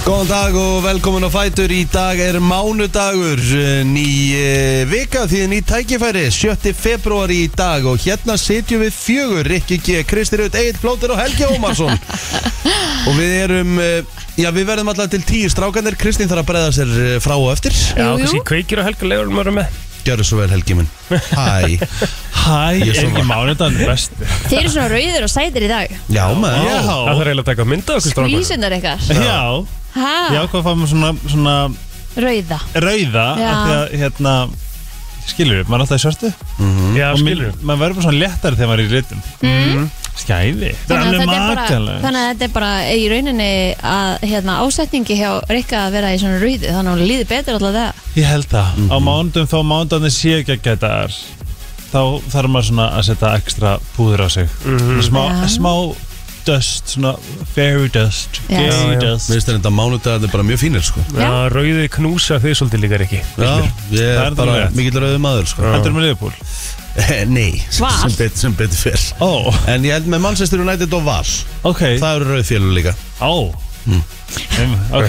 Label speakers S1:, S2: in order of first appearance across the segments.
S1: Góðan dag og velkomin á Fætur Í dag er mánudagur eh, Ný eh, vika því ný tækifæri 7. februar í dag Og hérna sitjum við fjögur Rikki G, Kristi Raut, Egil Plóter og Helgi Ómarsson Og við erum eh, Já, við verðum alltaf til tíu strákanir Kristín þarf að breyða sér eh, frá og eftir
S2: Já,
S3: Jú, jú.
S2: kannski kveikir og helga legur um að vera með
S1: Gjörðu svo vel Helgi minn Hæ
S4: Hæ,
S1: Ég
S4: ég
S1: er
S4: er
S1: svona-
S4: ekki mánuðan best
S3: Þeir eru svona rauðir og sætir í dag
S1: Já maður
S4: Já.
S2: Það þarf eiginlega að taka mynda okkur strákur
S3: Skvísunar ykkar Ah.
S4: Já, ég
S3: Ha,
S4: ákvað að fá mér svona, svona
S3: rauða
S4: rauða
S3: Já.
S4: af því að hérna skilur, maður er alltaf í svörtu
S2: Já,
S4: og minn-
S2: skilur
S4: maður verður bara svona léttari þegar maður er í litum mm. Skæði Það er alveg
S3: Mhm. þetta er, bara,
S4: makalegt
S3: þannig að þetta er bara í rauninni að hérna, ásetningi hjá Rikka að vera í svona rauðu þannig að hún líði betur alltaf það
S4: Ég held það, á mánudum þó mánudarnir séu ekki að geta þar þá þarf maður svona að setja ekstra púður á sig smá,
S3: Já.
S4: smá dust, svona fairy dust
S3: Já.
S4: gay
S2: Já, já.
S4: dust
S1: Mér finnst þetta mánudagarnir bara mjög fínir sko
S2: Já, rauði knúsa þið svolítið líka ekki
S1: Já, ég
S4: Það
S1: er
S4: er
S1: bara
S4: þannig.
S1: mikill rauðum maður sko Eh,
S4: Heldur með liðbúl?
S1: Nei,
S3: Val?
S1: sem betur, sem betur fyrr
S4: Ó,
S1: En ég held með Manchester United og Val
S4: ok
S1: Það eru rauð félur líka
S4: Á
S1: Hmm.
S4: mm. Ok,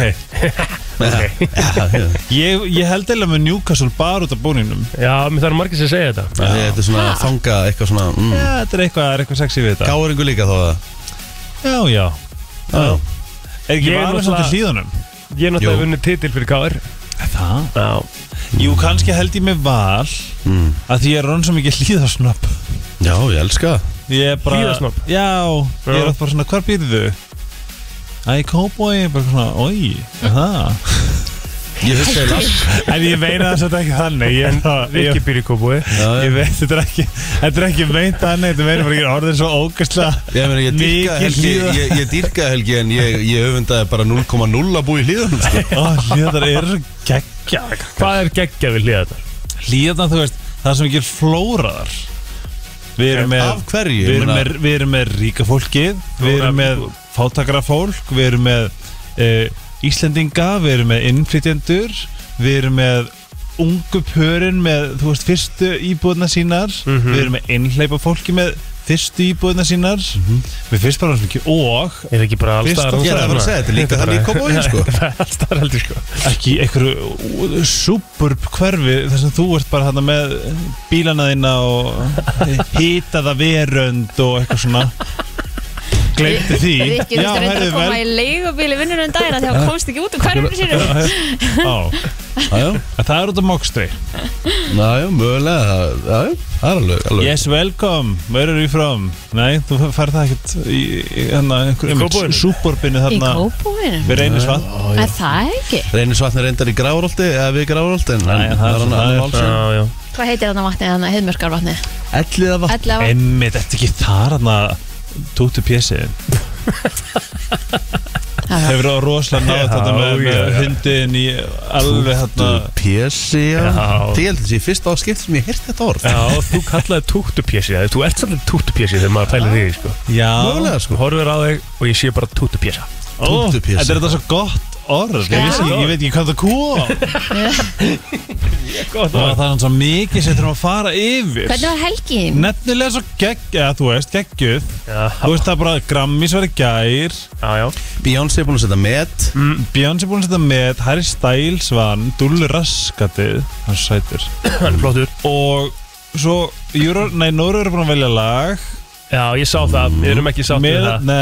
S1: okay.
S4: ég, ég held eða með Newcastle bara út af búninum
S2: Já, mér þarf margir sem segja þetta
S1: Þetta er svona
S3: Ha?
S1: að fanga eitthvað svona mm.
S4: Já, þetta er eitthvað, það er eitthvað sexy við þetta
S1: Gáringu líka þó að
S4: Já, já
S1: Já.
S4: Er ekki
S2: Ég er
S4: varur
S2: náttúrulega-
S4: samt í hlýðunum?
S2: Ég er
S1: Jú.
S2: náttúrulega vunnið titil fyrir KR
S4: Það?
S2: Já,
S4: Jú, kannski held ég með val
S1: Mm.
S4: að því ég er rann svo mikið hlýðarsnopp
S1: Já, ég elska það.
S4: Ég er bara
S2: Hlíðarsnobb?
S4: Já, ég
S2: Já.
S4: er oft bara svona, hvar býrðu þau? Æ, kóboi, bara svona, oi, er það
S1: Ég hugsa eiginlega allt-
S4: En ég meina þess að þetta er ekki þannig Ég, ég, ég,
S2: Rikki býr í kópúi
S1: Já, já.
S4: ég veit, þetta er ekki Þetta er ekki meint þannig, þetta meina bara ekki orðin svo ógæslega
S1: Ég, meina, ég dýrka
S4: Mikið
S1: helgi,
S4: hlýða.
S1: ég, ég dýrka helgi en ég, ég öfundaði bara 0,0 að búi í hlýðunum sko.
S4: Ó, hlýðar eru svo geggja
S2: Hvað er geggjað við hlýða þetta?
S4: Hlýðarnar, þú veist, það sem ekki er flóraðar Við erum með
S1: Af hverju?
S4: Við
S1: Ég
S4: erum
S1: meina,
S4: með, við erum með ríka fólkið Við erum með fátakara fólk Við erum með uh, Íslendinga Við erum með innflytjendur Við erum með ungu pörin Með, þú veist, fyrstu íbúðna sínar
S2: Mhm.
S4: Við erum með innleipa fólki Með fyrstu íbúðna sínar mm -hmm. Við fyrst bara svo mikið og
S2: Mhm. Er ekki bara
S4: Fyrst
S2: allstaðar
S4: og-
S1: Ég er að fara að segja þetta er líka þannig í Kópavogi sko.
S2: Allstaðar heldur sko
S4: Ekki einhverju uh, súburb hverfi Þar sem þú ert bara hana með Bílana þína og Hýtaða verönd og eitthvað svona Gleymdi því
S3: Rikki, þú
S4: Já,
S3: veist reynda
S4: heyrðu,
S3: að koma í um leigubíli vinnur en dagina þegar hún komst ekki út úr hverjum sínum
S4: Á,
S1: Já, já.
S4: en það er út af mokstri
S1: Já, já, mögulega það- já, já, Það er alveg, alveg.
S4: Yes, welcome, where are you from? Nei, þú færð það ekkert í, í hérna, hana,
S2: Kópavoginum?
S4: einhverjum súborbinu
S3: Í
S4: þarna
S3: kópúinu
S4: Við reynir svað
S3: Er það ekki?
S1: Reynisvatn er reyndar í Gráróldi eða við Gráróldi en
S4: Nei,
S1: en
S4: það er
S1: það er
S4: svo- það
S1: annar
S4: er-
S1: málsum
S2: Já, já
S3: Hvað heitir þarna vatnið, þarna heiðmörkarvatnið?
S1: Ellið að vatn
S3: Ellefa
S4: Emmi, þetta ekki þar hana Tóttu pjessi Hefur á rosalega nátt þetta
S2: Já,
S4: með,
S2: já,
S4: með
S2: já.
S4: hundin í alveg hérna
S1: Pési, já
S2: Já.
S1: Þið heldur þessi fyrsta áskipt sem ég heyrti þetta orð
S2: Já, þú kallaði túttupjessi það Þú ert svolítið túttupjessi þegar maður pælir því sko.
S4: Já,
S1: Mögulega sko
S2: Horfir á þig og ég sé bara túttupjessa
S4: Ó,
S1: Tóttu
S4: þetta
S1: Pési.
S4: er þetta svo gott orð Ég,
S3: Já.
S4: vissi, ekki- ég veit ekki hvað það kom
S2: Góð,
S4: Það var það svo mikið sem þurfum að fara yfir
S3: Hvernig var helgin?
S4: Nefnilega svo gegg, eða þú veist, geggjuð
S2: Já,
S4: Þú veist það er bara að Grammys var í gær
S2: já, já
S1: Beyoncé er búin að setja met
S4: Beyonce búin að setja með Harry Styles vann Dúllu Raskatið Hann er sætur
S2: Hann er flottur
S4: Og svo Euro, nei, Nóru er búin að velja lag
S2: Já, ég sá það, við erum ekki sátt
S4: með,
S2: við það
S4: Nei,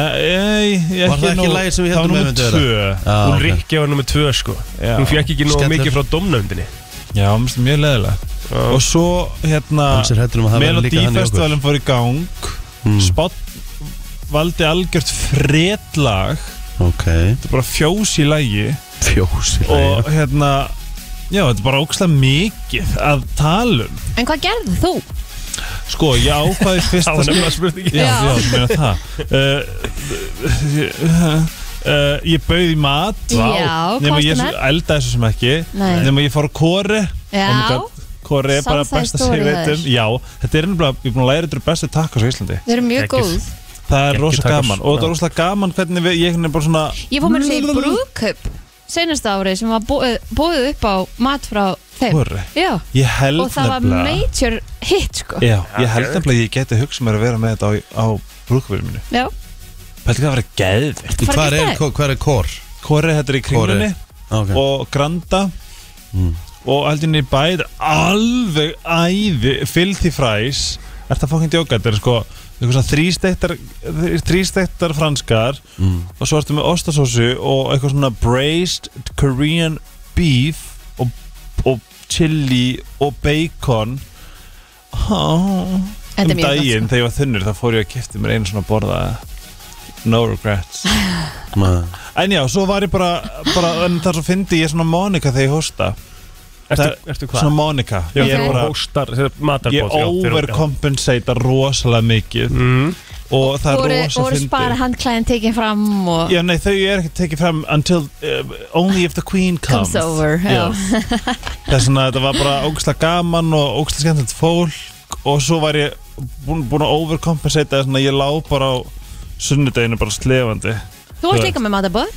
S4: ei,
S1: Var það ekki lagið sem við héldum
S4: með
S1: að myndi Já,
S2: Hún
S1: ok.
S2: Rikki var nummið tvö sko
S4: Já.
S2: Hún fekk ekki nóg
S1: Skellur.
S2: mikið frá domnöfndinni
S4: Já, mér finnst það mjög leðilegt Og svo hérna
S1: Hans er hættur um að það verði líka hann í okkur
S4: Melodífestivalin fór í gang
S1: Mm.
S4: mm. valdi algjört fredlag
S1: Ok
S4: Þetta er bara fjós í lagi
S1: Fjósi
S4: og hérna já, þetta er bara ógslag mikið að tala um
S3: En hvað gerði þú?
S4: sko, ég ákvaði fyrst
S2: Það
S4: að
S2: var nefnilega spurningi
S4: já,
S3: Já.
S4: já, ég meina það uh, uh, ég bauð í mat
S3: Já,
S4: nema
S3: komstu
S4: ég
S3: með?
S4: eldaði svo sem ekki
S3: Nei.
S4: nema ég fór á kóri
S3: Já,
S4: Oh my God, kóri er bara
S3: Southside
S4: besta sem
S3: story
S4: ég veit
S3: hjá
S4: um já, þetta er nefnilega, ég er búin að læra þetta bestu takk á Íslandi
S3: þau eru mjög
S2: Geggjuð.
S3: góð
S4: það er
S2: Ekki
S4: rosa
S2: tacos,
S4: gaman og þetta
S2: já.
S4: er rosa gaman hvernig við, ég er bara svona
S3: Ég fór mér að segja brúðkaup senasta árið sem var búið, búið upp á mat frá þeim
S4: kóri,
S3: Já,
S4: ég held
S3: og það var major hit sko
S4: Já, ég held
S2: ok.
S4: nefnilega að ég geti hugsað mér að vera með þetta á, á brúkverðinu mínu.
S3: Já,
S4: Pæltu hvað að vera geðvikt.
S3: fara
S1: Hvar
S3: ekki
S1: er,
S3: stæð?
S1: hvar er kór?
S4: Kori þetta er í kringlunni Ah, Mm.
S1: Ok.
S4: og Granda og aldinni bæð alveg æði filthy fries er það fokkin djóka þetta er sko þrýstektar þrýstektar franskar og svo ertu með ostasósu og eitthvað svona braised Korean beef og, og chili og bacon oh.
S3: Þetta er
S4: um
S3: mjög gott,
S4: daginn
S3: sko.
S4: þegar ég var þunnur þá fór ég að kipta mér einu svona borða no regrets
S1: Maður.
S4: En já, svo var ég bara, bara en þar svo fyndi ég svona Monika þegar ég hósta
S2: Ertu, ertu hvað?
S4: Svona Monika
S2: Já,
S4: Ég,
S2: okay.
S4: bara,
S2: hóstar,
S4: ég
S2: matarbót
S4: overcompensata rosalega mikið
S2: Mm.
S4: Og það er
S3: voru,
S4: rosa
S3: voru spara
S4: fyndi
S3: handklæðin tekin fram og
S4: Já, nei, þau er ekki tekið fram Until, uh, only if the queen comes
S3: comes over já.
S4: Já. Það er svona, þetta var bara ógæslega gaman og ógæslega skemmtilegt fólk Og svo var ég búin, búin að overcompensata Svona, ég lá bara á sunnudeginu bara slefandi
S3: Þú varst líka með matabóð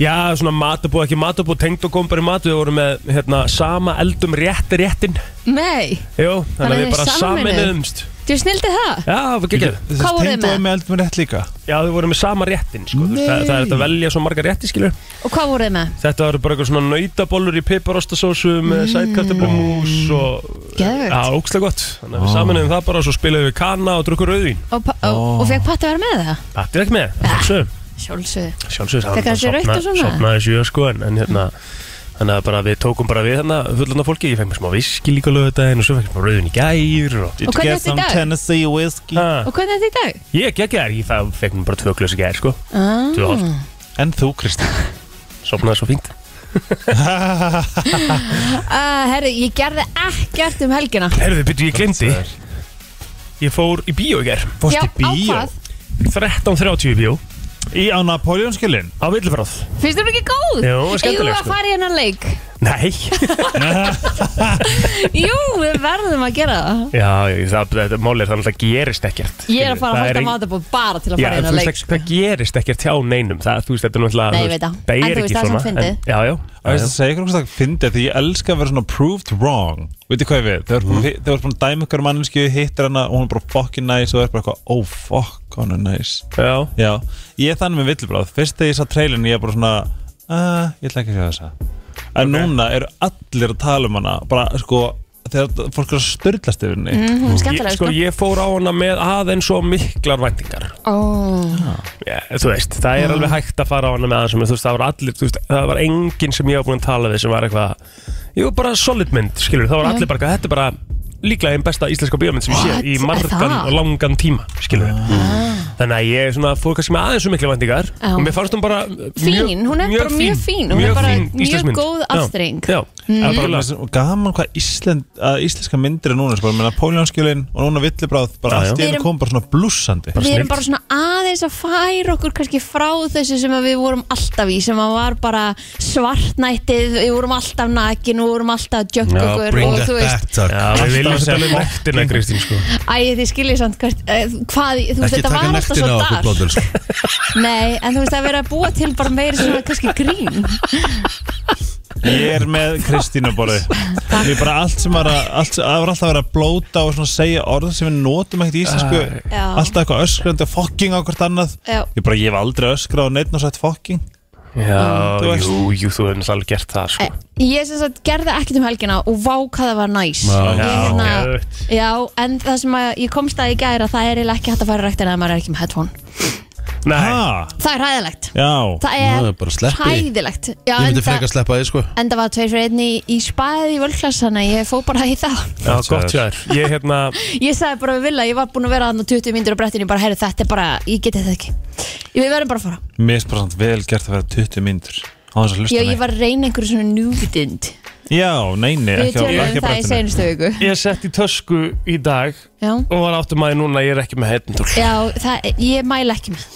S2: Já, svona matabóð, ekki matabóð, tengd og kom bara í matu Við vorum með hérna, sama eldum rétt réttinn
S3: Nei,
S2: Jú, þannig að
S3: Þannig
S2: við bara
S3: þið sameinuðu.
S2: saminuðumst
S3: þú snildi það
S2: Já, við geggjum
S3: Hvað voruð þið
S4: Tengdu
S3: með?
S4: var með eldum rétt líka
S2: Já, við vorum með sama réttin, sko þú veist, það,
S4: Nei.
S2: það er þetta að velja svo marga rétti, skilur
S3: Og hvað voruð þið með?
S2: Þetta var bara eitthvað svona nautabollur í piparostasósu með mm. sætkartablumús og
S3: Geðvegt.
S2: Já, ógstlega gott Þannig að við saminuðum það bara og svo spilaðum við kanna og drukkur rauðvín
S3: Og, pa- og, og fekk patti að vera með það?
S2: Patti er ekki með, sjálfsög
S3: Sjálfsögðu
S2: Sjálfsög,
S3: Fékk hann sér rautt og svona?
S2: sopnaði sjö, sko En, en hérna, þannig að bara við tókum bara við hérna fullanda fólki Ég fekk mér smá viski líka lögðaðin og svo fekk mér smá rauðvín í gær og...
S4: Did
S3: Og
S4: you
S3: hvernig
S4: get
S3: ertu í
S4: some
S3: dag?
S4: Tennessee whiskey?
S2: Ha,
S3: Og hvernig er þetta í dag?
S2: Ég geggjær, ég fæ- fekk mér bara tvö glösi gær, sko Tvö og
S3: Ah,
S2: hálft.
S4: En þú, Kristi
S2: Sopnaði svo fínt
S3: uh, herri, ég gerði ekkert um helgina
S2: Herðu, byrju, ég glemdi Ég fór í bíó í gær
S3: Já,
S4: Fórstu
S3: á hvað?
S2: 13.30 í bíó
S4: Í á Napoleonskilin?
S2: Á villifráð
S3: Finnst þér hún ekki góð?
S2: Jú, hún er skemmtileg,
S3: Eigum við að
S2: sko.
S3: fara í hennan leik?
S2: Nei
S3: Jú, við verðum að gera það
S2: Já, ég- það, þetta máli er það alltaf gerist ekkert
S3: Ég er að fara
S2: Það
S3: að halda
S2: ein-
S3: matabóð bara til að
S2: Já,
S3: fara í
S2: þú
S3: hennan
S2: veist,
S3: leik sko.
S2: það, það gerist ekkert hjá neinum það, Þú veist, þetta er náttúrulega
S3: Nei,
S2: þú
S3: ég
S2: veist,
S3: veit það.
S2: Það
S3: En
S2: er
S3: þú
S2: ekki
S3: veist, það er
S2: svona
S3: samt fyndið.
S2: en- Já, já
S4: Það veist að segja ykkur hvað það fyndi því ég elska að vera svona proved wrong Veitir hvað ég við? Þegar þú ert búin að dæma ykkur mannsku hittir hana og hún er bara fucking nice og það er bara eitthvað oh fuck hún er nice
S2: Já,
S4: Já, ég er þannig með villibráð Fyrst þegar ég sá trailin ég er bara svona uh, ég ætla ekki að sjá þessa En núna eru allir að tala um hana bara sko þegar fólk er að störlast yfir henni
S3: Mm, Hún er
S2: ég,
S3: skemmtileg,
S2: sko,
S3: sko
S2: ég fór á hana með aðeins og miklar væntingar
S3: Ó.
S2: Já, þú veist, það er alveg hægt að fara á hana með aðeins og þú veist, það var allir, þú veist, það var enginn sem ég var búin að tala við sem var eitthvað Jú, bara solid mynd, skilur, það var allir bara, eitthvað, þetta er bara líklega einn besta íslenska bíómynd sem ég
S3: What?
S2: sé í margan
S3: Það? Ah.
S2: og langan tíma, skilur Þannig að ég svona fór kannski með aðeins um miklu vendingar
S3: Já.
S2: og mér fannst hún bara mjög-
S3: Fín, hún er bara mjög fín, hún er bara mjög
S2: íslensk mynd.
S3: góð
S2: Já,
S3: afþreying. Mhm.
S2: Já,
S4: Það er bara með þessum- og gaman hvað Ísland, að íslenska myndir er núna sko, með Napoleonskjölin og núna villibráð bara
S2: Já, já.
S4: allt í
S3: Við
S4: einu
S3: erum-
S4: kom bara svona blúsandi
S2: Bara
S3: Við erum
S2: snilld.
S3: bara svona aðeins að færa okkur kannski frá þessu sem að við vorum alltaf í sem að var bara svartnættið við vorum alltaf nakin og vorum alltaf að jökk
S1: Já,
S3: okkur
S1: bring
S3: og
S1: that
S3: þú
S1: back,
S3: veist,
S1: takk
S2: Já, við viljum
S4: Alltaf
S2: setja
S4: sem
S2: alveg nektina, Kristín, sko
S3: æ, þið skiljið samt hvert, eh, hvað, þú veist,
S1: Ekki
S3: þetta
S1: taka
S3: var alltaf
S1: nektina
S3: svo
S1: á okkur
S3: dar
S1: blóður
S4: sko.
S3: Nei, en þú veist, að vera að búa til bara meira svona kannski grín
S4: Ég er með Kristínu borði Ég er bara allt sem var að allt, Það var alltaf að vera að blóta og svona segja orð sem við notum ekkert í íslensku
S3: Já.
S4: Alltaf eitthvað öskrandi og fokking á hvert annað
S3: Já.
S4: Ég bara, ég hef aldrei öskrað á neitt og sagt fokking
S2: Já,
S4: Þú veist.
S2: jú, jú, þú hefur náttúrulega alveg gert það, sko
S3: Eh, Ég sem sagt gerði ekkert um helgina og vá hvað það var næs
S1: Já.
S3: Ég
S2: Já,
S3: hérna-
S2: geðveikt.
S3: já, en það sem að ég komst að í gæra það er eiginlega ekki hægt að fara í rektina ef maður er ekki með headphone
S2: Nei,
S4: Ha,
S3: Það er hæðilegt
S4: já
S3: Það
S1: Það er
S3: er
S1: bara að sleppa því.
S3: hæðilegt Já,
S1: Ég myndi
S3: enda-
S1: frekar sleppa því sko
S3: Enda var tveir fyrir einni í, í spaði í völklass Þannig að ég fó bara í það
S2: já, gott hjá þér Ég, hérna,
S3: Ég sagði bara við vilja, ég var búin að vera þarna 20 mínútur á brettinu Ég bara, heyrðu, þetta er bara, ég geti þetta ekki Ég við verðum bara að fara
S4: Mér er bara samt vel gert að vera 20 myndur Á þess að
S3: Já,
S4: hlusta
S3: ég var að reyna einhverju svona núvitind
S4: neitt Já, nei, nei,
S3: Við
S4: ekki á
S3: tölum um
S4: ekki
S3: það
S4: á
S3: í
S4: brettinu
S3: seinustu viku
S2: ég sett í tösku í dag
S3: Já,
S2: og var áttum að núna ég er ekki með heitintól
S3: já það, ég mæla ekki með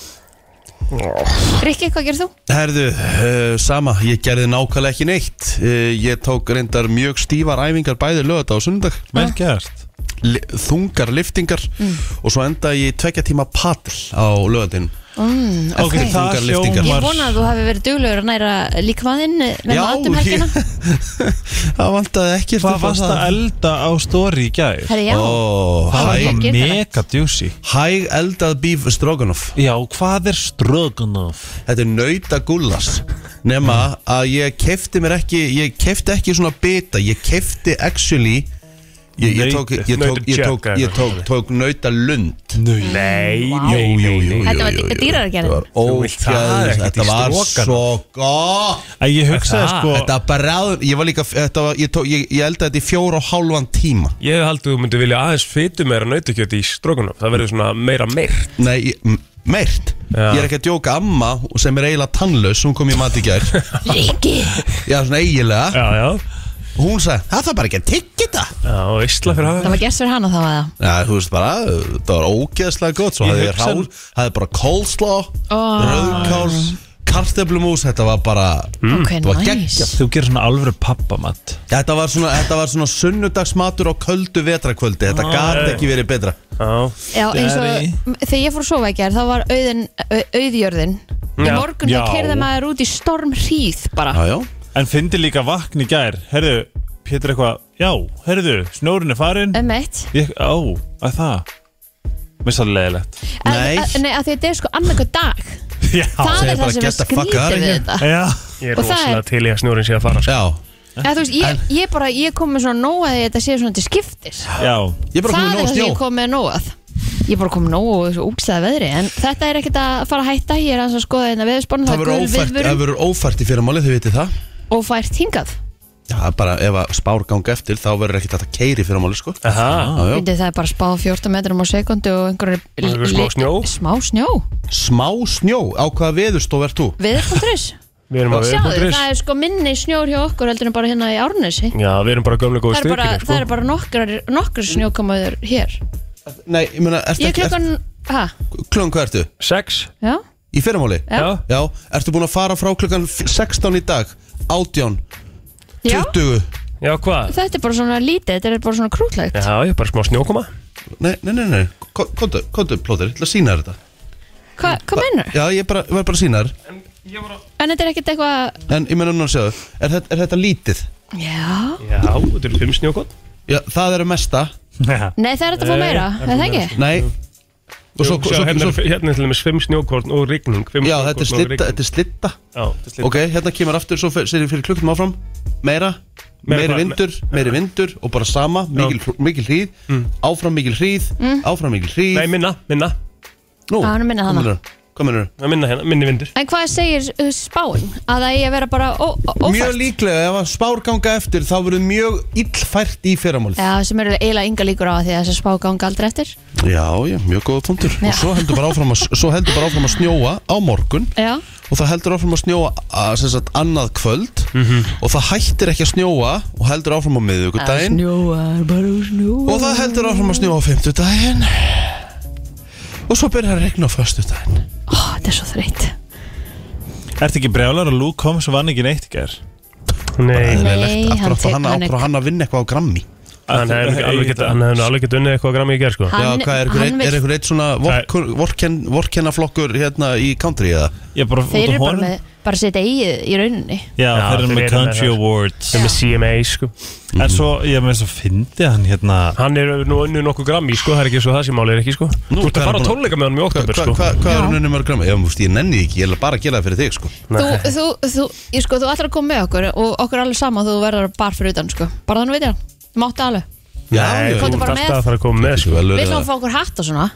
S3: Rikki, hvað gerir þú?
S1: Herðu, uh, sama, ég gerði nákvæmlega ekki neitt uh, Ég tók reyndar mjög stífar æfingar bæði lögða á sundag
S4: Vel gert
S1: li Þungar liftingar og svo enda ég í tvekja tíma padl á lögðin
S3: Mm,
S1: Ok,
S3: okay.
S1: það- Þungar lyftingar.
S3: Ég vona að þú hafi verið duglegur að næra líkmaðinn með matum helgina
S1: Það vantaði ekki
S4: Hvað varst að elda á story í gær?
S3: Herri, já,
S1: Ó,
S4: Það
S3: Hæ.
S4: var
S1: hæg,
S3: Ég gerði það.
S4: mega djúsi
S1: hæg eldað bíf stroganoff
S4: Já, hvað er strögun af?
S1: Þetta er nauta gullas nema að ég kefti mér ekki ég kefti ekki svona bita ég kefti actually ég, ég tók ég tók, ég tók, ég tók, tók nauta lund
S2: Nei,
S3: Vá.
S2: nei, nei, nei
S3: Þetta var dý- dýrara gerðin.
S1: þetta var
S2: Þú vilt það
S1: ógeðs-
S2: ekkert í
S1: þetta var
S2: strokanum.
S1: svo gott
S5: Æ, Ég hugsaði
S2: Aha.
S5: sko
S1: þetta bráður ég var líka þetta var, ég, tók, ég, ég eldaði þetta í fjóra og hálfan tíma
S2: Ég hef haldið að þú myndi vilja aðeins fytu meira nautakjöti í strókunum Það verður svona meira meir
S1: Nei, ég- m- meirt
S2: Já.
S1: Ég er ekki að djóka amma sem er eiginlega tannlaus Hún kom í mat í gær
S3: Riki
S1: Já, svona eiginlega
S2: Já, já
S1: Hún sagði, það þarf bara ekki að tyggja þetta
S2: Já, og veistla fyrir
S3: Það
S2: aðeins
S3: var gert fyrir hana þá aða
S1: Já, þú veist bara, það var ógeðslega gott Svo
S5: Ég
S1: hafði ég
S5: hugsa-
S2: um-
S1: rál, hafði bara coleslaw
S3: Ó.
S1: Rauðkál, kartöflumús Þetta var bara
S3: Hmm. Ok,
S1: Það var
S3: næs
S1: geggjað.
S5: Þú gerir svona alvöru pappamatt
S1: Þetta var svona, þetta var svona sunnudagsmatur á köldu vetrakvöldi Þetta gat ekki verið betra
S2: Ah. Já,
S3: Já, eins og þegar ég fór að sofa í gerð þá var auðin, au, auðjörðin Í
S2: Já.
S3: morgun
S5: Já.
S3: þá kerði maður út í storm hríð bara
S1: Já, já
S5: En fyndi líka vakn í gær Herðu, Pétur eitthvað Já, herðu, snjórin er farin
S3: Um eitt
S5: Ég, Á, að það Mér er svolítið leðilegt
S1: Nei.
S3: Nei, að, nei að því að þetta er sko annarkoð dag
S5: Já,
S3: Það
S1: segir
S3: er
S1: bara,
S3: það sem
S1: get
S3: er
S1: the fuck out of
S3: skrítið við
S1: here.
S3: þetta
S5: já
S2: ég er
S3: Og það
S2: rosalega
S3: er-
S2: til í að snjórin sé að fara sko.
S1: Já,
S3: Eða, þú veist, ég, ég bara, ég kom með svona nóg að þetta sé svona til skiptis
S5: Já,
S1: ég er bara
S3: það er
S1: komið nóg
S3: það sem ég
S1: snjó
S3: kom með nóg að Ég er bara kom nóg og þessu úkslega veðri En þetta er ekkert að fara að hætta Ég er aðeins að skoða hérna þetta veðurspánu Það
S1: Það
S3: er
S1: verður
S3: gul
S1: ófært, það
S3: viðvörun
S1: verður ófært í fyrramáli, þau vitið það
S3: og fært hingað
S1: Já, bara ef að spár ganga eftir þá verður ekkert hægt að keiri fyrir máli sko
S2: Aha,
S1: Já, já.
S3: Fyndi, Það er bara spáð 14 metrum á sekundu og einhverjum
S2: einhver smá snjó.
S3: Smá snjó
S1: Smá snjó, á hvaða veðurstof er þú?
S3: Veður.is
S2: við erum að
S3: Sjáðu,
S2: við
S3: það er sko minni snjór hjá okkur heldur en bara hérna í Árnesi
S2: Já, við erum bara gömlega góð
S3: Það er bara,
S2: styrkir
S3: það er bara nokkrar, nokkrar snjókomaður hér
S1: Nei, ég meina, ertu
S3: Ég er
S1: ekki
S3: klukkan, hæ,
S1: ert- Klukkan hvað ertu?
S2: Sex
S3: já,
S1: Í fyrramáli?
S3: Já.
S2: Já,
S1: Já, ertu búin að fara frá klukkan f- 16 í dag? 18,
S3: já
S1: 20
S2: já hvað?
S3: Þetta er bara svona lítið, þetta er bara svona krútlegt
S2: Já, ég er bara smá snjókoma
S1: Nei, nei, nei, nei, Ko- komdu, komdu plóður, ég ætla að sína þér þetta
S3: Hva, Hvað meinar?
S1: Já, ég bara, var bara að sína þér
S3: En þetta er ekkert eitthvað,
S1: En ég meina núna að segja er, þetta- er þetta lítið?
S3: já
S2: Já, þetta eru fimm snjókot
S1: Já, það eru mesta
S3: Nei, það er þetta að fá
S2: Nei,
S3: meira,
S2: það er
S3: er það ekki?
S1: Nei Og svo, svo,
S2: Sjá, hérna,
S1: svo,
S2: er- hérna er til dæmis fimm snjókorn og rigning fimm
S1: Já, þetta er
S2: snjókorn og
S1: slitta,
S2: rigning.
S1: þetta er slitta
S2: Já, þetta er slitta
S1: Ok, hérna kemur aftur, svo fer- segir fyrir klukkum áfram Meira,
S2: Meira
S1: meiri
S2: hvað?
S1: vindur, meiri vindur Og bara sama, mikil, mikil hríð Áfram mikil hríð, áfram mikil hríð
S2: Nei, minna, minna,
S1: Nú,
S3: Mm. Já, hann er minna
S1: hvað
S3: þarna.
S1: meinarðu? Hvað mennur
S2: Nei, minna hérna, minni vindur
S3: En hvað segir uh, spáin? Að það eigi að vera bara ó- ó-
S1: Mjög
S3: ófært?
S1: líklega, ef að spár ganga eftir Þá verður mjög illfært í fyrramálið
S3: Já, sem eru eiginlega ynga líkur á því að þessi spá ganga aldrei eftir
S1: já, já, mjög góða punktur
S3: Já.
S1: Og svo heldur bara áfram að, svo heldur bara áfram að snjóa á morgun
S3: Já,
S1: Og það heldur áfram að snjóa að, sem sagt, annað kvöld
S5: Mhm.
S1: Og það hættir ekki að snjóa Og heldur áfram á miðvikudaginn
S3: snjóar, bara snjóar
S1: Og það heldur áfram að snjóa á fimmtudaginn Og svo byrjar að regna á föstudaginn
S3: Ó, þetta er svo þreytt
S5: Ertu ekki brjálar að Luke Combs vann ekki neitt í gær?
S2: Nei,
S1: Eðlilegt, af
S3: hann
S1: hverju átti
S3: tek-
S1: hann,
S3: hann
S1: hann,
S3: er-
S1: hann, hann að vinna eitthvað á grammi
S2: hann hefði alveg gett- hann hefði nú alveg gett unnið eitthvað að grammi í gerð sko
S1: Já,
S3: Hann-
S1: hvað er
S3: hann
S1: einhver-
S3: vill-
S1: er einhver eitt svona vorkur- vorken- vorkennaflokkur hérna í country eða?
S5: Ég bara
S3: Þeir
S5: út af
S3: eru bara
S5: honum.
S3: með, bara sitt eigið í rauninni
S5: Já,
S2: Já,
S5: þeir eru
S2: þeir
S5: með
S2: eru
S5: Country
S2: með það.
S5: Awards
S2: sem er CMA sko
S3: Mm-hmm.
S5: En svo, ég með þess að fyndi hann hérna
S2: hann er nú unnið nokkuð grammi sko það er ekki svo það sem málið er ekki sko
S1: Nú,
S2: þú ert
S1: hvað er
S2: að fara á
S1: búin-
S2: tónleika með honum í
S1: Hva- hva-
S2: oktober
S1: Hvað
S2: sko
S1: hva
S3: Já.
S1: er hann unnum mörg grammi? Ég, múst, ég nenni því ekki, ég ætla bara að gera það fyrir þig sko
S3: þú, þú, þú, ég sko, þú ætlar að koma með okkur og okkur er alveg sama þú verður bara fyrir utan sko. bara þannig veit ég það, þú mátti alveg
S2: Nei,
S1: já,
S2: þú
S3: komdu
S2: ert
S3: bara með.
S2: alltaf að fara að koma með
S1: Ég,
S2: sko
S1: vel
S3: við
S1: verið
S3: ætlum
S1: það.
S3: að fá okkur hatt og svona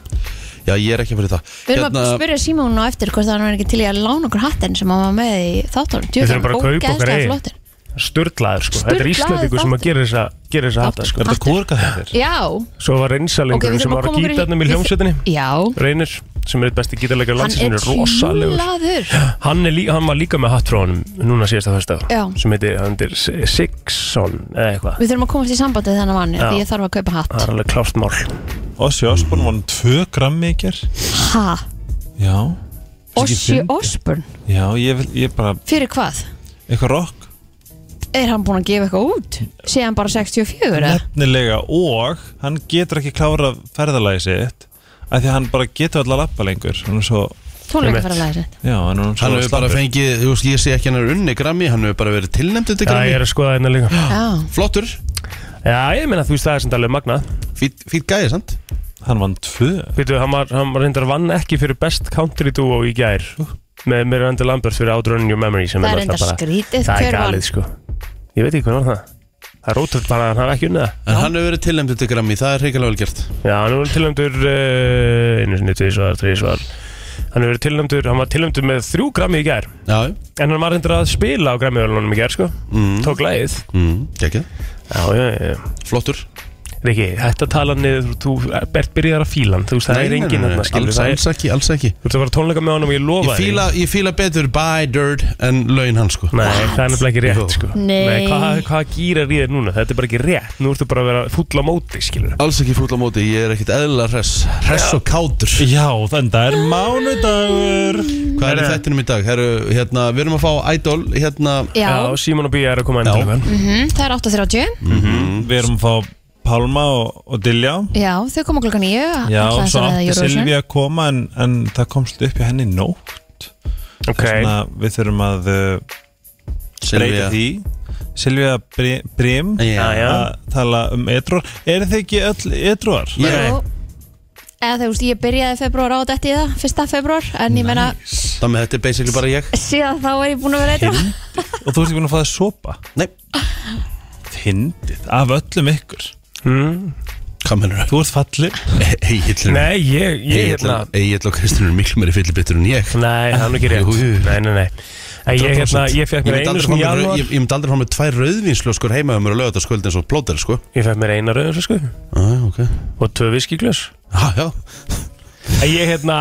S1: já, ég er ekki fyrir það
S3: við
S1: Hérna,
S3: erum að spyrja Simón á eftir hvort hann er ekki til í að lána okkur hattin sem hann var með í þáttunum
S2: Við þurfum bara að kaupa okkur eigin.
S3: flottir
S2: Sturlaður sko, þetta er
S3: Sturlaður
S2: Íslandingur sem að gera þessa gera þessa hata sko
S5: Er þetta kúrka þettir?
S3: já,
S2: Svo var
S3: ok,
S2: reynsalengurinn
S3: við þurfum að
S2: sem var að
S3: koma okkur
S2: gíta hennum í
S3: við-
S2: hljómsveitinni
S3: já,
S2: Reynir, sem er besti gítarleikar
S3: hann
S2: landsins, hann
S3: er
S2: er rosalegur
S3: tjúlaður
S2: hann, er lí, hann var líka með hatt frá honum núna síðasta föstudag
S3: Já.
S2: sem heitir, hann heitir S- Sigson eða eitthvað,
S3: við þurfum að komast í sambandi þennan mann
S2: Já.
S3: því ég þarf að kaupa hatt
S2: það er alveg klárt mál
S5: Ossi Osborn vann 2 grammi í gær
S3: ha,
S5: Já,
S3: Ossi
S5: fyndið.
S3: Osborn
S5: já, ég, vil, ég bara,
S3: fyrir hvað?
S5: eitthvað rock
S3: er hann búinn að gefa eitthvað út? sé hann bara 64 eða?
S5: Nefnilega og hann getur ekki klárað ferðalagi sitt af því að hann bara getur alltaf lappa lengur Hann er svo,
S3: tónleika fyrir að læra
S5: já, hann er svo
S1: Hann hefur bara
S5: slappur.
S1: fengið, þú veist, ég sé ekki hann er unni grammi Hann hefur bara verið tilnæmt undir
S2: Já, ég
S1: grammi
S2: er að skoða hérna líka
S3: þetta
S1: Flottur,
S2: Já, ég meina þú veist það er sem talið magnað
S1: fýtt fít gæði, sant?
S5: Hann vann 2
S2: Býtu, hann var, hann var reyndar vann ekki fyrir best country duo í gær með Miranda Lambert fyrir Out Running Your Memory sem
S3: Það er
S2: náttúrulega
S3: enda skrítið,
S2: það
S3: hver
S2: er
S3: var-
S2: galið sko ég veit ekki hvernig var það það er ótrúð bara að hann hafi ekki unnið það
S1: En hann hefur verið tilnæmdur til Grammy, það er hreikalega vel gert
S2: já, hann var tilnæmdur uh, einu sinni, tvísvar, tvísvar hann hefur verið tilnæmdur, hann var tilnæmdur með þrjú grammi í gær
S1: Já,
S2: en hann var reyndur að spila á grammiðalunum í gær sko
S1: mm,
S2: tók lagið
S1: mm, ekki,
S2: já, já, já, já
S1: flottur
S2: Riki, þetta tala um niður, þú ert byrjar að fíla hann þú veist, það er enginn þarna, skilur
S1: alls,
S2: það er,
S1: alls ekki, alls ekki
S2: þú ert að fara á tónleika með honum og ég
S1: Ég
S2: lofa
S1: fíla, ég fíla betur by dirt en laun hans sko
S2: Nei, það er nefnilega ekki rétt sko
S3: Nei.
S2: Hvað, hvað gýrar í þér núna? Þetta er bara ekki rétt Nú ertu bara að vera fulla móti, skilur
S1: Alls ekki fúll á móti, ég er ekkert eðla hress Hress og kátur
S4: Já, þannig það er mánudagur
S1: Hvað er í þættinum í dag? Heru, hérna, við erum að fá Idol hérna,
S3: Já,
S2: Símon og Bía er að koma endur
S1: Já.
S2: mm.
S3: mhm, það er 8.30
S1: Mhm.
S4: Við erum að fá Palma og, og Dilja
S3: Já, þau koma klokka nýju
S4: Já, svo átti Silvi að koma en, en það komst upp í henni nótt
S2: Ok,
S4: Þannig að við þurfum að uh, breyta því Silvia Bri- Brim
S1: Já,
S2: Já, já.
S4: að tala um edrúar Er þið ekki öll edrúar?
S1: Ég-
S3: Jú, eða þú veist, ég byrjaði februar á þetta í það, fyrsta februar en ég meina,
S1: Þannig að þetta er basically bara ég
S3: síðan þá er ég búin að vera hérna. eitthvað
S4: Og þú ert ekki búin að fá það sopa
S1: Nei,
S4: Fyndið, af öllum ykkur
S2: mm.
S1: hvað mennur
S4: Þú ert fallið
S1: það? Egilur
S2: Nei, ég, ég hérna
S1: Egil og Kristján eru miklu meiri fyllibittur en ég
S2: Nei, það er nú ekki rétt
S1: Jú, jú.
S2: Nei, nei, nei En ég, hérna,
S1: 100%.
S2: ég fekk mér
S1: myndi
S2: einu
S1: aldrei
S2: svona í
S1: fá mér-
S2: janúar
S1: Ég ég myndi aldrei fá með tvær rauðvinslöskur heima um mér að löga þetta skuld eins og plóter sko
S2: Ég fekk mér eina rauður, sko
S1: ah, okay.
S2: Og tvö viskiklös
S1: ah, Já,
S2: En ég, hérna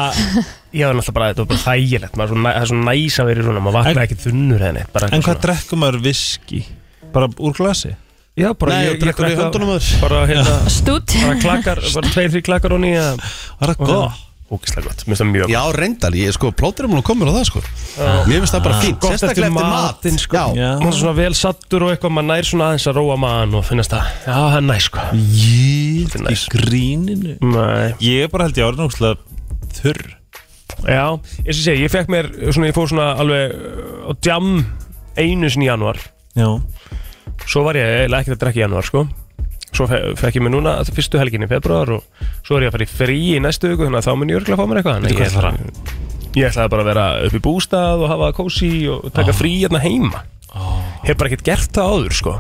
S2: Ég var náttúrulega bara, þetta var bara þægilegt maður er svo næ- Það er svo næs að vera í svona Maður vaknaði ekkert þunnur henni
S4: En hvað drekkum maður viski? Bara úr glasi?
S2: Já, bara
S1: Nei,
S2: ég,
S1: og drekkur í
S2: drakk á-
S1: höndunum á þér.
S2: Bara, hérna
S3: stútt
S2: bara klakkar, bara tveir, þrjir klakkar og hérna, nýja
S4: Var það gott?
S2: Ógislega gott, mér finnst það mjög
S1: já reyndar, ég, sko, plóter er múin að koma mér á það sko Mér finnst það bara fínt,
S2: Ah. Gott eftir
S1: sérstaklega eftir mat
S2: matinn, sko.
S1: Já.
S4: Já.
S2: gott Mér er svona vel sattur og eitthvað, maður nær svona aðeins að róa maðan og finnast það Já, það er næ, sko
S4: Jít,
S2: Þetta
S4: í
S2: er næs.
S4: gríninu
S2: Nei.
S4: Ég er bara held ég árið náttúrulega þurr
S2: Já, eins og ég segi, ég fekk mér svona, ég fór svona alveg uh, á djam einu sinni í januar
S4: Já
S2: Svo var ég eiginlega ekkert að drekka í januar, sko Svo fe fekk ég mér núna þetta fyrstu helginni í februar og svo er ég að fara í frí í næstu viku þannig að þá mun ég örgla að fá mér eitthvað Þannig
S4: Veitu
S2: að
S4: hvað
S2: ég- Ég ætlaði bara að vera upp í bústað og hafa kósi og taka frí hérna heima Hef bara ekkert gert það áður, sko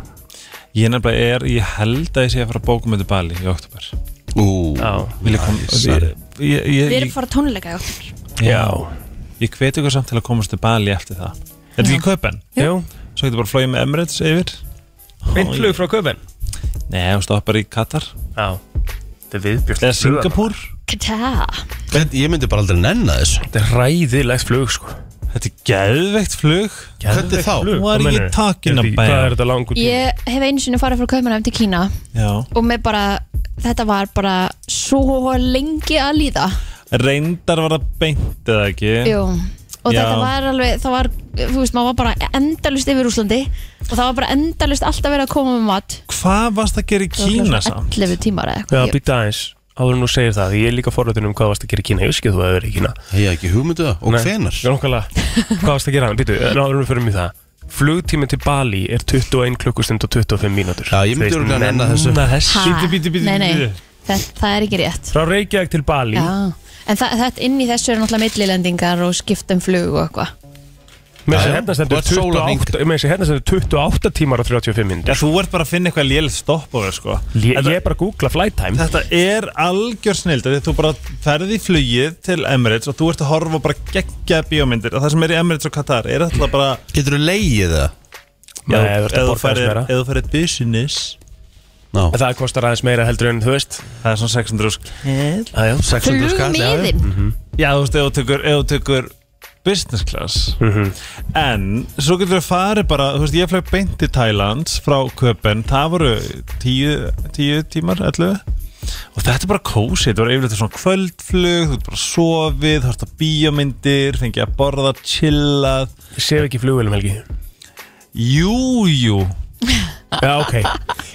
S4: Ég nefnilega er, ég held að ég sé að fara að bókum þetta bali í oktober
S1: Ú,
S2: Já,
S4: Vil ég koma Ég, ég,
S3: Við
S4: ég,
S3: erum fara tónleika í okkur
S4: ég, ég, ég hveti ykkur samt til að komast til bali eftir það Er þetta ekki kaupen?
S2: Jú,
S4: Svo getur bara flóið með Emirates yfir
S2: beint flug frá Köpen
S4: Nei, þú stoppar í Katar
S2: Já, þetta er viðbjörn
S4: Eða Singapur
S3: Kata
S1: Þetta- ég myndi bara aldrei nenna þessu
S2: Þetta er ræðilegt flug sko
S4: Þetta er geðveikt flug
S1: Hvernig þá?
S2: Flug,
S4: What
S2: hvað
S4: are you
S2: meinarðu?
S4: talking
S2: Þetta-
S4: about?
S2: Hvað er þetta langur tíma?
S3: Ég hef einu sinni farið frá Kaupmannheim til Kína
S4: Já
S3: og með bara, þetta var bara svo lengi að líða
S4: Reyndar var það beint eða ekki
S3: Jú Og
S4: Já.
S3: þetta var alveg, það var, þú veist, maður var bara endalust yfir Úslandi og það var bara endalust alltaf verið að koma með mat
S4: Hvað varst að gera í
S3: Það var
S4: Kína
S3: svona
S4: samt?
S3: 11 tímar eða
S2: Já,
S3: eitthvað Ég-
S2: býta aðeins Áður en þú segir það, því ég er líka forröðin um hvað varst að gera í Kína Ég veist ekki að þú hefur verið í Kína
S1: Ég hef ekki hugmyndu það, og
S2: Nei,
S1: hvenar?
S2: Já, nákvæmlega. Hvað varst að gera? Býtu, áður en við förum í það Flugtími til Bali er 21 klukkustund og 25 mínútur
S1: Já, ég
S2: Þú
S1: myndi
S2: veist,
S1: örugglega nenna þessu.
S2: nenna þessu.
S3: Ha,
S4: Bíddu, bíddu, bíddu,
S3: Nei, nei,
S4: bíddu.
S3: það, það er ekki rétt
S2: Frá Reykjavík til Bali
S3: Já, en þa þetta inn í þessu eru náttúrulega millilendingar og skiptum flug og eitthvað
S2: Með þessi
S1: Já,
S2: hérna
S1: þú
S2: stendur
S1: ert sólarhring.
S2: 28 Með þessi hérna stendur 28 tímar og 35
S4: Já,
S2: mínútur
S4: þú ert bara að finna eitthvað lélitt stopp á þér, sko. Þetta-
S2: Ég ég er bara að googla flight time
S4: Þetta er algjör snild Þegar þú bara ferði í flugið til Emirates og þú ert að horfa á bara geggja bíómyndir og það sem er í Emirates og Katar er alltaf bara
S1: Getur þú leigið það?
S2: Nei, þú ert að
S4: eða þú
S2: borga
S4: ferð-
S2: aðeins meira.
S4: ef þú ferði business
S1: Ná,
S2: En Það kostar aðeins meira heldur en þú veist
S4: það er svona 600 rúsk
S2: Aðjá,
S1: 600 skatt já, já.
S3: Flugmiðin
S2: Mhm.
S4: Já, þú veist, ef þú tekur, ef þú tekur business class en svo getur þú farið bara þú veist, ég flög beint til Thailands frá Köpen, það voru 10 10 tímar, 11 og þetta er bara kósi, þetta var yfirleitt svona kvöldflug, þú ert bara sofið þú ert að bíómyndir, fengið að borða chillað,
S2: Ég sef ekki flugvélum helgi
S4: jú, jú
S2: Já, ok.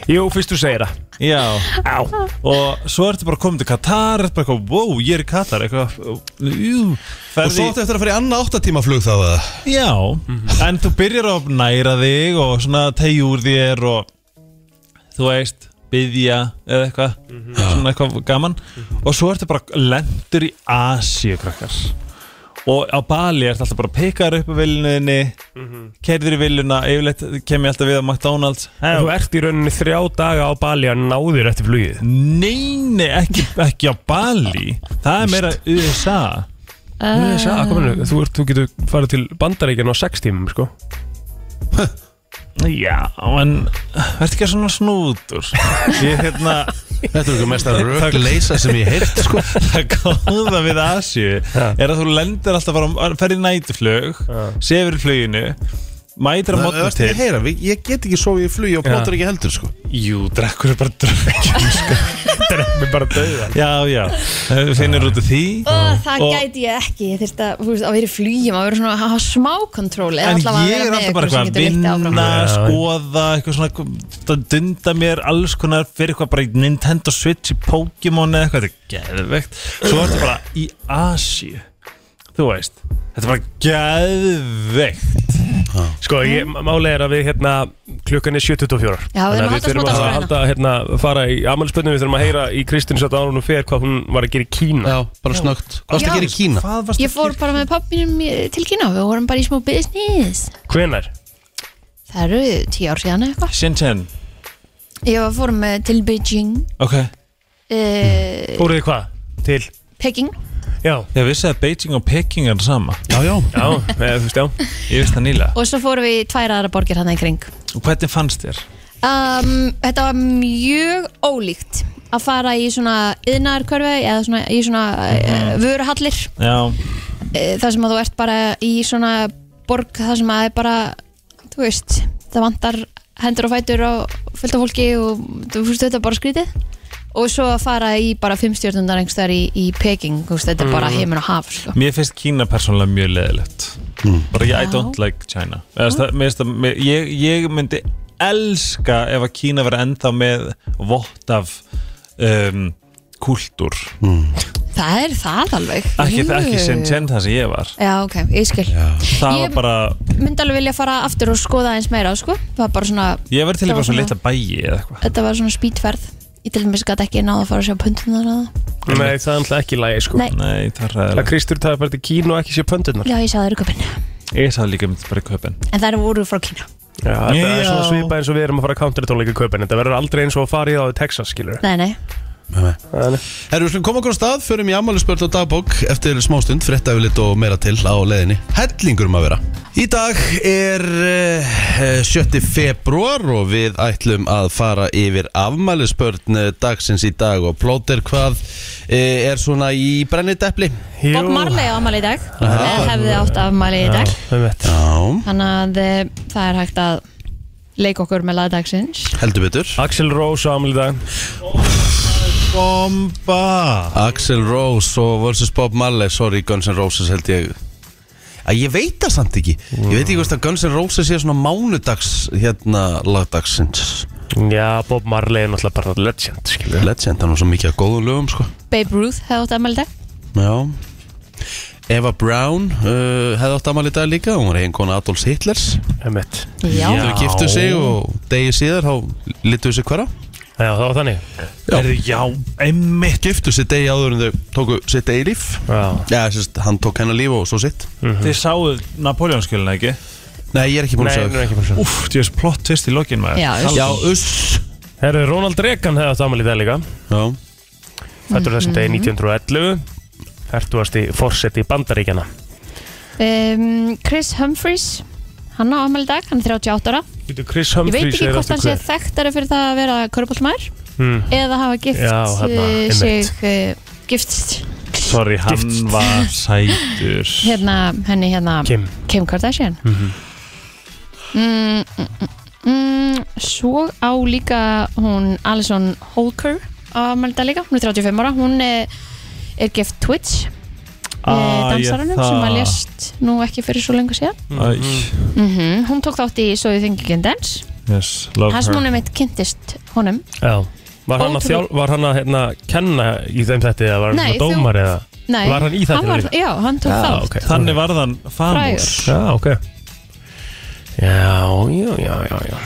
S2: Jú, fyrst þú segir það.
S4: já,
S2: Á.
S4: og svo ertu bara komið til Katar, ertu bara eitthvað, wow, ég er í Katar eitthvað, jú,
S1: Og svo
S4: ferði
S1: áttu eftir að fara í annað 8 tíma flug þá eða?
S4: Já,
S2: Mhm.
S4: en þú byrjar að næra þig og svona tegi úr þér og þú veist, byðja eða eitthvað,
S2: Mhm.
S4: svona eitthvað gaman og svo ertu bara lendur í Asíu krakkar og á Bali er þetta alltaf bara pekar upp á viljuninni mm
S2: Mhm.
S4: kerðir í viljuna, yfirleitt kem ég alltaf við á McDonalds
S2: Þú ert í rauninni þrjá daga á Bali að náðir eftir flugið
S4: Nei, nei, ekki, ekki á Bali Það er meira USA
S2: Nei,
S3: Eh.
S2: þessi,
S4: "Ah,
S2: að, kominu, þú, ert, þú getur farið til bandaríkjan á sex tímum sko.
S4: Já, en verður ekki svona snúður Ég hérna
S1: Þetta er okkur mest að rögleysa sem ég heilt sko.
S4: Það góða við Asju er að þú lendir alltaf bara ferð í nætuflug, sefur í fluginu mætir að
S1: Það
S4: mótna
S1: er
S4: til
S1: að heyra, við- ég get ekki sofið í flugi og plótur ekki heldur sko.
S4: Jú, drekkur er bara dröggjum sko.
S2: Drefnum bara döða
S4: Já, já, Eh, finnur út af því
S3: Ó, það
S4: Og-
S3: gæti ég ekki, ég þurfti að, þú veist, að vera í flugi, maður verið svona að hafa smá kontróli
S4: En ég er alltaf bara eitthvað að vinna, skoða, eitthvað svona, að dunda mér alls konar fyrir eitthvað bara í Nintendo Switch, í Pokémon eða eitthvað, þetta er geðvegt. Svo ertu bara í Asíu, þú veist, þetta er bara geðvegt.
S2: Sko, ég, máli er að við hérna klukkan er 7.24
S3: Já, við erum að halda
S2: við
S3: smá
S2: þurfum að
S3: dagskrá hérna.
S2: halda hérna, fara í amalspöndum Við þurfum að heyra í Kristín satt árunum fer hvað hún var að gera í Kína
S1: Já, bara snögt Hvað er
S3: Já.
S1: að gera í Kína?
S4: Hvað varst
S3: Ég fór bara með pappinum í- til Kína, við vorum bara í smá business
S2: Hvenær?
S3: Það eru tíu ár síðan eða eitthvað
S4: Shenzhen,
S3: Ég var fórum með til Beijing,
S4: ok.
S3: uh,
S2: Fóruð þið hvað? Til?
S3: Peking
S2: Já
S4: Ég vissi að Beijing og Peking er það sama,
S1: Já, já
S2: Já, eða, þú veist, já
S4: ég vissi það nýlega.
S3: og svo fórum við í tvær aðra borgir hann í kring
S4: Og hvernig fannst þér?
S3: um, Þetta var mjög ólíkt að fara í svona yðnaðarkörfi eða svona, í svona uh,
S1: Mhm.
S3: vöruhallir
S4: Já,
S3: eh, þar sem að þú ert bara í svona borg þar sem að það er bara þú veist, það vantar hendur og fætur á fullt af fólki og þú veist þetta er bara skrítið og svo að fara í bara fimmstjörnundar einhverstaðar í, í Peking, þú veist, þetta er
S4: Mm.
S3: bara heiminn og haf sko.
S4: Mér finnst Kína persónulega mjög leðilegt
S1: Mm.
S4: Bara ég, I don't like China Eða, það, mér finnst það, mér, ég, ég myndi elska ef að Kína verið ennþá með vott af um, kultúr
S1: Mm.
S3: það er það alveg
S4: ekki,
S3: Jú.
S4: ekki Shenzhen það sem ég var
S3: Já, ok, ég skil
S4: Það
S3: Ég-
S4: var bara,
S3: Myndi alveg vilja fara aftur og skoða eins meira sko. það var bara svona,
S4: ég verið til í
S3: Það var
S4: bara svona
S3: svona-
S4: litla bæi eða eitthvað
S3: þetta var svona spýtferð Ég til dæmis gæti ekki náða að fara að sjá pöndunar að það
S2: Nei, það er alltaf ekki lægi, sko
S3: Nei.
S4: Nei, það er
S2: Að
S4: ræðilegt
S2: Kristur taði bara til Kína og ekki sé pöndurnar
S3: Já, ég sá það eru köpinn
S4: Ég sá líka myndi bara í köpinn
S3: En það eru voru frá Kína
S2: Já, þetta
S4: Já.
S2: er svona svipa eins og við erum að fara að countertónleika í kaupin Þetta verður aldrei eins og að fara í það á Texas, skilur
S3: Nei, nei
S1: Herru, við slum koma okkur á stað, förum í ammælisbörn og dagbók eftir smástund, fréttafilit og meira til á leiðinni. Hellingur um að vera. Í dag er uh, 7. februar og við ætlum að fara yfir afmælisbörn eh, dagsins í dag og plóter hvað uh, er svona í brennidepli.
S3: Bob Marley á afmæli í dag eða hefði átt afmæli í dag
S2: dag
S1: Já,
S3: þannig að eh, það er hægt að leika okkur með lagdagsins
S1: heldur betur.
S2: Axel Rose á afmæli í dag
S4: Bomba
S1: Axl Rose og versus Bob Marley, sorry Guns N' Roses held ég. Að ég veit það samt ekki. Ég veit ekki hvort að Guns N' Roses sé svona mánudags hérna lagdagsins.
S2: Já, Bob Marley er náttúrulega bara legend, skilur
S1: Legend, hann var svo mikið að góðum lögum sko
S3: Babe Ruth hefði átt afmæli í dag
S1: Já Eva Brown uh, hefði átt amal í dag líka hún var einn kona Adolfs Hitlers
S2: Einmitt.
S3: Já,
S1: þau giftu sig og degi síðar þá litu sig hverja
S2: Já, það var þannig
S1: Já.
S4: Erðu, já, einmitt
S1: giftu sig degi áður en þau tóku sitt degi líf
S2: Já, Mhm.
S1: Já, sérst, hann tók hennar líf og svo sitt
S4: Þið sáuð Napoleonskjölinu ekki?
S1: Nei, ég er ekki búin
S2: nei, nú
S1: að
S2: er
S1: segja
S2: ekki bara svo
S4: Úff, þú veist plott tvist í lokin maður
S3: Já,
S4: Halló.
S3: veist.
S1: Já, uss
S2: Herru, Ronald Reagan hefði átt afmæli í dag líka
S1: Já,
S2: Fættur þessum
S3: Mm.
S2: degi 1911 Fertuasti fórseti í bandaríkjana
S3: um, Chris Humphries hann á afmæli í dag, hann er 38 ára
S2: Getur Chris
S3: ég veit
S2: Humphries
S3: ekki hvort hann sé þekktari fyrir það að vera körbóltmær
S2: Hmm.
S3: eða hafa gift
S2: Já, þarna,
S3: eh,
S2: einmitt.
S3: sig uh, gift
S4: Sorry, hann
S2: Gift.
S4: var sætur
S3: hérna, henni hérna
S2: Kim
S3: Kim Kardashian mm mm, mm, mm, Svo á líka hún Alison Holker á Malda líka, hún er 35 ára hún er, er gift Twitch ah, dansaranum sem að lést nú ekki fyrir svo lengur síðan
S4: Æ,
S3: mm hún tók þátt í So You Think You Can Dance
S4: yes, love
S3: hann
S4: her
S3: sem hún er meitt kynntist honum
S2: Já Var hann, að
S3: Ótrúlega-
S2: þjál, var hann að hérna, kenna í þeim þetta eða var hann
S3: Nei,
S2: svona dómar eða
S3: Nei,
S2: Var hann í þættinum
S3: var,
S2: líka?
S3: Já, hann tók
S2: Já,
S3: þátt
S2: ok.
S4: Þannig varð hann famous
S3: Frægur.
S2: Já, ok Já, já, já, já, já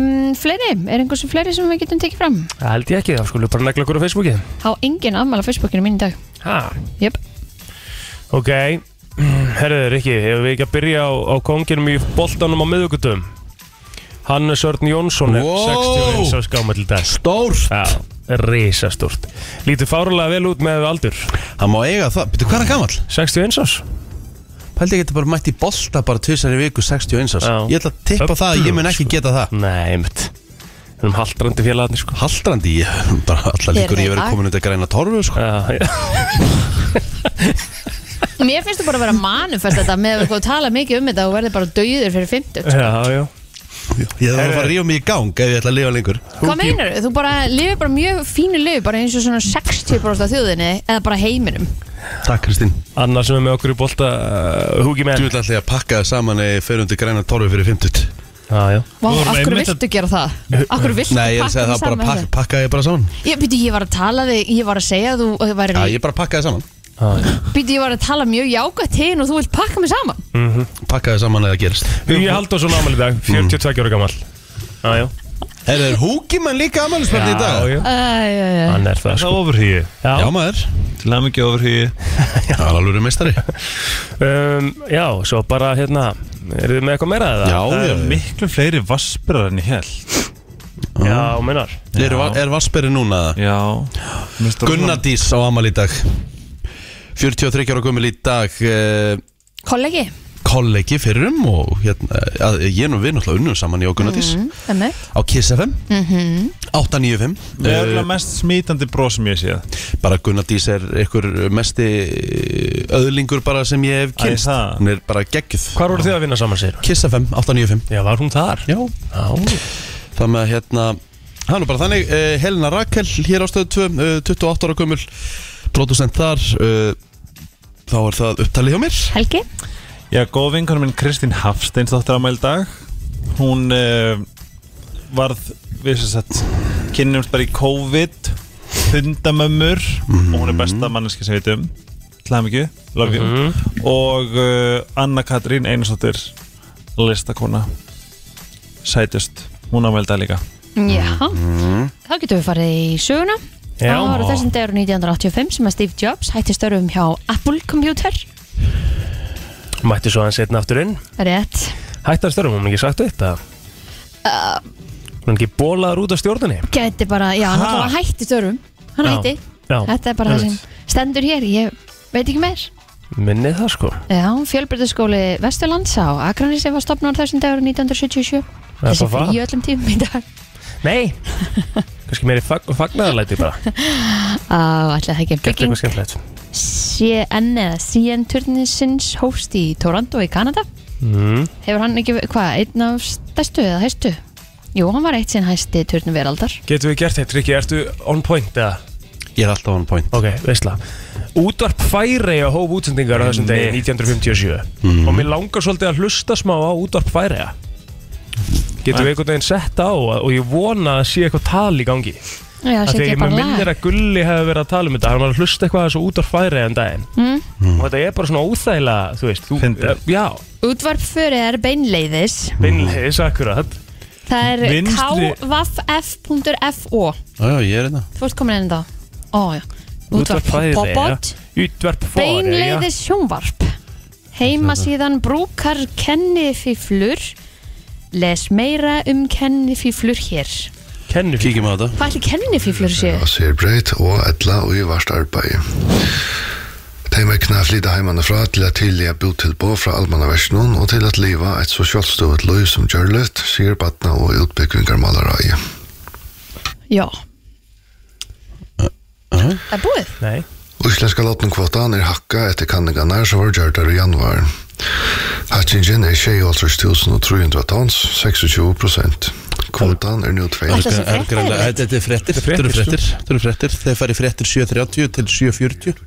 S3: um, Fleiri, er einhversu fleiri sem við getum tekið fram
S2: Það held ég ekki það, skulum bara negla okkur á Facebooki
S3: á engin afmæla Facebookinu mín í dag
S2: Ha,
S3: Jöp,
S2: ok Herðu, Rikki, hefur við ekki að byrja á, á konginum í boltanum á miðugutum? Hann er Sörn Jónsson, er
S1: Wow!
S2: 61 á skáma til dag.
S1: Stórt
S2: Já, risastórt. Lítur fárulega vel út með aldur.
S1: Hann má eiga það, betur hvað er hann gamall?
S2: 61 ás.
S1: Pældi ég geti bara mætt í bolta bara tvisar í viku 61
S2: Já.
S1: árs
S2: sko.
S1: Ég ætla að tippa það að ég mun ekki geta það
S2: Nei, mitt. Við erum haldrandi félagarnir, sko.
S1: Haldrandi, ég bara alltaf líkur ég verið komin undir græna torfu sko.
S2: Já, já.
S3: Mér finnst þú bara að vera manufest þetta með að við tala mikið um þetta og verði bara dauður fyrir 50
S2: já, já.
S1: Ég þarf að fara að rífa mig í gang ef ég ætla að lifa lengur
S3: Hvað meinar þú? Þú bara lifir bara mjög fínu lifi bara eins og svona 60% af þjóðinni eða bara heiminum
S1: Takk Kristín
S2: Annar sem er með okkur í bolta, uh, Hugi
S1: Þú
S2: Menn.
S1: ætla alltaf að pakka það saman eða fyrir undir græna torfu fyrir 50
S2: Já, já.
S3: Vá,
S5: vorum
S3: af hverju
S5: einmitt að-
S3: viltu gera það?
S2: Eh,
S3: Af hverju viltu
S1: Nei, ég er að segja
S3: pakka
S1: það bara
S3: saman
S1: pakka, pakka ég bara saman
S3: Ég, býtu, ég var að tala þig, ég var að segja að þú að þú værir
S1: Já,
S3: ja,
S1: ég bara pakka það saman
S2: já, já.
S3: Býtu, ég var að tala mjög jákvætt hinn og þú vilt pakka mig saman
S2: Mhm.
S1: Pakka það saman eða gerist
S2: Hugi Halldórsson ámæli í dag, 42 ára gammal. Já, já.
S1: Mm. Er það húkimann líka amælisbörn í dag?
S2: Já,
S3: Æ,
S2: já.
S3: æ, æ.
S2: Hann er það,
S5: Það
S2: sko.
S5: er ofurhugi
S1: Já, maður
S5: Til að mikið ofurhugi
S1: Það er alveg meistari
S2: Um, já, svo bara hérna Eru þið með eitthvað meira að það?
S1: Já,
S5: Það
S1: já
S5: eru miklu fleiri vassbyrðar en ég held
S2: Já, meinar
S1: Er, er Vassberi núna það?
S5: Já Mér stóð svona-
S1: Gunnadís á amal í dag 43 ára gummul í dag eh,
S3: Kollegi,
S1: kollegi fyrrum og hérna, að, ég er nú við náttúrulega unnum saman ég og Gunnadís
S3: Mhm.
S2: Mhm.
S3: emmi
S1: á Kiss FM mm -hmm. 895
S5: Það er
S1: Eh,
S5: örugglega mest smítandi bró sem ég séð
S1: bara Gunnadís er einhver mesti eh, öðlingur bara sem ég hef kynst
S5: Æ, það.
S1: hún er bara geggjuð
S2: Hvar voru þið að vinna saman, segir
S1: Kiss FM 895
S2: Já, var hún þar?
S1: já
S2: Já,
S1: það með hérna hann er bara þannig uh, Helena Rakel hér á stöðu 2 uh, 28 ára gummul producent þar uh, þá er það upptalið hjá mér
S3: Helgi
S5: Já, góð vinkonum minn Kristín Hafsteins þáttur ámæli í dag Hún uh, varð, við sem sagt kynnumst bara í COVID hundamömmur og
S1: Mhm.
S5: hún er besta manneski sem við veitum Hlæðum ekki, love you og uh, Anna Katrín Einarsdóttir listakona sætust, hún ámæli í dag líka
S3: Já,
S1: Mhm.
S3: þá getum við farið í söguna
S2: Já.
S3: Það var á þessum dagur 1985 sem að Steve Jobs hætti störfum hjá Apple Computer
S2: mætti svo aðeins einn aftur inn
S3: Rétt
S2: Hættar störfum, hún ekki sagt upp það? Hún ekki bólaður út af stjórnunni
S3: Gæti bara, já, hann
S2: Ha?
S3: alltaf hætti störfum Hann
S2: Já.
S3: hætti
S2: Já.
S3: Þetta er bara það
S2: Einmitt.
S3: sem stendur hér Ég veit ekki meir
S2: Minnið það, sko
S3: Já, fjölbyrðaskóli Vesturlands á Akranisi var stopnur þessum dagur 1977
S2: Það er
S3: Þessi
S2: bara það.
S3: frí í öllum tímum í dag
S2: Nei Kannski meiri fag fagnaðarlæti bara
S3: Á, ætli það ekki
S2: Gert
S3: bygging
S2: eitthvað skemmtilegt
S3: CN eða CN turnisins hóst í Toronto í Kanada
S2: mm.
S3: Hefur hann ekki, hvað, einn af stærstu eða hæstu? Jú, hann var eitt sinn hæsti turnum veraldar.
S2: Getum við gert þetta, Rikki? Ertu on point, eða?
S1: ég er alltaf on point
S2: Ok, veistla Útvarp Færeja hóf útsendingar á þessum degi 1957
S1: Mhm.
S2: Og mér langar svolítið að hlusta smá á Útvarp Færeja Getum við einhvern veginn sett á og og ég vona að sé eitthvað tal í gangi
S3: Já,
S2: Af því
S3: setja
S2: að
S3: ég
S2: ég
S3: bara
S2: með
S3: lag.
S2: minnir að Gulli hefði verið að tala um þetta Hann var að hlusta eitthvað að þessu Útvarp Færeja um daginn
S3: Mm.
S1: Mhm.
S2: Og þetta er bara svona óþægilega, þú veist þú,
S5: Fyndið.
S2: eh, Já,
S3: Útvarp fyrir er beinleiðis.
S1: Mhm.
S2: vinnleis akkurat
S3: Það er
S5: Vinstri-
S3: kvaff.fo.
S1: já, já, ég er hérna. þetta
S3: Þú ert komin inn þá. Ó, já. Útvarp popot.
S2: Útvarp Færeja
S3: Beinleiðis sjónvarp. Heimasíðan brúkar kennifíflur. Les meira um kennifíflur hér.
S2: Kennu fyrir
S1: kíkjum á þetta
S3: Hvað ætli kennifíflur séu?
S6: að Searbright og alla og i verst arbeid. De vekkene flytta hjemmefra til et tidligere botilbud fra allmannaversjonen og til at livet et så sjølvstøvet liv som Gjørlet, sier Batna og utbygginger maleriet.
S3: Já. Það er búið.
S2: Nei,
S6: Íslenska lottenkvotan er hakka etter kanningarna som var gjørdar i januar. Hatsingen er 23.300 tons, 26 prosent. Kvotan er nå 2.
S3: Ætli það sé
S1: Er greinlega-
S3: fréttir?
S1: Þetta er fréttir
S2: Þetta er
S1: Þetta
S2: fréttir,
S1: eru fréttir Þetta eru fréttir Þeir fari fréttir 7.30 til 7.40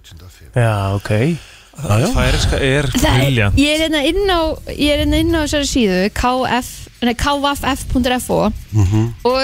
S2: já, ok
S1: Já,
S2: Ah,
S1: já.
S5: Færiska er
S3: Það er,
S5: briljant
S3: ég er hérna inn á ég er hérna inn á þessari síðu kf, nei, kff.fo
S1: Mhm.
S3: og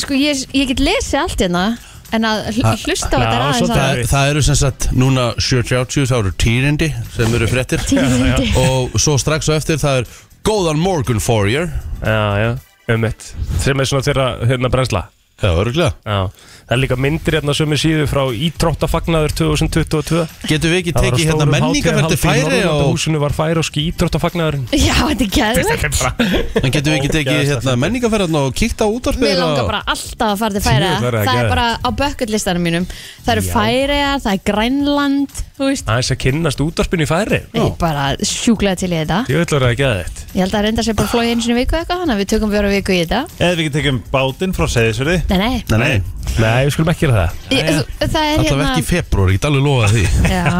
S3: sko ég, ég get lesið allt hérna en að hl- hlusta á
S2: Já,
S3: þetta er
S2: svo
S3: aðeins
S2: það
S3: að
S1: Það, það eru sem sagt núna 7.30 þá eru týrindi sem eru fréttir
S3: tíðindi
S1: og svo strax á eftir það er góðan morgun for you
S2: Já, já, um mitt Sem er svona þeirra hérna brennsla
S1: Já, örgulega
S2: Já. Það er líka myndir hérna sömu síðu frá Ítróttafagnaður 2022
S1: Getum við ekki
S2: Það var á
S1: tekið hérna
S2: stórum
S1: menningarverði
S2: hátíðarhaldi í
S1: færi og
S2: Norðurlandahúsinu var færoski Ítróttafagnaðurinn
S3: Já, þetta er geðvegt
S1: En getum við ekki tekið hérna menningarverðin og kíkt á útvarpið
S3: Mér langar
S1: og-
S3: bara alltaf að fara til færa
S2: Jú, það er
S3: Það er
S2: geðvegt.
S3: bara á bucketlistanum mínum Það eru
S2: Já.
S3: færa, það er grænland Þú veist,
S2: Það er að kynnast útarpinu í færi
S3: ég er bara sjúklega til í þetta
S2: Ég ætla að vera að geða þitt
S3: Ég held að reynda sér bara flóið einu sinni í viku eitthvað Þannig að við tökum fjóra viku í þetta
S5: Eða við ekki tekjum bátinn frá Seyðisverði
S3: Nei, nei,
S1: Nei, nei,
S2: Nei, við skulum ekki gera það
S3: Ég, þú- það er
S1: allavega ekki í
S3: hérna
S1: februar, ég get alveg lofa því
S3: Já,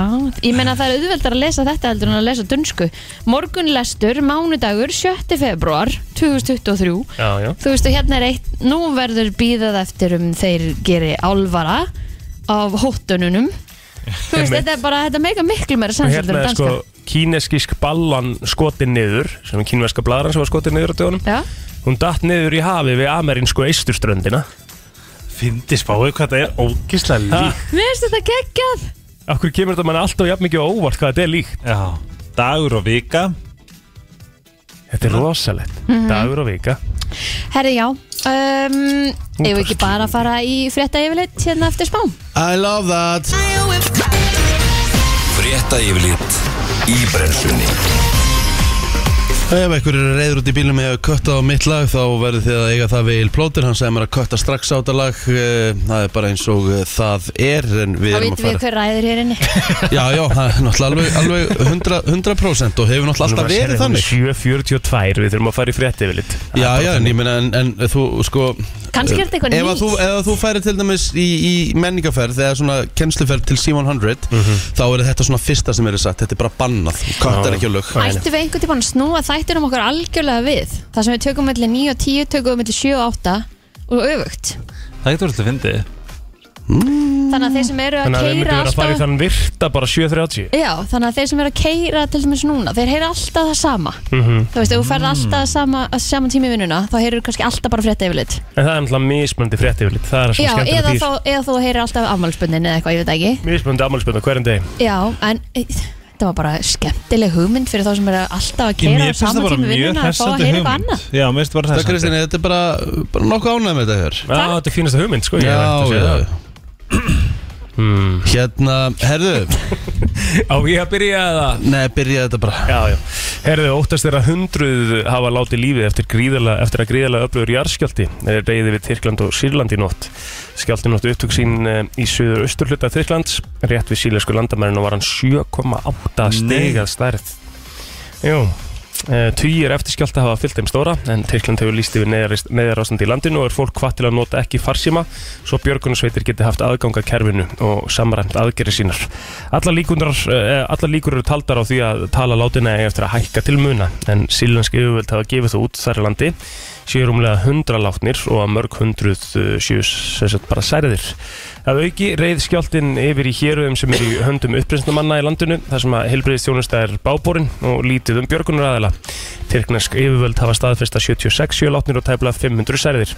S3: ég meina það er auðveldar að lesa þetta heldur en að lesa dönsku Morgunlestur, mánudagur, 7. februar 2023
S2: Já, já
S3: Þú veistu, hérna er eitt Nú verður býðað eftir um þeir geri álvara af hóttununum Þú veist,
S2: Einmitt.
S3: þetta er bara, þetta meika miklu meira
S2: Og
S3: sannsöldur
S2: hérna
S3: en
S2: er sko
S3: danska
S2: kíneskisk ballan skotin niður sem er kínverska blaðran sem var skotin niður á dögunum
S3: Já,
S2: Hún datt niður í hafi við amerinsku eisturströndina
S5: Fyndi spáið hvað það er ógislega líkt
S3: mér finnst þetta geggjað
S2: Akkur kemur þetta mann alltaf jafn mikið á óvart hvað þetta er líkt
S5: Já Dagur og vika
S2: Þetta er rosalegt
S3: Mhm.
S2: Dagur og vika
S3: Herri, já um, Eigum við ekki bara að fara í frétta yfirleitt hérna eftir spám?
S1: I love that
S7: Frétta yfirlit í brennslunni
S1: Ef einhver eru reyður út í bílum með að kötta á mitt lag þá verður þið að eiga það við Il Plóter hann segir mér að kötta strax á þetta lag eh, það er bara eins og eh, það er en
S3: Þá
S1: við erum að
S3: vitum við
S1: fara
S3: hver ræður hér inni
S1: Já, já, það er náttúrulega alveg, alveg 100%, 100% og hefur náttúrulega alltaf verið þannig
S2: 7.42 við þurfum að fara í frétti yfir lit
S1: Já, já, en ég meina en, en þú sko
S3: Kannski er þetta eitthvað
S1: ef að
S3: nýtt
S1: þú, ef að þú færi til dæmis í, í menningarferð eða svona kennsluferð til C100
S2: Mhm.
S1: þá er þetta svona fyrsta sem er sagt þetta er bara bannað, köttar ekki á lög
S3: Ættum við einhvern tímann að snúa þættinum okkar algjörlega við Það sem við tökum mellir 9 og 10, tökum við mellir 7 og 8 og öfugt
S5: Það getur alltaf fyndið
S3: Þannig að þeir sem eru að
S2: Þannig að við
S3: keira
S2: myndum vera að fara í
S3: alltaf
S2: þann virta bara 7.30
S3: Já, þannig að þeir sem eru að keira til dæmis núna, þeir heyra alltaf það sama
S2: Mhm.
S3: Þú veist, ef þú
S2: Mm.
S3: ferð alltaf sama, að sama tími í vinnuna, þá heyrur kannski alltaf bara frétta yfirlit
S2: En það er alltaf mismöndi frétti yfir lit Það er svo
S3: Já, eða,
S2: skemmtilegt í
S3: þá, eða þú heyrir alltaf afmálspundin eða eitthvað, ég veit það ekki
S2: Mismöndi afmálspönda hverjum deg
S3: Já, en e, þetta var bara skemmtileg hugmynd fyrir þá sem eru alltaf að keira
S5: Mér
S3: á
S5: finnst það
S3: sama
S5: bara
S3: tími í
S5: mjög
S3: vinnuna að fá að
S5: hressandi
S3: heyra eitthvað annað
S5: hugmynd Já, mér finnst bara
S1: Það
S5: hressandi
S1: Kristýni, þetta er bara, bara nokkuð ánægð með þetta hér
S2: Já, þetta er fínasta hugmynd sko ég
S1: Já,
S2: veit að
S1: já,
S2: segja það.
S1: Hérna, herðu
S2: Á ég að byrja það
S1: Nei, byrjaði þetta bara
S2: Já, já. Herðu, óttast er að hundruð hafa látið lífið eftir, gríðala, eftir að gríðalega öflugur jarðskjálti er reyði við Tyrkland og Sýrland í nótt. Skjáltin átti upptök sín eh, í söður austurhluta Tyrklands, rétt við sílesku landamærin og var hann 7,8 stegað stærð. Jú, eh, tugir eftir skjálta hafa fyllt þeim stóra en Tyrkland hefur líst yfir neðar ástandi í landinu og er fólk hvað til að nota ekki farsíma svo björgunarsveitir geti haft aðganga kerfinu og samræmt aðgerri sínar. Allar, líkunar, allar líkur eru taldar á því að tala látina eigi eftir að hækka til muna en sílensk yfirvöld hafa gefið það út þar í landi séu rúmlega hundra látnir og að mörg hundruð eh, séu sem sagt, bara særiðir. Að auki reið skjáltin yfir í héröðum sem eru í höndum uppreysnumanna í landinu þar sem að helbriðist þjónusta er bábórin og lítið um björgunaræðila. Tyrknesk yfirvöld hafa staðfesta 76 sjölátnir og tæpla 500 særiðir.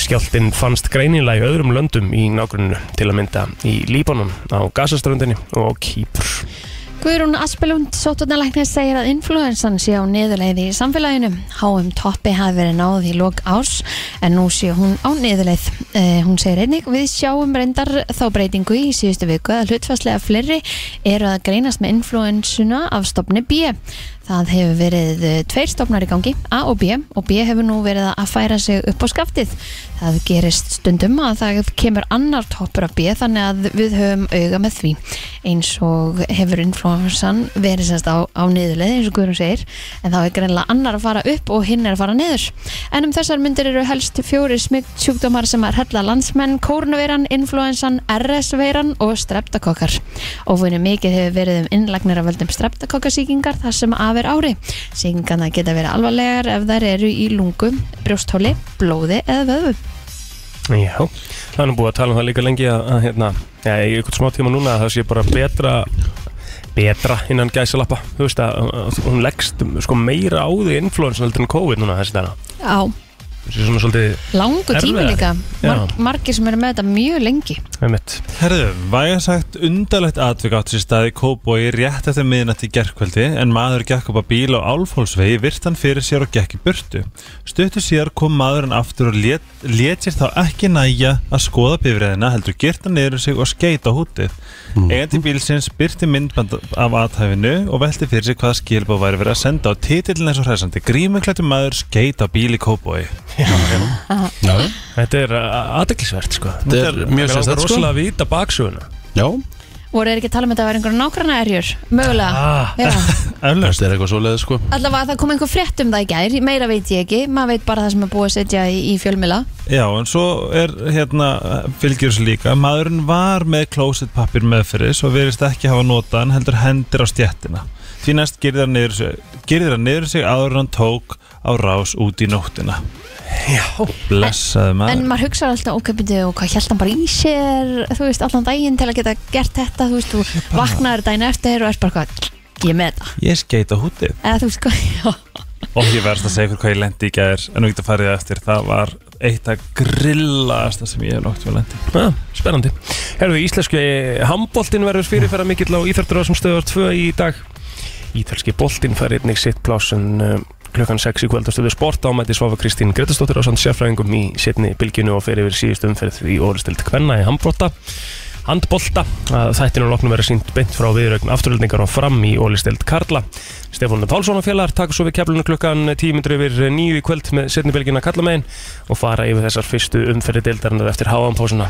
S2: Skjáltin fannst greinilega í öðrum löndum í nágruninu til að mynda í Líbanon á Gazaströndinni og Kýpur.
S3: Guðrún Aspelund, sótotnalæknir, segir að influensan sé á niðurleið í samfélaginu. HM Toppi hafi verið náð í lok árs en nú sé hún á niðurleið. Eh, hún segir einnig, við sjáum reyndar þá breytingu í síðustu viku að hlutfarslega fleiri eru að greinast með influensuna af stopni B. Það hefur verið eh, tveir stopnar í gangi, A og B, og B hefur nú verið að færa sig upp á skaftið. Það gerist stundum að það kemur annar toppur af B þannig að við höfum auga með því eins og hefur influensan verið semst á, á niðurleið eins og Guðrún segir en þá er greinlega annar að fara upp og hinn er að fara niður en um þessar myndir eru helst fjóri smygt sjúkdómar sem er hella landsmenn kórnveiran, influensan, RS-veiran og streptakokkar ófunni mikið hefur verið um innlagnir af völdum streptakokkasíkingar þar sem af er ári síkingarna geta verið alvarlegar ef þær eru í lungu, brjósthóli, blóði eða vöðvu
S2: Já, það er nú búið að tala um það líka lengi að, að hérna, já, í ykkur smá tíma núna að það sé bara betra betra innan gæsalappa þú veist að, að hún leggst sko meira á því influensan heldur en COVID núna þessi dana
S3: Já,
S2: þessi svona svolítið
S3: Langu tími
S2: Erfiðari.
S3: líka Mar
S2: Já.
S3: Margir sem eru með þetta mjög lengi
S2: með mitt
S4: Herðu, væga sagt undarlegt atvik átt sér stað í Kóbói rétt eftir miðnætti gerkvöldi en maður gekk upp að bíl á Álfólsvegi virt hann fyrir sér og gekk í burtu. Stuttu síðar kom maðurinn aftur og lét, lét sér þá ekki næja að skoða bifræðina heldur gyrta niður um sig og skeita hútið.
S1: Mhm.
S4: Eigandi bílsins byrti myndband af athæfinu og velti fyrir sér hvaða skilbóð væri verið að senda á titillin eins og hræsandi grímuklættu maður skeita bíl í Kóbói.
S1: Já,
S2: Þetta er aðdeglisvert sko
S1: Þetta er mjög sérstakt,
S2: sko
S1: sko.
S2: Róslega að vita baksuguna
S1: já,
S3: Voru þeir ekki að tala um þetta að vera einhverja nákvæmna erjur Mögulega
S2: ah,
S3: ah.
S4: Eflaust.
S1: þetta er eitthvað svoleiðið sko
S3: Allavega það kom einhver frétt um það í gær Meira veit ég ekki, maður veit bara það sem er búið að setja í, í fjölmila
S4: Já, en svo er hérna fylgjur þessu líka, maðurinn var með klósettpappir meðferðis og verðist ekki hafa notað hann heldur hendur á stjettina því næst gerðir hann niður, sig- girðir hann niður sig áður en hann tók á rás út í nóttina
S2: Já
S4: Blessaði
S2: Ah.
S3: En
S4: maður
S3: maður hugsa alltaf, ok, byrju, og hvað held hann bara í sér Þú veist, allan daginn til að geta gert þetta Þú veist, þú vaknaður daginn eftir og er bara hvað, ég er með þetta
S4: Ég skeita hútið
S3: Eða þú veist, hvað, já
S4: og ég verðist að segja ykkur hvað ég lendi í gæðir en við getum farið eftir, það var eitt að grillaðasta sem ég hef nokt við lendi
S2: Ah, spennandi. Herðu, íslenski handbóltin verður fyrirferða mikill á Íþartur sem stöðar 2 í dag. Ítalski boltinn fær einnig sitt plásun uh, klukkan 6 í kvöld á stöðu sport ámæti Svafa Kristín Gretastóttir á samt sérfræðingum í setni bylginu og fer yfir síðust umferð í ólistild kvenna í handbólta. Handbólta, þættinu loknum verður sínt beint frá viðraugn afturöldingar og fram í ólistild Karla. Stefán Pálsson og félagar taka svo við keflunum klukkan 10 yfir 9 í kvöld með setni bylginu að kalla megin og fara yfir þessar fyrstu umferði deildarinnar eftir háanpásuna.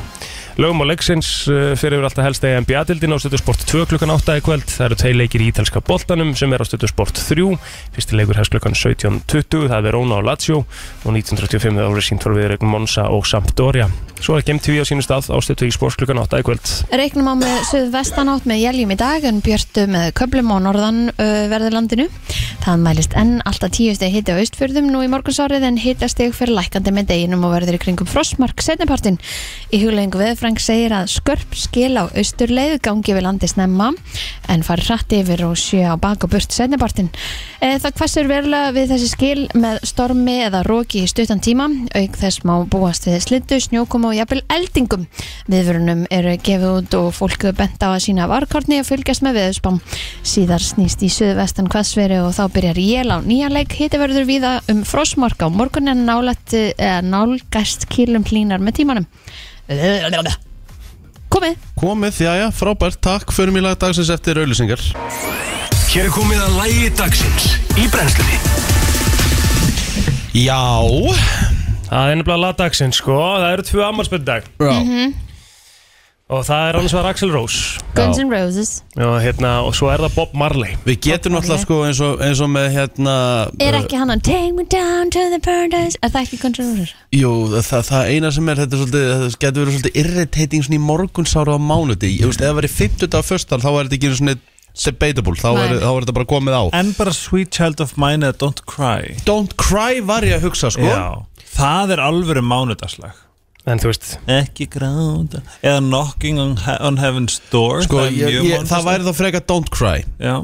S2: Lögum og leiksins uh, fyrir yfir alltaf helst að NBA-dildin á Stöðusport 2 klukkan 8 í kvöld. Það eru tvei leikir í ítalska boltanum sem er á Stöðusport 3. Fyrsti leikur hefst klukkan 17.20, það er Verona og Lazio og 1935 það voru sínt fyrir viðregnum Monsa og Sampdoria. Svo er Game TV á sínu stað á Stöðu í sport klukkan 8 í kvöld.
S3: Reiknum á með suðvestanátt með jæljum í dag en björtu með köplum á norðan uh, verðurlandinu. Það mælist enn alltaf tíusteg hiti á austfjörðum nú í morgunsárið en hitasteg fyrir lækandi með deginum og verður í kringum frostmark setnipartin. Í huglegingu veðfrang segir að skörp skil á austurleið gangi við landi snemma en fari hratt yfir og sjö á bak og burt setnipartin. Það hvassur verulega við þessi skil með stormi eða róki í stuttan tíma auk þess má búast við slittu, snjókum og jafnvel eldingum. Viðvörunum eru gefið út og fólku bent á að sína varkorni og fylgjast með viðspám. Síðar snýst í suðvestan hvassveri og þá byrjar jél á nýja leik. Hiti verður víða um frosmark á morgun en nálætt, eh, nálgast kýlum hlínar með tímanum. Komið!
S1: Komið, já, já, frábært, takk, förum í lag dagsins eftir auðlýsingar
S8: Hér er komið að lægi dagsins í brennslunni
S1: Já,
S2: Það er nefnilega lagdagsins sko, það eru tvö ammarsbyrð dag
S1: já,
S2: og það er annars var Axel Rose
S3: Guns N' Roses
S2: og, hérna, og svo er það Bob Marley.
S1: við getum náttúrulega sko eins og, eins og með hérna
S3: Er
S1: uh,
S3: ekki hann að Take me down to the paradise Er það ekki Guns N' Roses?
S1: Jú, það, það eina sem er, þetta er svolítið, þetta getur verið svolítið irritating svona í morgunsáru á mánuði Ég veist, ef það verið 50 dag föstar, þá er þetta ekki einu svona debatable, þá
S3: Nei.
S1: er, þá er þetta bara komið á
S4: En bara Sweet Child of Mine eða Don't Cry
S1: Don't cry var ég að hugsa sko
S4: Já, það er alvöru mánudagslag
S2: En þú veist,
S4: ekki gráta eða knocking on, he on heaven's door það,
S1: Sko,
S4: er
S1: ég,
S4: mjög
S1: ég,
S4: vonlaust.
S1: það væri þá frekar don't cry
S4: já,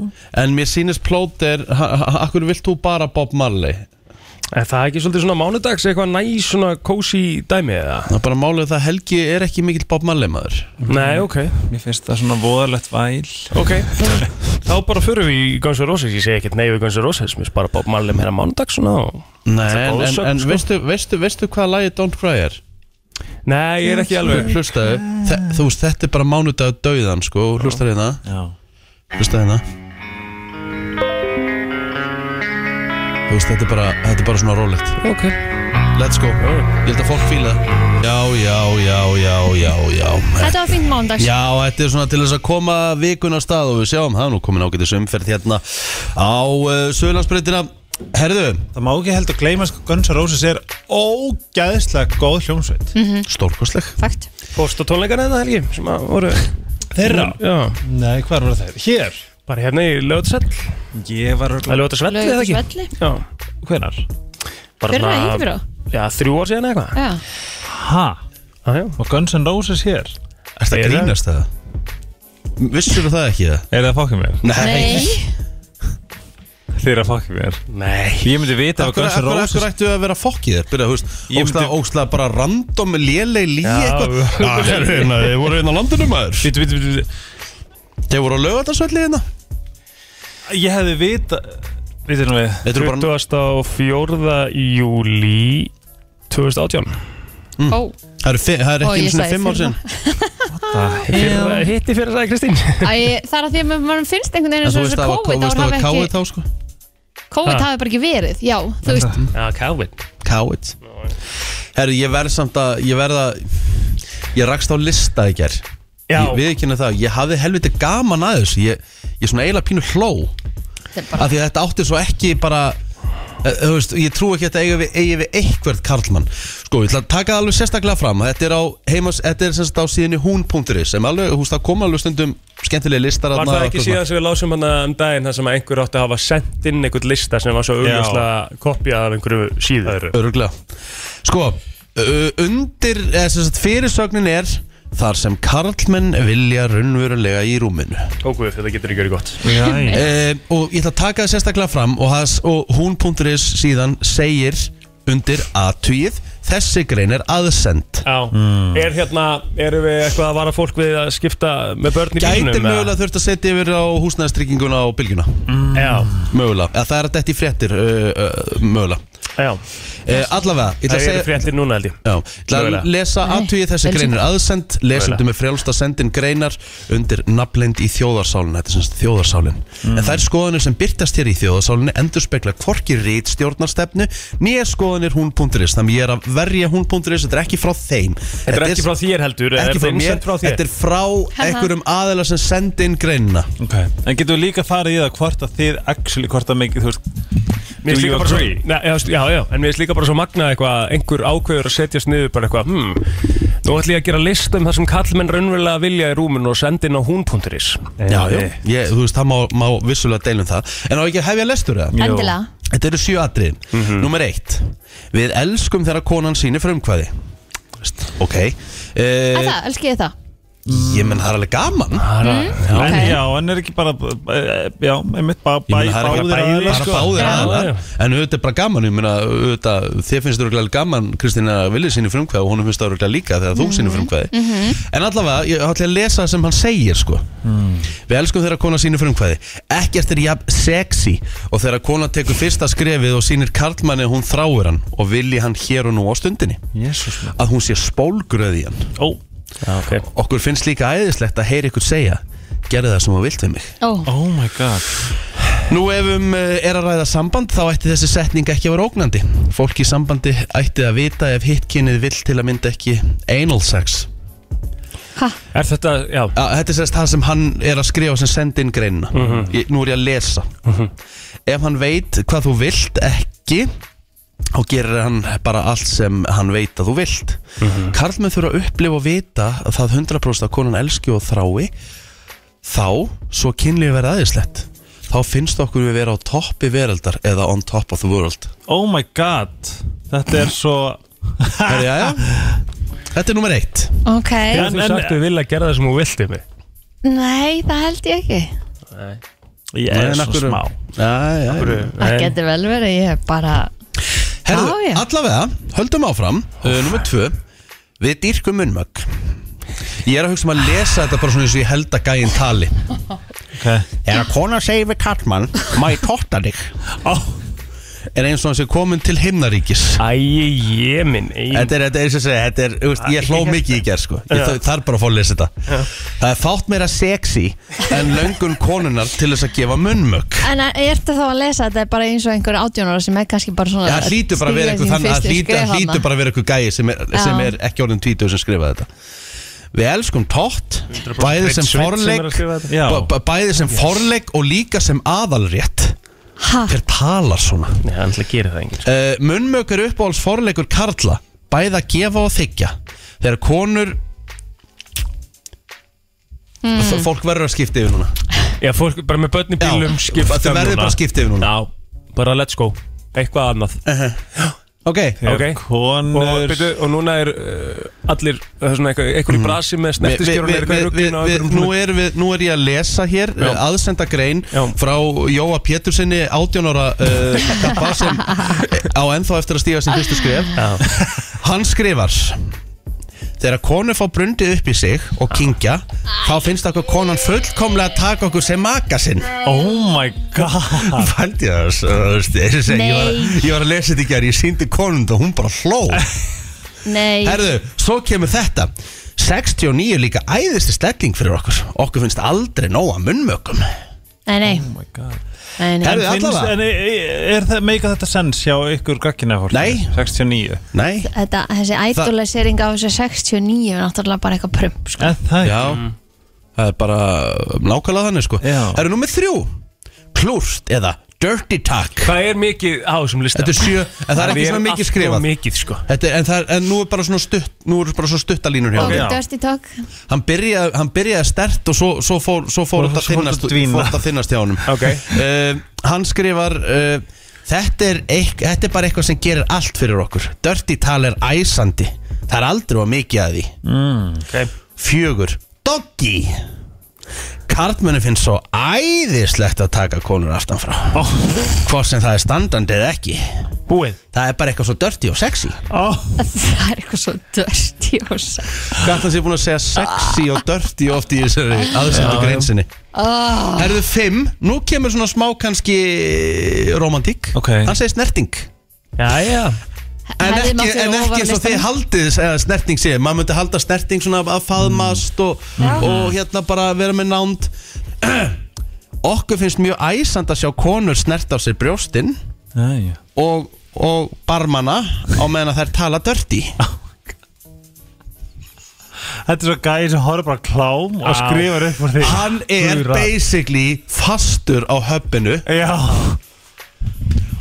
S1: En mér sýnist plóter Akkur vilt þú bara Bob Marley?
S2: Er það ekki svolítið svona mánudags eitthvað næ svona kósi dæmi eða?
S1: Það er bara málið það Helgi er ekki mikill Bob Marley maður
S2: Nei, ok,
S4: mér finnst það svona voðalegt væl
S2: ok Þá bara förum við í Guns N' Roses, ég segi ekkert nei við Guns N' Roses Mér finnst bara Bob Marley meira mánudags svona og...
S1: Nei,
S2: Það er
S1: en, en,
S2: góðsögn,
S1: en
S2: sko.
S1: veistu, veistu, veistu hvað lagið Don't Cry er?
S2: Nei, ég er ekki alveg
S1: Hlustaðu, þe- þú veist þetta er bara mánudag döiðan sko, hlustaðu hérna
S4: já.
S1: Hlustaðu hérna Þú veist þetta er bara, þetta er bara svona rólegt
S2: Ok,
S1: Let's go, ég held að fólk fíla það. Já, já, já, já, já, já
S3: Þetta var fínt mándags
S1: Já, þetta er svona til þess að koma vikun á stað og við sjáum það er nú komin ágætis umferð hérna á uh, Söðlandsbreytina Herðu,
S4: það má ekki heldur gleyma sko Guns N' Roses er ógæðslega góð hljómsveit
S1: Mhm. stórkostleg
S3: Fakt
S2: fórst á tónleikana eða Helgi sem að voru Mm,
S4: þeirra,
S2: Já,
S4: nei hvað var það hér,
S2: bara hérna í lögutasell
S4: ég var
S2: Það er lögutasell eða ekki?
S3: Lögðusvelli
S2: Já,
S4: hvernar,
S2: bara
S3: Fyrra, ekki fyrra
S2: Já, þrjú ár síðan eða eitthvað
S3: Já
S4: ha,
S2: Já, já
S4: og Guns N' Roses hér
S1: Er það
S2: Er það?
S1: grínast það? Vissur það ekki það?
S4: er það fokkið mér
S1: Nei,
S3: Nei
S4: þeir að fokki mér
S2: Nei
S4: Ég myndi vita á
S1: Akkur,
S4: Guns N'
S1: akkur, akkur
S4: Roses
S1: ættu að vera fokkið þér Byrja, þú veist,
S4: Ég
S1: ósla,
S4: myndi-
S1: ósla bara random léleg lí eitthvað
S2: Já,
S1: Já, þeir eru hérna, þeir voru hérna á landinu maður
S4: Bítu, bítu, bítu
S1: Þeir voru á lögatarsvelli hérna
S4: Ég hefði vita Vita nú við
S1: Þetta eru bara,
S2: 24. júli 2018
S3: Ó,
S1: Mm. það eru fi- það eru
S3: Ó, ég
S1: ekki einu sinni
S3: sagði
S1: fimm ár
S3: fyrra.
S1: sinn
S2: Fyrir- Hitti fyrir að sagði Kristín
S3: Æ, það er að því að mann finnst einhvern veginn
S1: En
S3: eins
S1: þú
S3: og
S1: veist
S3: þessu
S1: það var
S3: COVID ár
S1: það
S3: hafi
S1: var
S3: ekki
S1: káið þá sko
S3: COVID
S2: Ha.
S3: hafi bara ekki verið, já, þú
S5: Eh,
S3: veist
S2: Já, Calvin
S1: Káið Herru, ég verð samt að, ég verð að Ég rakst á lista í gær
S2: Já,
S1: Ég viðkynna það, ég hafði helviti gaman að þessu Ég, ég svona eiginlega pínu hló
S3: þetta er
S1: Af
S3: bara,
S1: því að þetta átti svo ekki bara eh, Þú veist, ég trú ekki að þetta eigi við, eigi við eitthvert Karlmann Sko, ég ætla að taka það alveg sérstaklega fram að Þetta er á heimas, þetta er sem sagt á síðinni hún.is Sem alveg, þú veist, það koma alveg stundum Skemmtilega listar
S2: var
S1: þarna
S2: það
S1: og
S2: ekki
S1: eitthvað
S2: síðan sem við lásum hann um daginn þar sem að einhver átti að hafa sendt inn einhvern lista sem var svo augljóslega kopjað af einhverju síðu
S1: Öruglega Sko, ö- undir, eða sem sagt fyrirsögnin er Þar sem karlmenn vilja raunverulega í rúminu
S2: Óguð, þetta getur ekki verið gott
S5: Jæja.
S1: e, Og ég ætla að taka það sérstaklega fram Og, has, og hún.is síðan segir undir aðtvíð Þessi grein er aðsend
S2: Já, er hérna, erum við eitthvað að vara fólk við að skipta með börn í bílnum?
S1: Gætir
S2: eða?
S1: mögulega þurft að setja yfir á húsnæðastrygginguna og bylgjuna
S2: Mm. Já,
S1: Mögulega, eða það er þetta í fréttir uh, uh, Mögulega
S2: já,
S1: e, Allavega, ég ætla að
S2: það eru
S1: segja
S2: fréttir núna held ég
S1: Já, ég ætla
S2: Mögulega.
S1: að lesa
S3: Nei,
S1: aðtugið þessi
S3: vel
S1: greinir aðsend lesendum
S2: Mögulega.
S1: með frjálsta sendin greinar undir nafnlend í þjóðarsálinn þetta er semst þjóðarsálinn
S2: Mm.
S1: en þær skoðanir sem byrtast hér í þjóðarsálinni endur spekla hvorki rít stjórnarstefnu nýja skoðanir hún.is þannig ég er að verja hún.is, þetta er ekki frá þeim
S2: Þetta er ekki frá þér heldur, eða er
S1: ekki frá
S2: þetta
S1: mér,
S2: innsend frá þér?
S1: þetta er frá
S3: Ha, ha.
S1: einhverjum aðeila sem sendi inn greinina
S5: okay.
S4: En getur við líka farið í það hvort að þið actually hvort að mikið, þú veist
S2: Mér finnst
S4: Do
S2: líka
S4: you
S2: bara svo,
S4: agree?
S2: Nei, já, veist, já, já, en mér finnst líka bara svo magna eitthvað einhver ákveður að setjast niður bara eitthvað hmm, Nú ætlum ég að gera list um það sem kallmenn raunverulega vilja í rúminu og senda inn á hún.is
S1: já, já, Eh, ég, þú veist, það má, má vissulega deilum það en á ekki að hefja lestur það
S3: endilega
S1: Þetta eru sjö atriðin mm Númer eitt Við elskum þegar konan síni frumkvæði Veist, Ok
S3: Æ,
S1: uh,
S3: það, elski ég það
S1: Ég menn það er alveg gaman
S5: Mm,
S4: Já, en,
S3: ok.
S4: já, en er ekki bara eh, Já, einmitt bara
S1: Ég
S4: bæ,
S1: meina, það er ekki
S4: báðir
S1: bara
S4: aðilar,
S1: bara
S4: sko.
S1: báðir
S3: Já,
S1: aðilar
S2: já.
S1: En auðvitað er bara gaman Ég meina, auðvitað Þér finnst það auðvitað gaman Kristín að vilja síni frumkvæði Og honum finnst það auðvitað líka Þegar
S3: Mhm.
S1: þú síni
S9: um
S1: frumkvæði
S9: Mm-hmm.
S1: En allavega Ég ætla að lesa það sem hann segir sko. Við elskum þegar kona síni frumkvæði Ekkert er jafn sexy Og þegar kona tekur fyrsta skrefið Og sínir karlmanni að hún þráir hann Og vilji hann hér og nú á stundinni
S5: Jesús minn.
S1: að hún sé spólgröð í hann
S2: Ó, já, ok
S1: Okkur finnst líka æðislegt að heyra ykkur segja Gerðu það sem þú vilt við mig
S3: Ó,
S4: Oh my god
S1: Nú ef um eh, er að ræða samband þá ætti þessi setning ekki að vera ógnandi Fólk í sambandi ætti að vita ef hitt kynið vill til að mynda ekki anal sex
S2: Er þetta, já,
S1: A, Þetta er sérst það sem hann er að skrifa sem sendi inn greinina
S4: Mhm.
S1: ég, Nú er ég að lesa Ef hann veit hvað þú vilt ekki þá gerir hann bara allt sem hann veit að þú vilt
S4: Mhm.
S1: Karlmenn þurfa að upplifa og vita að það 100% að konan elski og þrái þá svo kynlífi verið aðeinslegt þá finnst okkur við vera á toppi veraldar eða on top of the world
S4: Oh my god Þetta er svo
S1: Herri, jæja. Þetta er nummer eitt
S3: ok
S4: Já.
S2: þú
S4: en-
S2: sagt við vilja gera það sem hún vilti mig
S3: Nei, það held ég ekki
S4: Ég
S1: Nei,
S4: er
S1: en af
S4: svo
S1: hverju-
S4: smá
S1: Já, já, já.
S3: Það getur vel verið, ég er bara
S1: Herðu,
S3: Já, já.
S1: allavega, höldum áfram uh, Númer tvö Við dýrkum munnmögg Ég er að hugsa um að lesa þetta bara svona eins og ég held að gæinn tali
S4: okay.
S1: Er að kona segir við kallmann Má ég totta þig
S4: oh,
S1: Er eins og hans er komin til himnaríkis
S2: Æ, ég minn ein-
S1: Þetta er, þetta er, þetta er, þetta er úst, ég hló mikið í gerð sko Ég þ- þarf bara að fá að lesa þetta Það er fátt meira sexy en löngun konunar til þess að gefa munnmögg
S3: En er þetta þá að lesa þetta er bara eins og einhver átjónara sem er kannski bara svona
S1: Það hlýtur bara að vera eitthvað þannig Það hlýtur- það hlýtur bara að vera eitthvað gæi sem er, sem
S3: Já.
S1: er ekki orðin tvítuð sem skrifaði þetta Við elskum tótt, bæði sem
S2: Sveinn sem er
S1: forleik
S2: að skrifa þetta.
S4: Já.
S1: b- b- Bæði sem forleik og líka sem aðalrétt Hver talar svona?
S2: Nei, hann ætla að gera það enginn sko.
S1: Uh, Munnmök er uppáhalds forleikur karla Bæði að gefa og þykja Þegar konur mm. Fólk verður að skipta yfir núna
S2: Já, fólk bara með börn í
S1: Já,
S2: bílnum skipta um
S1: þau verður
S2: núna.
S1: bara að skipta yfir núna
S2: Já, bara let's go Eitthvað annað
S1: Ok,
S2: Ok.
S5: Þegar
S2: Og,
S5: konur
S2: byrju, og núna er uh, allir uh, svona eitthvað, eitthvað í brasi með
S1: Við- við-
S2: snertiskjörun
S1: við- við- við- við- nú, er við, nú er ég að lesa hér
S2: Já.
S1: uh, aðsenda grein
S2: Já.
S1: frá Jóa Pétursinni 18 ára uh, kappa sem eh, á ennþá eftir að stíga sin fyrstu skref Hann skrifar Þegar konu fá brundi upp í sig og kingja þá finnst okkur konan fullkomlega að taka okkur sem maka sinn
S5: Oh my god
S1: Fældi það þess- þú veist, ég er að segja, ég var að- Ég var að lesa þetta í gerð, ég síndi konund og hún bara hló
S3: Nei,
S1: Herðu, svo kemur þetta 69 er líka æðisti stelling fyrir okkur Okkur finnst aldrei nóga munnmökum
S3: nei, nei,
S5: Oh my god
S3: nei, nei.
S1: Herðu,
S5: En finnst,
S1: allavega.
S5: en er, er það meika þetta sens hjá ykkur gagginni fólk?
S1: Nei.
S5: 69
S1: Nei,
S3: Þetta, þessi ædolisering á þessu 69 er náttúrulega bara eitthvað prump sko.
S5: En það
S1: já
S2: Mm.
S1: Það er bara nákvæmlega þannig sko
S5: Já.
S1: Herðu, nummer þrjú Klúrt eða Dirty Talk
S2: Hvað er mikið á þessum lista?
S1: Þetta er sjö, en það er ekki svona mikið
S2: allt of
S1: skrifað
S2: mikið sko
S1: Þetta, er- en, það, er- en nú er bara svona stutt Nú eru bara svona stuttalínur
S3: Ok,
S1: hérna
S5: já.
S3: Dusty Talk
S1: Hann byrjaði, hann byrjaði stert og svo, svo fór, svo fór
S5: Og
S1: þetta að
S5: svo fór
S1: þinnast
S5: þetta að dvína.
S1: Fór þetta að þinnast hjá honum
S2: Ok.
S1: uh, Hann skrifar uh, þetta, er eik, þetta er bara eitthvað sem gerir allt fyrir okkur Dirty tal er æsandi Það er aldrei að mikið að því Mm,
S2: okay.
S1: Fjögur Doggy Karlmennu finnst svo æðislegt að taka konur aftan frá oh. Hvort sem það er standandi eða ekki
S2: Búið
S1: Það er bara eitthvað svo dirty og sexy
S3: Það er eitthvað svo dusty og sæ
S1: Gata sé búin að segja sexy og dirty oft í þessari aðsendu greinsinni Herðu fimm, nú kemur svona smá kannski eh, romantík
S5: Ok.
S1: Hann segir snerting
S2: Jæja
S1: En
S3: Hefði
S1: ekki,
S3: mátt vera
S1: en
S3: ofar á
S1: ekki eins og þið
S3: listanum.
S1: haldið að snerting sé Maður myndi halda snerting svona að faðmast og, og hérna bara vera með nánd Okkur finnst mjög æsand að sjá konur snert á sér brjóstin
S5: Æja
S1: og, og barmana á meðan að þær tala dirty
S5: Þetta er svo gæði sem horfður bara á klám og skrifar upp úr því
S1: Hann er
S5: Klúðra.
S1: basically fastur á höppinu
S5: Já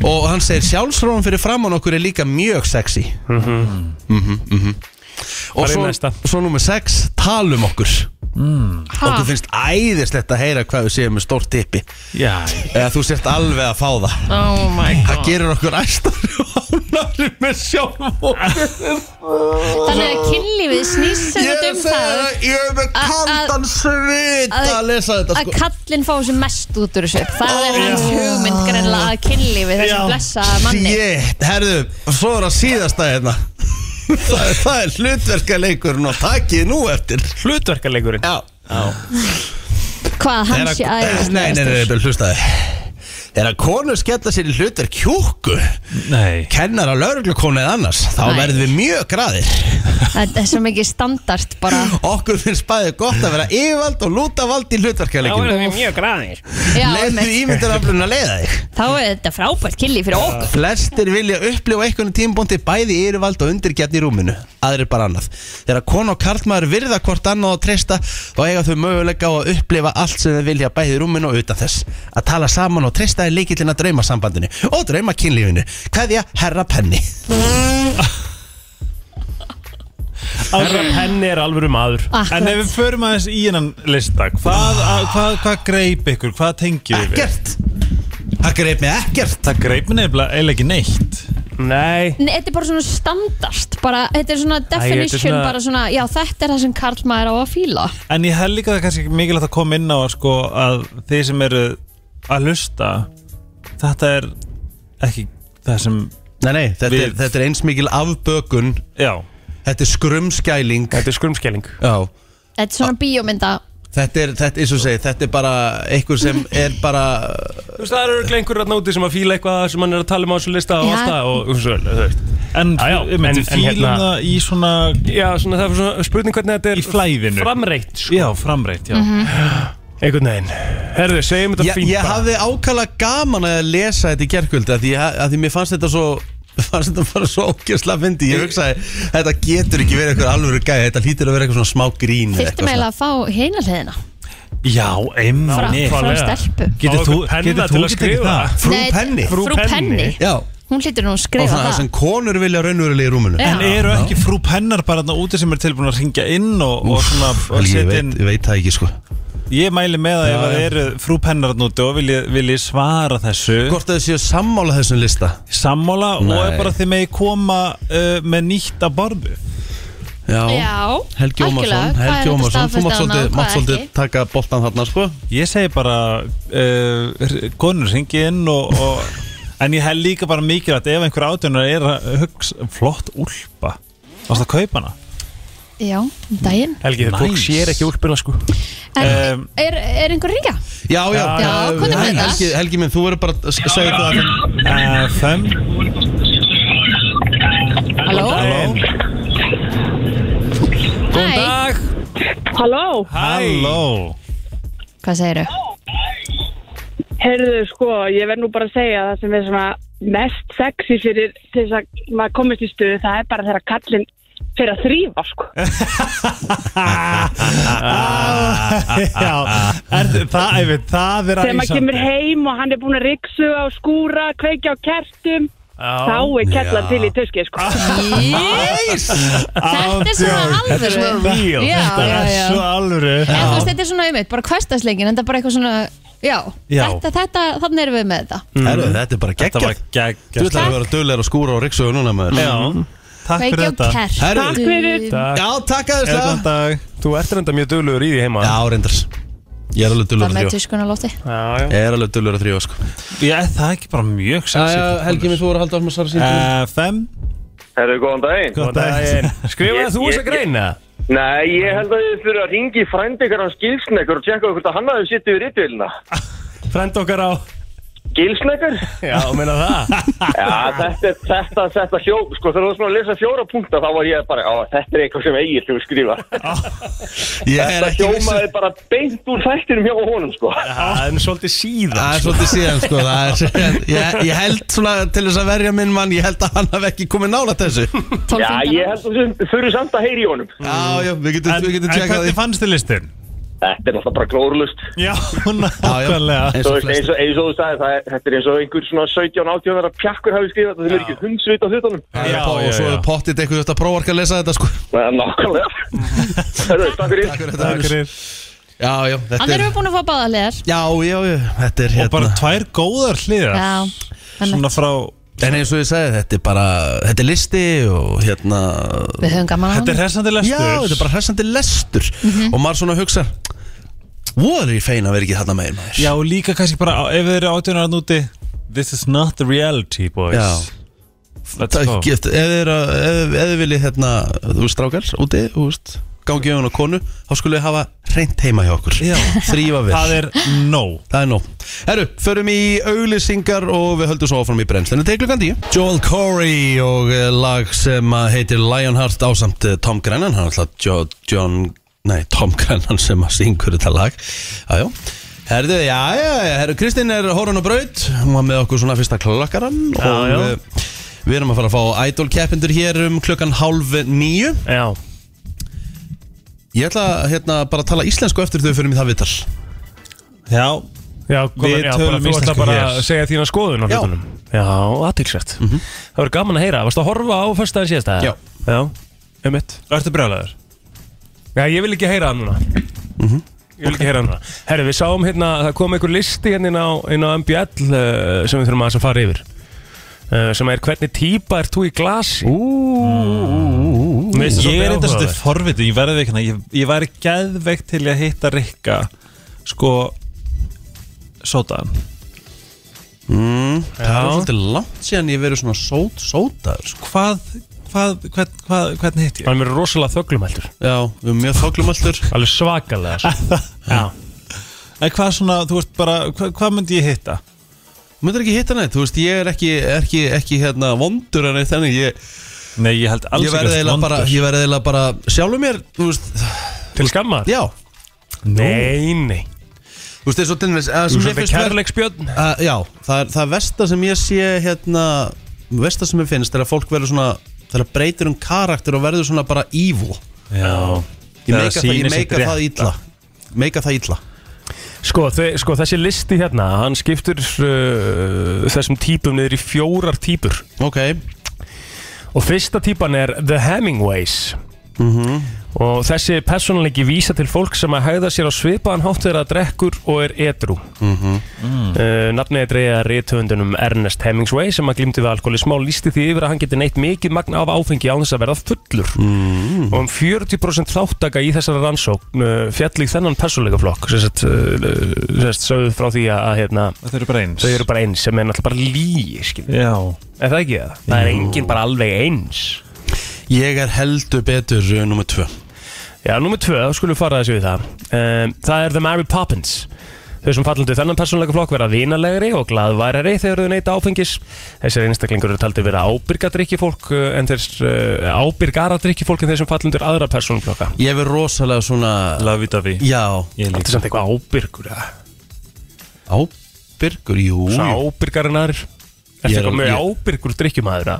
S1: Og hann segir sjálfsróðan fyrir framann okkur er líka mjög sexy Mhm, mhm, mhm
S2: Hvað
S1: Og
S2: er
S1: svo,
S2: næsta?
S1: svo nummer 6 Talum um okkur
S5: Mm.
S1: Okkur finnst æðislegt að heyra hvað við séum með stórt tippi
S5: Já
S1: Eða þú sért alveg að fá það
S3: Oh my
S1: Það gerir okkur æstari og ánari með sjálf
S3: Þannig að kynlífið snýst sem
S1: Ég
S3: þetta um
S1: segi
S3: það
S1: það, ég er með
S3: að-
S1: kaldan svit
S3: að-
S1: að lesa þetta
S3: að
S1: sko
S3: kallinn fá sem mest út úr þessu það er hans hugmynd greinlega að kynlífi þessi blessa manni
S1: Shit, herðu, svo er að síðasta hérna Það, það er hlutverkaleikurinn og takkið nú eftir
S2: Hlutverkarleikurinn
S1: Já
S3: hvað hann sé
S1: Þegar að-
S3: aðeins
S1: Nei, nei, nei, nei, hlustaði Þegar að konur skella sér í hlutverk kjúku
S5: Nei
S1: Kennar að lauruglukonu eða annars Þá
S3: Nei.
S1: verðum við mjög graðir
S3: það er svo mikið standart bara
S1: Okkur finnst bæði gott að vera yfirvald og lúta vald í hlutverkjaleikinu
S2: við mjög græðir
S3: já,
S1: Leðið
S3: einmitt.
S1: ímyndaraflun að leiða þig
S3: þá er þetta frábært kynlíf fyrir okkur
S1: Eh, Flestir vilja upplifa einhvern tímbóndi bæði yfirvald og undirgefni í rúminu Aðrir bara annað Þegar konu og karlmaður virða hvort annað og treysta Þá eiga þau möguleika á að upplifa allt sem þau vilja bæði í rúminu og utan þess Að tala saman og treysta er líkillin að draumasambandinu Og draumakynlífinu Kveðja herra penni
S2: Henni er alvöru maður
S5: En ef
S3: akkurat
S5: við förum aðeins í hennan lista Hvað, að- hvað, hvað greip ykkur, hvað tengið ykkur?
S1: Ekkert Það greip mig ekkert
S5: Það greip mér nefnilega eiginlega ekki neitt
S2: Nei
S3: Nei, þetta er bara svona standart bara, þetta er svona
S2: þetta er
S3: definition
S2: svona-
S3: bara svona, já þetta er það sem karlmaður á að fíla
S5: En ég held líka það kannski mikilvægt að koma inn á sko, að þið sem eru að hlusta þetta er ekki það sem
S1: Nei, nei, þetta, er,
S5: Við-
S1: þetta er eins mikil afbökun
S5: já,
S1: Þetta er skrumskæling
S2: Þetta er skrumskelling
S1: Já
S3: þetta er svona bíómynda
S1: Þetta er, þetta, eins og segi, þetta er bara einhver sem er bara
S2: Þú veist, það eru örugglega einhverjar náti sem að fíla eitthvað sem hann er að tala um á þessu lista og
S3: Já.
S2: allt það og og svo, þú veist
S5: en
S2: Já, já,
S5: um, en,
S2: en- en
S5: fílum
S2: hérna-
S5: það í svona
S2: Já, svona það er svona spurning hvernig þetta er
S5: í flæðinu
S2: Framreitt, sko
S5: já, framreitt, já
S2: Einhvern veginn Herðu, segjum þetta
S1: ég,
S2: fínt
S1: ég
S2: bara.
S1: hafði ákala gaman að lesa þetta í gerkvöldi að því, að því mér fannst þetta svo fannst þetta bara svo ógjörslega fyndi ég hugsaði, þetta getur ekki verið eitthvað alvöru gæði þetta hlýtur að vera eitthvað svona smá grín eða
S3: þyrftum
S1: eitthvað
S3: eiginlega að fá heina hliðina
S5: já,
S3: frá,
S5: einnig
S3: frá
S2: Nákvæmlega.
S3: stelpu
S5: getur
S2: Fá
S5: þú
S2: okkur penna
S5: getur
S2: til
S5: þú
S2: að
S5: ekki tekið
S2: skrifa.
S5: það
S1: Frú
S3: Nei,
S1: Penny
S2: Frú
S3: frú penni,
S2: Penni.
S1: Já,
S3: hún hlýtur nú að
S1: og
S3: skrifa
S1: það
S3: það
S1: sem konur vilja raunverulega í rúminu
S3: Já.
S5: en eru ekki frú pennar bara þarna úti sem er tilbúin að ringja inn og, og svona
S1: Helgi,
S5: og
S1: ég
S5: setja
S1: veit,
S5: inn
S1: ég veit það ekki sko
S4: Ég mæli með að ef það eru frú pennarnúti og vilji, vilji svara þessu
S1: Hvort að þið séu sammála þessum lista
S4: sammála og
S1: Nei.
S4: er bara þið megi koma uh, með nýtt að borðu
S3: Já, algjörlega.
S1: Helgi Ómarsson
S3: Hvað er
S1: Helgi
S3: þetta
S1: Ómarsson, þú
S3: staðfesta annað
S1: mátt
S3: og
S1: svolítið,
S3: hvað
S1: mátt svolítið
S3: ekki?
S1: taka boltan þarna sko
S4: Ég segi bara uh, konur ringi inn og, og en ég hef líka bara mikilvægt ef einhver átjónar er að hugsa flott úlpa varst að kaupa hana
S3: Já, um daginn
S2: Helgi, nice. fólk
S4: Nice.
S2: sér ekki úlpuna sko
S3: En
S4: Um,
S3: er, er einhver ringja?
S1: Eh, Já, já,
S3: Já, hvað er með
S1: Helgi-
S3: það?
S1: Helgi, Helgi minn, þú verður bara að s- segja hvað
S2: Eh,
S4: FM
S3: Halló?
S2: Góðan
S3: Hæ.
S2: dag
S10: Halló,
S4: Halló
S3: Hvað segirðu?
S10: heyrðu sko, ég verð nú bara að segja að það sem er svona mest sexy fyrir til þess að maður komist í stuðu, það er bara þegar kallinn fyrir að þrýfa sko.
S4: Já, er, það, einmitt, það er
S10: Þegar maður kemur heim og hann er búin að riksu á skúra, kveikja á kertum, þá er kellan til í töskið sko.
S3: Yes! Þetta er svona alvöru Þetta er svona
S4: real.
S3: Já, já,
S4: Það er
S3: já
S4: svo alvöru
S3: En þú veist, þetta er svona umitt, bara hverstasleikinn En það er bara eitthvað svona, já,
S4: Já.
S3: Þetta, þetta, þannig erum við með þetta
S1: Herru, þetta er bara
S4: Mm. Þetta
S1: geggjart
S4: var geggjast
S1: Þú ætlar að vera dölir að skúra og riksu núna maður
S4: Já, takk fyrir
S3: Kveikja á
S4: þetta
S1: Herru.
S3: kertu
S1: Takk
S10: fyrir.
S2: Takk.
S1: Já, takk að þess
S4: Góðan
S1: það
S4: dag
S2: Þú ert reynda mjög duglugur í því heima
S1: Já, reyndars Ég er alveg
S3: Bara
S1: dölur að
S3: með
S1: þrjó
S3: tískuna lóti
S2: já, já.
S1: Ég er alveg dölur að þrjó sko
S4: Ég er það ekki bara mjög sexy
S1: Helgi minn, þú verður að halda af maður Sara síndum
S9: Eh,
S4: FM
S9: Herru, góðan daginn.
S2: Góðan daginn Skrifaði
S9: Ég-
S2: þú þess að
S9: ég-
S2: greina?
S9: Nei, ég held að þið þurfa að ringi frændi ykkur á Gilsnekkar og tjekka hvort að hann aðeins sittu við rítvélina.
S2: Frend okkar á
S9: Gilsnekkar?
S2: Já, meina það
S9: Já, þetta, þetta, þetta hjó, sko, þegar þú varst maður að lesa fjóra punkta þá var ég bara, á, þetta er eitthvað sem eigir til að skrifa.
S1: Ég er
S9: Þetta
S1: ekki viss um-
S9: hjómaði bara beint úr þættinum hjá honum, sko.
S2: Það er svolítið síðan
S1: Það er svolítið síðan sko það er, síðan. ég, ég held svona til þess að verja minn mann Ég held að hann hef ekki komið nála þessu Já,
S9: Já, ég held að þú þurfi samt að heyri í honum.
S1: já, við getum,
S4: En,
S1: við
S4: en
S1: getum tjekkað
S4: hvernig
S1: því
S4: fannst þið listin?
S9: Þetta er náttúrulega bara glórlust.
S4: Já,
S1: Já, já,
S4: nákvæmlega
S1: eins
S9: Þú veist,
S1: og
S9: eins
S1: flest
S9: og, eins og þú sagði, það er, þetta er eins og einhver svona 17-18 vera pjakkur hafi skrifað, þetta er ekki hundsvit á hlutunum.
S1: Það er
S4: Já,
S1: pá-
S4: já,
S1: Og svo
S4: já.
S1: er pottið eitthvað þetta prófark að lesa þetta sko
S9: Það er nákvæmlega. Herru, takk fyrir.
S1: Takk fyrir þetta
S4: Takk
S1: Hannes.
S4: fyrir
S1: Já, já, þetta
S3: Þannig
S1: er
S3: erum við búin að fá báða liðar
S1: Já, já, já, þetta er
S4: Og bara
S1: hérna
S4: tvær góðar hliðar
S3: Já, þannig
S4: Svona frá
S1: En eins og ég sagði, þetta er bara Þetta er listi og hérna
S3: Við höfum Mhm. gaman að
S4: Þetta er hressandi lestur
S1: Já, þetta er bara hressandi lestur Og maður svona hugsa Voru ég fein að vera ekki þarna megin maður
S4: Já, og líka kannski bara á- ef þið eru átjónar að núti This is not the reality, boys
S1: Já.
S4: Let's go
S1: Takk, eftir, ef þið eru að- ef- ef þið viljið hérna, þú veist, strákar úti, þú veist, gangi á hún og konu þá skulle við hafa reynd heima hjá okkur
S4: Já.
S1: þrýfa við,
S4: Það er no
S1: það er nóg Herru, förum í auglýsingar og við höldum svo áfram í brennslinu til klukkan 10 Joel Corey og eh, lag sem að heitir Lionheart ásamt eh, Tom Grennan hann er alltaf jo, John, nei, Tom Grennan sem að syngur þetta lag Jájó Herðu, já, já, já, herru, Kristín er horun og braut, hún var með okkur svona fyrsta klokkaran og
S2: já.
S1: eh, Við erum að fara að fá idol keppindur hér um klukkan hálf nýju
S2: Já
S1: Ég ætla að, hérna, bara að tala íslensku eftir þau fyrir mig það viðtal
S4: Já,
S2: Já,
S4: Við
S2: komin, já, bara,
S4: tölum
S2: þú ætla
S4: íslensku
S2: bara
S4: hér.
S2: að segja þína skoðun á
S1: Já.
S2: hlutunum Já, aðtilsvært Það verður gaman að heyra, varstu að horfa á fyrstaðin síðasta?
S1: Já.
S2: Já, um mitt
S4: ertu brjálæður?
S2: Já, ég vil ekki heyra það núna Ég vil ekki heyra það núna Herri, við sáum hérna, það kom einhver listi hérna inn á, inn á MBL uh, sem við þurfum aðeins að fara yfir uh, sem er hvernig típa ert þú í glasi Úúúúú
S4: Ég er eitthvað svolítið forvitið, ég verði ekki hérna Ég, ég væri geðveikt til að hitta Rikka Sko Sótaðan
S1: Það er svolítið langt síðan ég verið svona sót, sótaður sko.
S4: Hvað, hvað, hvern, hvað, hvernig hitt ég?
S2: Hann er rosalega þöglumæltur
S1: Já, við erum mjög þoklumallur
S2: Alveg svakalega sko. Já
S4: En hvað svona, þú veist bara, hvað, hvað myndi ég hitta?
S1: Möndur ekki hitta neitt, þú veist, ég er ekki, ekki, ekki hérna, vondur en eitt þannig Ég,
S4: Nei, ég held alls
S1: ég verði eiginlega bara, ég verð eiginlega bara sjálfur mér, þú veist,
S2: Til skammar?
S1: já
S2: Nei, nei
S1: Þú veist, eins og til dæmis að
S2: Þú er
S1: sem mér
S2: svolítið
S1: finnst ver-
S2: kærleiksbjörn
S1: að- Já, það er, það er versta sem ég sé hérna, versta sem ég finnst er að fólk verður svona, þegar breytir um karakter og verður svona bara evil
S4: Já,
S1: Ég
S4: Þegar
S1: meika
S4: það
S1: það, ég
S4: sýnir sitt
S1: meika það illa Meika það illa
S2: Sko, þe- sko, þessi listi hérna Hann skiptur uh, þessum típum niður í fjórar típur
S1: Ok, Mhm.
S2: Og fyrsta típan er The Hemingways Og þessi persónuleiki vísa til fólk sem að hæða sér á svipaðan hátt þegar það drekkur og er edru. Mm
S1: Mhm.
S2: nafnið er dreigða rithöfundunum Ernest Hemingway sem að glimti við alkoholismá lísti því yfir að hann geti neitt mikið magna af áfengi án þess að verða fullur.
S1: Mm.
S2: Og um 40% þáttaka í þessari rannsókn uh, fjall í þennan persónuleikaflokk sem sagt, uh, sem sagt sögðu frá því að, að hérna,
S4: Þau eru bara eins
S2: þau eru bara eins sem er náttúrulega bara líi, skiljum.
S4: Já
S2: Er það ekki það? Það er enginn bara alveg eins.
S1: Ég er heldur betur uh, nummer tvö
S2: Já, númer tvö, þá skulum við fara þessu við það um, Það er The Mary Poppins Þau sem fallandi þennan persónleika flokk vera vinalegri og glaðværari þegar þau neyta áfengis Þessir einstaklingur eru taldir vera ábyrgadrykkjufólk uh, en þeir uh, ábyrgaradrykkjufólk en þeir sem fallandur aðra persónleika
S1: Ég verð rosalega svona
S4: Lavi-davi
S1: Já,
S2: Þetta er samt eitthvað ábyrgur eða?
S1: ábyrgur, jú
S2: Svona
S1: jú.
S2: ábyrgar en aðrir Þetta
S1: Ég
S2: er
S1: er-
S2: eitthvað mjög
S1: ég-
S2: ábyrgur drykkjumæður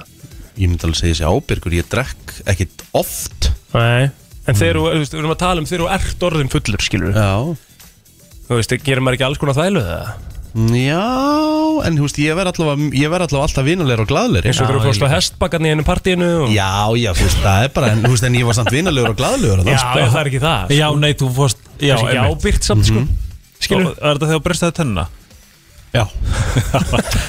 S1: Ég myndi alveg segja þessi ábyrgur Ég drekk ekkit oft
S2: Nei En þeir eru, þú veist, við erum að tala um þeir eru ert orðin fullur, skilur
S1: Mm. Já
S2: Þú veist, gerir maður ekki alls konar þælu það?
S1: Já, en þú veist, ég verð allavega, ég verð allavega alltaf vinalegur og glaðlegur
S2: Eins og þegar þú fórst á hestbakkarni í einu partíinu og...
S1: Já, já, þú veist, það er bara, en, þú veist, en ég var samt vinalegur og glaðlegur
S2: Já,
S1: þarna, sko.
S2: já, það er ekki það
S4: Já, nei, þú fórst Já,
S2: Það er ekki
S4: einmitt.
S2: ábyrgt samt sko
S4: Og
S2: Skilur
S4: Var þetta þegar brestaði tenna?
S1: Mhm. já,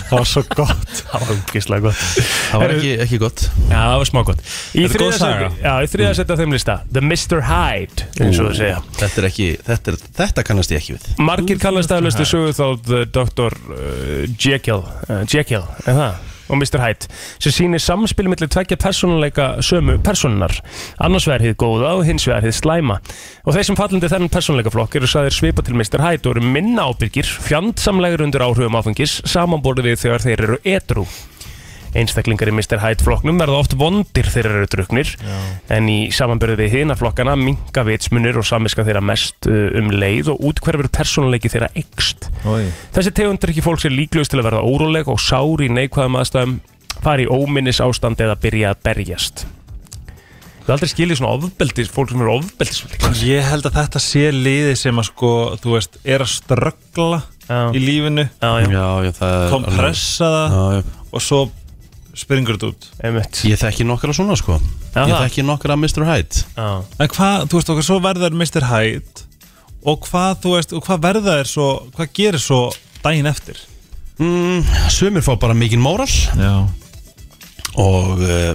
S4: það var svo gott
S2: Það var umgislega gott
S1: það var
S2: Heyrðu-
S1: ekki, ekki gott
S2: Já, það var smá gott Í
S4: Þetta er góð
S2: þriðja
S4: saga.
S2: sæti- Já, í þriða setja þeim lista The Mr. Hyde eins og þau segja
S1: Mm. Þetta er ekki, þetta, er, þetta kannast ég ekki við
S2: Margir kallast aðlustu sögu þá The Dr. uh, Jekyll uh, Jekyll, er það? og Mr. Hyde sem sýnir samspil millir tveggja persónuleika sömu personunar annars vegar hið góða og hins vegar hið slæma og þeir sem fallandi þennan persónuleika flokk eru sæðir svipa til Mr. Hyde og eru minna ábyrgir fjandsamlegir undir áhrifum áfengis samanborðið við þegar þeir eru edru einstaklingar í Mr. Hyde flokknum verða oft vondir þegar þeir eru druknir en í samanbyrði við hina flokkana minga vitsmunir og samviska þeirra mest uh, um leið og útkverfur persónuleiki þeirra ekst.
S4: Oi.
S2: Þessi tegundur ekki fólk sem líklaust til að verða óróleg og sár í neikvæðum aðstæðum fara í óminnis ástand eða byrja að berjast. Við aldrei skiljið svona ofbeldis, fólk sem eru ofbeldis
S4: Ég held að þetta sé liði sem að sko, þú veist, er að ströggla
S2: Já.
S4: í lífinu,
S2: Já, já,
S1: Já, já, það er
S4: kompressa það
S1: alveg- Já, já.
S4: og svo springur þetta út.
S2: einmitt.
S1: Ég þekki nokkra svona, sko
S2: Já,
S1: Ég
S2: það.
S1: þekki nokkra Mr. Hyde
S2: Já,
S4: En hvað, þú veist, okkar svo verðar Mr. Hyde og hvað, þú veist, og hvað verða er svo, hvað gerir svo daginn eftir?
S1: Mm, Sumir fá bara mikinn móral
S4: Já.
S1: og uh,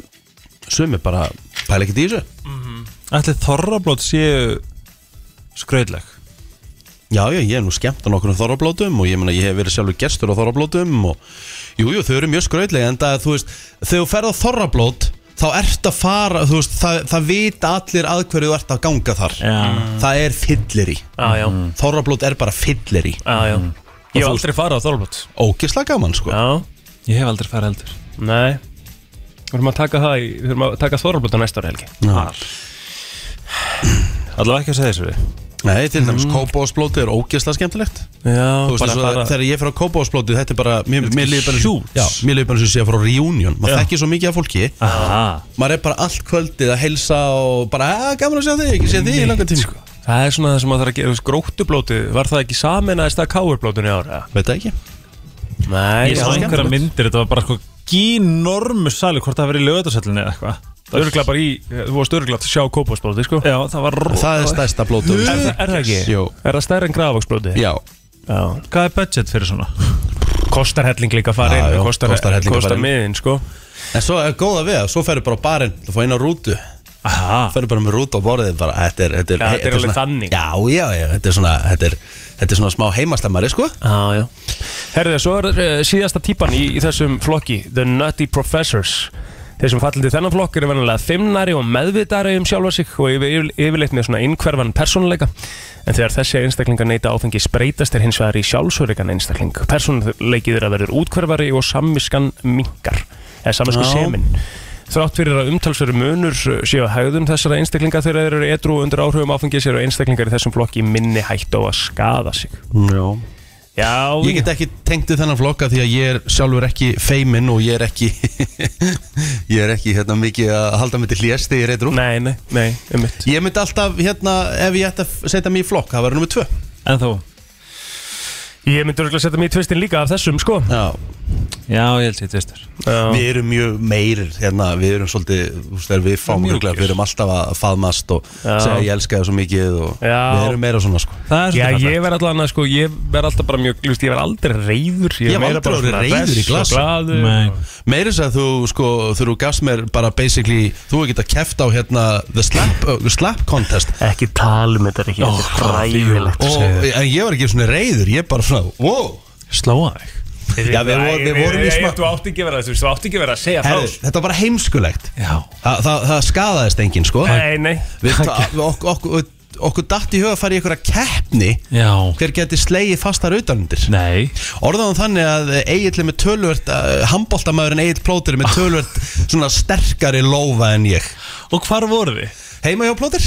S1: sumir bara pæla ekkert í þessu
S2: Mhm.
S4: Ætli þorrablót séu skrautleg.
S1: Já, já, ég hef nú skemmt á nokkrum þorrablótum og ég meina, ég hef verið sjálfur gestur á þorrablótum og jú, jú, þau eru mjög skrautlega en það, þú veist, þegar þú ferð á þorrablót þá ert að fara, þú veist, það, það vita allir að hverju þú ert að ganga þar
S4: Já.
S1: Það er fyllir í
S2: já, já,
S4: Mm.
S1: Þorrablót er bara fyllir í
S2: já, já. Ég hef aldrei farað á þorflót.
S1: Ógisla gaman, sko
S2: Já,
S4: Ég hef aldrei farið heldur.
S2: nei. Við þurfum að taka það í, við þurfum að taka þorflót á næsta ári helgi.
S4: Allavega ekki að segja þessu við.
S1: Nei, til dæmis, mm. kópásblóti er ógisla skemmtilegt
S2: Já,
S1: Þú veist, eins og það- þegar ég fer á kópásblóti, þetta er bara Mér, mér líður bara
S4: Shoots.
S1: Já, mér líður bara eins og sé að fara á reunion Maður þekkir svo mikið af fólki
S4: Aha.
S1: Maður er bara allt kvöldið að heilsa og bara, að, gaman að sjá þig, ekki sé þig í langan tíma
S2: Sko, Það er svona það sem að það er að gera Gróttublóti, var það ekki samin að það káurblótinu í ára?
S1: Veit það ekki
S2: Nei,
S4: Ég sá einhverja myndir, þetta var bara sko gínormus salur, hvort það hafi verið í lögatarsöllinni eða eitthvað.
S2: Örgla bara í, eh, þú varst örgla að sjá kópásblóti, sko
S4: Já, það var rú.
S1: Það er stærsta blótu
S2: Er, það- er það ekki?
S1: Jú.
S2: Er það stærri en grafagsblóti?
S1: Já,
S2: Já
S4: Hvað er budget fyrir svona?
S2: Kostar helling líka að fara
S1: Já,
S2: inn
S1: já,
S2: Kostar,
S1: kostar helling að fara
S2: kostar
S1: inn.
S2: miðin, sko
S1: en svo er góða við að Svo ferðu bara á barinn, þú fá eina rútu
S4: Aha.
S1: Ferðu bara með rútu á borðið bara, þetta er, þetta er,
S2: Já, þetta er alveg
S1: svona,
S2: þannig.
S1: Já, já, já, þetta er svona Þetta er, þetta er svona smá heimastammari, sko
S2: Já, já Herðið, svo er uh, síðasta típan í, í þessum flokki The Nutty Professors Þeir sem fallandi þennan flokk eru venjulega fimmnari og meðvitari um sjálfa sig og yfir, yfir, yfirleitt með svona innkverfan persónuleika en þegar þessi einstaklingar neyta áfengi spreytast er hins vegar í sjálfsörugan einstakling persónuleikið er að verður útkverfari og samviskan minkar eða samvisku
S1: Já.
S2: sko semin Þrátt fyrir að umtalsveru munur séu að hegðun þessara einstaklinga þegar þeir eru edru og undir áhrifum áfengis eru einstaklingar í þessum flokki í minni hætt á að skada sig
S1: Já
S2: Já,
S1: Ég get ekki tengt við þennan flokka því að ég er sjálfur ekki feiminn og ég er ekki Ég er ekki hérna mikið að halda mig til hljés þegar ég er eitthvað
S2: Nei, nei, nei, um mitt
S1: Ég myndi alltaf hérna ef ég ætti að setja mig í flokk, það var nummer tvö
S4: En þú?
S2: Ég myndi örgulega setja mig í tvistin líka af þessum, sko
S1: Já,
S4: Já, ég held sér tvistur
S1: Við erum mjög meirir hérna, við erum svolítið, þú veist, þegar við fáum
S4: Mjúkir.
S1: örugglega, við erum alltaf að faðmast og
S2: Já.
S1: segja ég elska þér svo mikið og
S2: Já.
S1: við erum meira svona sko
S4: Það er
S2: Já,
S4: svolítið
S2: ég verð alltaf annað, sko, ég verð alltaf bara mjög, þú veist, ég verð aldrei reyður
S1: Ég hef
S2: meira
S1: aldrei
S2: bara svona
S1: orðið reiður
S2: hress
S1: í
S2: og
S1: glasi.
S2: glaður.
S4: Nei.
S1: Meira þess að þú, sko, þegar þú gafst mér bara basically, þú hefur getað keft á hérna the slap, uh, slap contest
S2: Ekki talum þetta ekki, þetta er fræðilegt
S1: og, en ég var ekki svona reyður, ég bara svona, wow
S4: Slóa þig
S1: Já, við vorum- við vorum í smá-
S2: Þú átti ekki að vera, þú veist, þú átti ekki að vera að segja frá
S1: Herri, þetta var bara heimskulegt
S4: Já
S1: Þa, það, það skadaðist enginn, sko
S2: Nei, nei
S1: Við, það, ok, ok, okkur datt í huga að fara í einhverja keppni
S4: Já
S1: hver geti slegið fastar utanundir
S4: Nei
S1: Orðaðan þannig að Egil er með tölvört Hamboltamæður en Egil Plóter er með tölvört Svona sterkari lófa en ég
S4: Og hvar voru þið?
S1: Heima hjá Plóter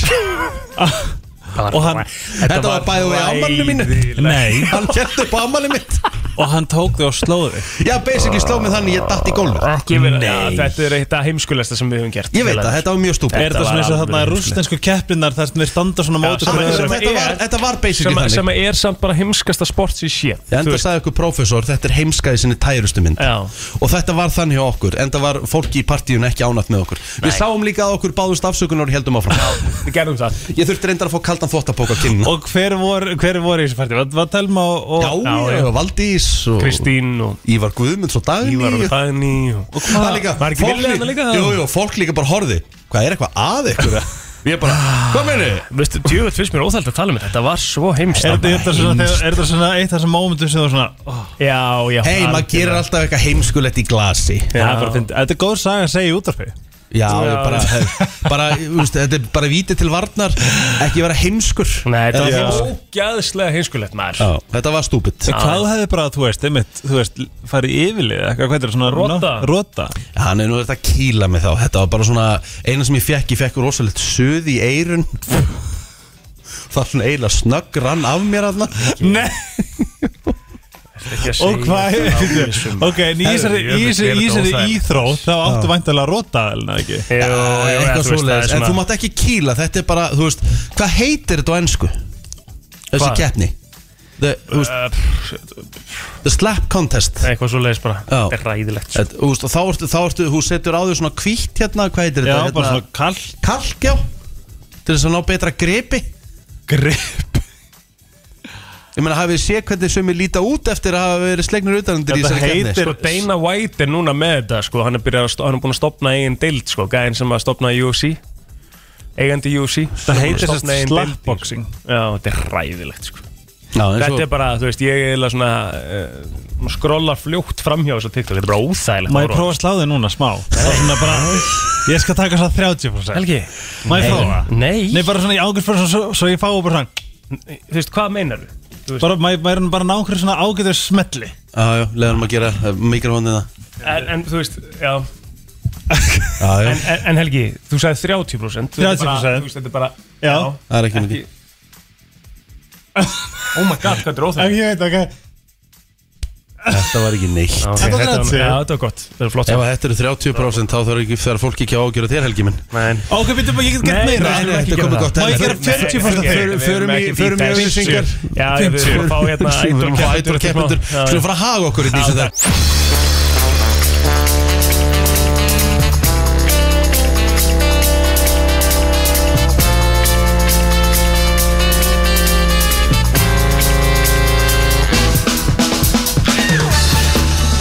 S4: Og hann
S1: Þetta var bæðið við ammálinu mínu
S4: Nei
S1: Hann kert upp á ammálinu mitt
S4: Og hann tók þig og slóa þig
S1: Já, basically sló mig þannig ég datt í gólfið
S2: Ekki vera, já,
S4: Nei.
S2: þetta er eitt af heimskulegsta sem við höfum gert
S1: Ég veit það, þetta var mjög stúpid
S4: Er þetta
S2: var
S4: svona eins og þarna
S2: alveg
S4: rústensku kepplinnar þar sem við standa svona á móti
S2: Já,
S4: hver
S2: sem-
S4: öðrum?
S1: Þetta
S2: sem-
S1: var- þetta var basically
S2: sem,
S1: þannig
S2: sem er samt bara heimskasta sport sem sé
S1: Ég enda sagði okkur prófessor, þetta er heimskaði sinni tærustu mynd
S2: Já.
S1: Og þetta var þannig hjá okkur Enda var fólki í partíun ekki ánatt með okkur Við sáum líka að okkur báðust afsökunar og heldum áfram
S2: Við gerðum það
S1: Ég þurfti reyndar að fá kaldan þvóttapók á kynna
S4: Og hver voru hver voru í þessu færdi? Var, var Telma og, og
S1: Já,
S2: já.
S1: já, já, Valdís og
S2: Kristín og
S1: Ívar Guðmunds og Dagný
S2: Ívar og Dagný og
S1: Það líka,
S2: Var ekki
S1: fólk
S2: Vilja þarna
S1: líka-
S2: líka?
S1: Jú, jú, fólk líka bara horði Hvað er eitthvað að ykkur? Ég bara, hvað meinu?
S2: Veistu, djöfitt fyrst mér óþælt að tala um þetta Þetta var svo heimst
S4: Er þetta- er
S2: þarna.
S4: þetta svona, þegar- er þetta svona eitt af þessum mómentum sem þú svona oh,
S2: Já, já
S1: Hei, maður gerir alltaf eitthvað heimskulegt í glasi
S4: Já, það er bara að finna Þetta er góð saga að segja í útarpi
S1: Já,
S2: Já.
S1: ég bara, hef- bara úst, þetta er bara víti til varnar Ekki vera heimskur
S2: Nei, þetta
S1: Eða-
S2: var ógæðslega heimskulegt maður
S1: Já, þetta var stúpid
S4: Hvað hefði bara, þú veist, einmitt, þú veist, farið yfirlið eða eitthvað, hvað er þetta svona
S2: Rota.
S4: ná- Rota
S1: Hann er nú þetta að kýla með þá Þetta var bara svona, eina sem ég fekk Ég fekk rosalegt suð í eirun Það var svona eiginlega snögg rann af mér aðna
S4: Nei,
S2: Ekki að
S4: og
S2: segja
S4: hvað
S2: frá þessum.
S4: Ok, en í þessari-
S2: Herru,
S4: í þessari
S2: jöfull,
S4: í
S2: er
S4: þessari
S2: þetta óþægilegt.
S4: íþrótt þá áttu væntalega rota, elna ekki
S2: Jú, jú, já, þú
S1: Eitthvað
S2: veist, það er
S1: svoleiðis, en
S2: svona-
S1: þú mátt ekki kýla Þetta er bara, þú veist, hvað heitir þetta á ennsku? Þessi
S2: Hvað?
S1: keppni The, þú veist,
S2: Uh, pff,
S1: the slap contest
S2: Eitthvað svo leiðis bara
S1: Já.
S2: Þetta er sko. ræðilegt
S1: Þetta, þú veist, og þá ertu, þá ertu, þú setur á því svona hvítt hérna, hvað heitir
S4: Já,
S1: þetta?
S4: bara
S1: hérna,
S4: svona kall
S1: kalk, já Til þess að ná betra gripi
S4: grip
S1: Ég meina, hafið þið séð hvernig sömur líta út eftir að hafa verið slegnir utanundir í
S4: Þetta
S1: þessari keppni?
S4: heitir-
S2: Sko Dana White er núna með þetta sko, hann er, byrjað að sto- hann er búin að stopna eigin deild sko, gæðin sem að stopna UFC eigandi UFC
S4: Það heitir
S2: Stofna
S4: sérst
S2: eigin deild, sko.
S4: slapboxing
S2: Já, þetta er ræðilegt sko.
S1: Já, en
S2: Þetta
S1: svo,
S2: er bara, þú veist, ég er eiginlega svona uh, skrollar fljótt framhjá þessu TikTok, þetta er bara óþægilegt
S4: Má ég
S2: horfa á.
S4: prófa að slá þig núna smá Það er svona bara, Ég skal taka svo 30%
S2: Helgi?
S4: Má ég prófa?
S2: Nei,
S4: Nei, bara svona í ágætt fyrir svo, svo ég fá bara svona
S2: þú veist, hvað meinar þú? veist-
S4: Bara, maður maður er bara nákvæmlega svona ágættur smetli
S1: já, já, leiðanum að gera uh, mikrofónið það
S2: En, en þú veist, já
S1: Já, já,
S2: En, en, en Helgi, þú sagði 30% Þetta er bara-
S4: 30%.
S2: Þú veist, þetta er bara
S4: Já.
S1: það er ekki mikið
S2: Oh my god, hvað þetta er óþægilegt
S4: En ég veit, ok
S1: Þetta var ekki neitt
S2: Já,
S4: Þetta var
S2: ok, þetta var-
S4: gratis.
S2: Já, þetta var gott, þetta er flott
S1: Ef að þetta eru 30% þá þarf ekki, þarf fólk ekki að ágjöra þér helgi minn
S2: Nei,
S4: Ok, býttu bara, ég get gert
S2: Nei,
S4: meira
S2: nei,
S1: Nei, nei,
S2: ekki
S1: þetta
S2: gera
S1: komið
S2: það.
S1: gott
S4: Má ég
S1: dæmi.
S4: gera
S1: Nei,
S4: 40%
S1: ok,
S4: fyrir-
S2: Við erum
S1: Förum- Förum í
S2: ekki
S1: förum í
S2: í
S1: auðlýsingar
S2: 50. Já, já, við erum að fá hérna
S1: Við erum að fá
S2: idol
S1: hættur og keppendur
S2: Já, já.
S1: Svo fara að haga okkur í því sem það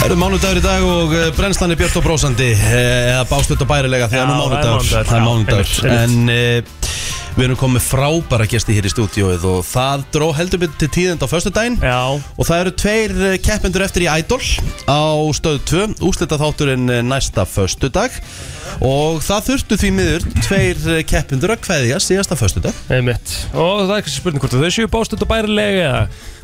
S1: Erum mánudagur í dag og eh, brennslan er björt og brósandi eh, eða bástutt og bærilega því að
S2: Já,
S1: nú
S2: það er
S1: mánudagur
S2: mánudagur,
S1: það er
S2: já,
S1: mánudagur
S2: einmitt,
S1: en eh, við erum komið frábæra gesti hér í stúdíóið og það dró heldur betur til tíðend á föstudaginn
S2: Já,
S1: Og það eru tveir eh, keppendur eftir í Idol á stöðu 2, úslita þátturinn eh, næsta föstudag og það þurftu því miður tveir eh, keppendur að kveðja síðasta föstudag
S2: einmitt Og það er kannski spurning hvort þau séu bástund og bærilega eða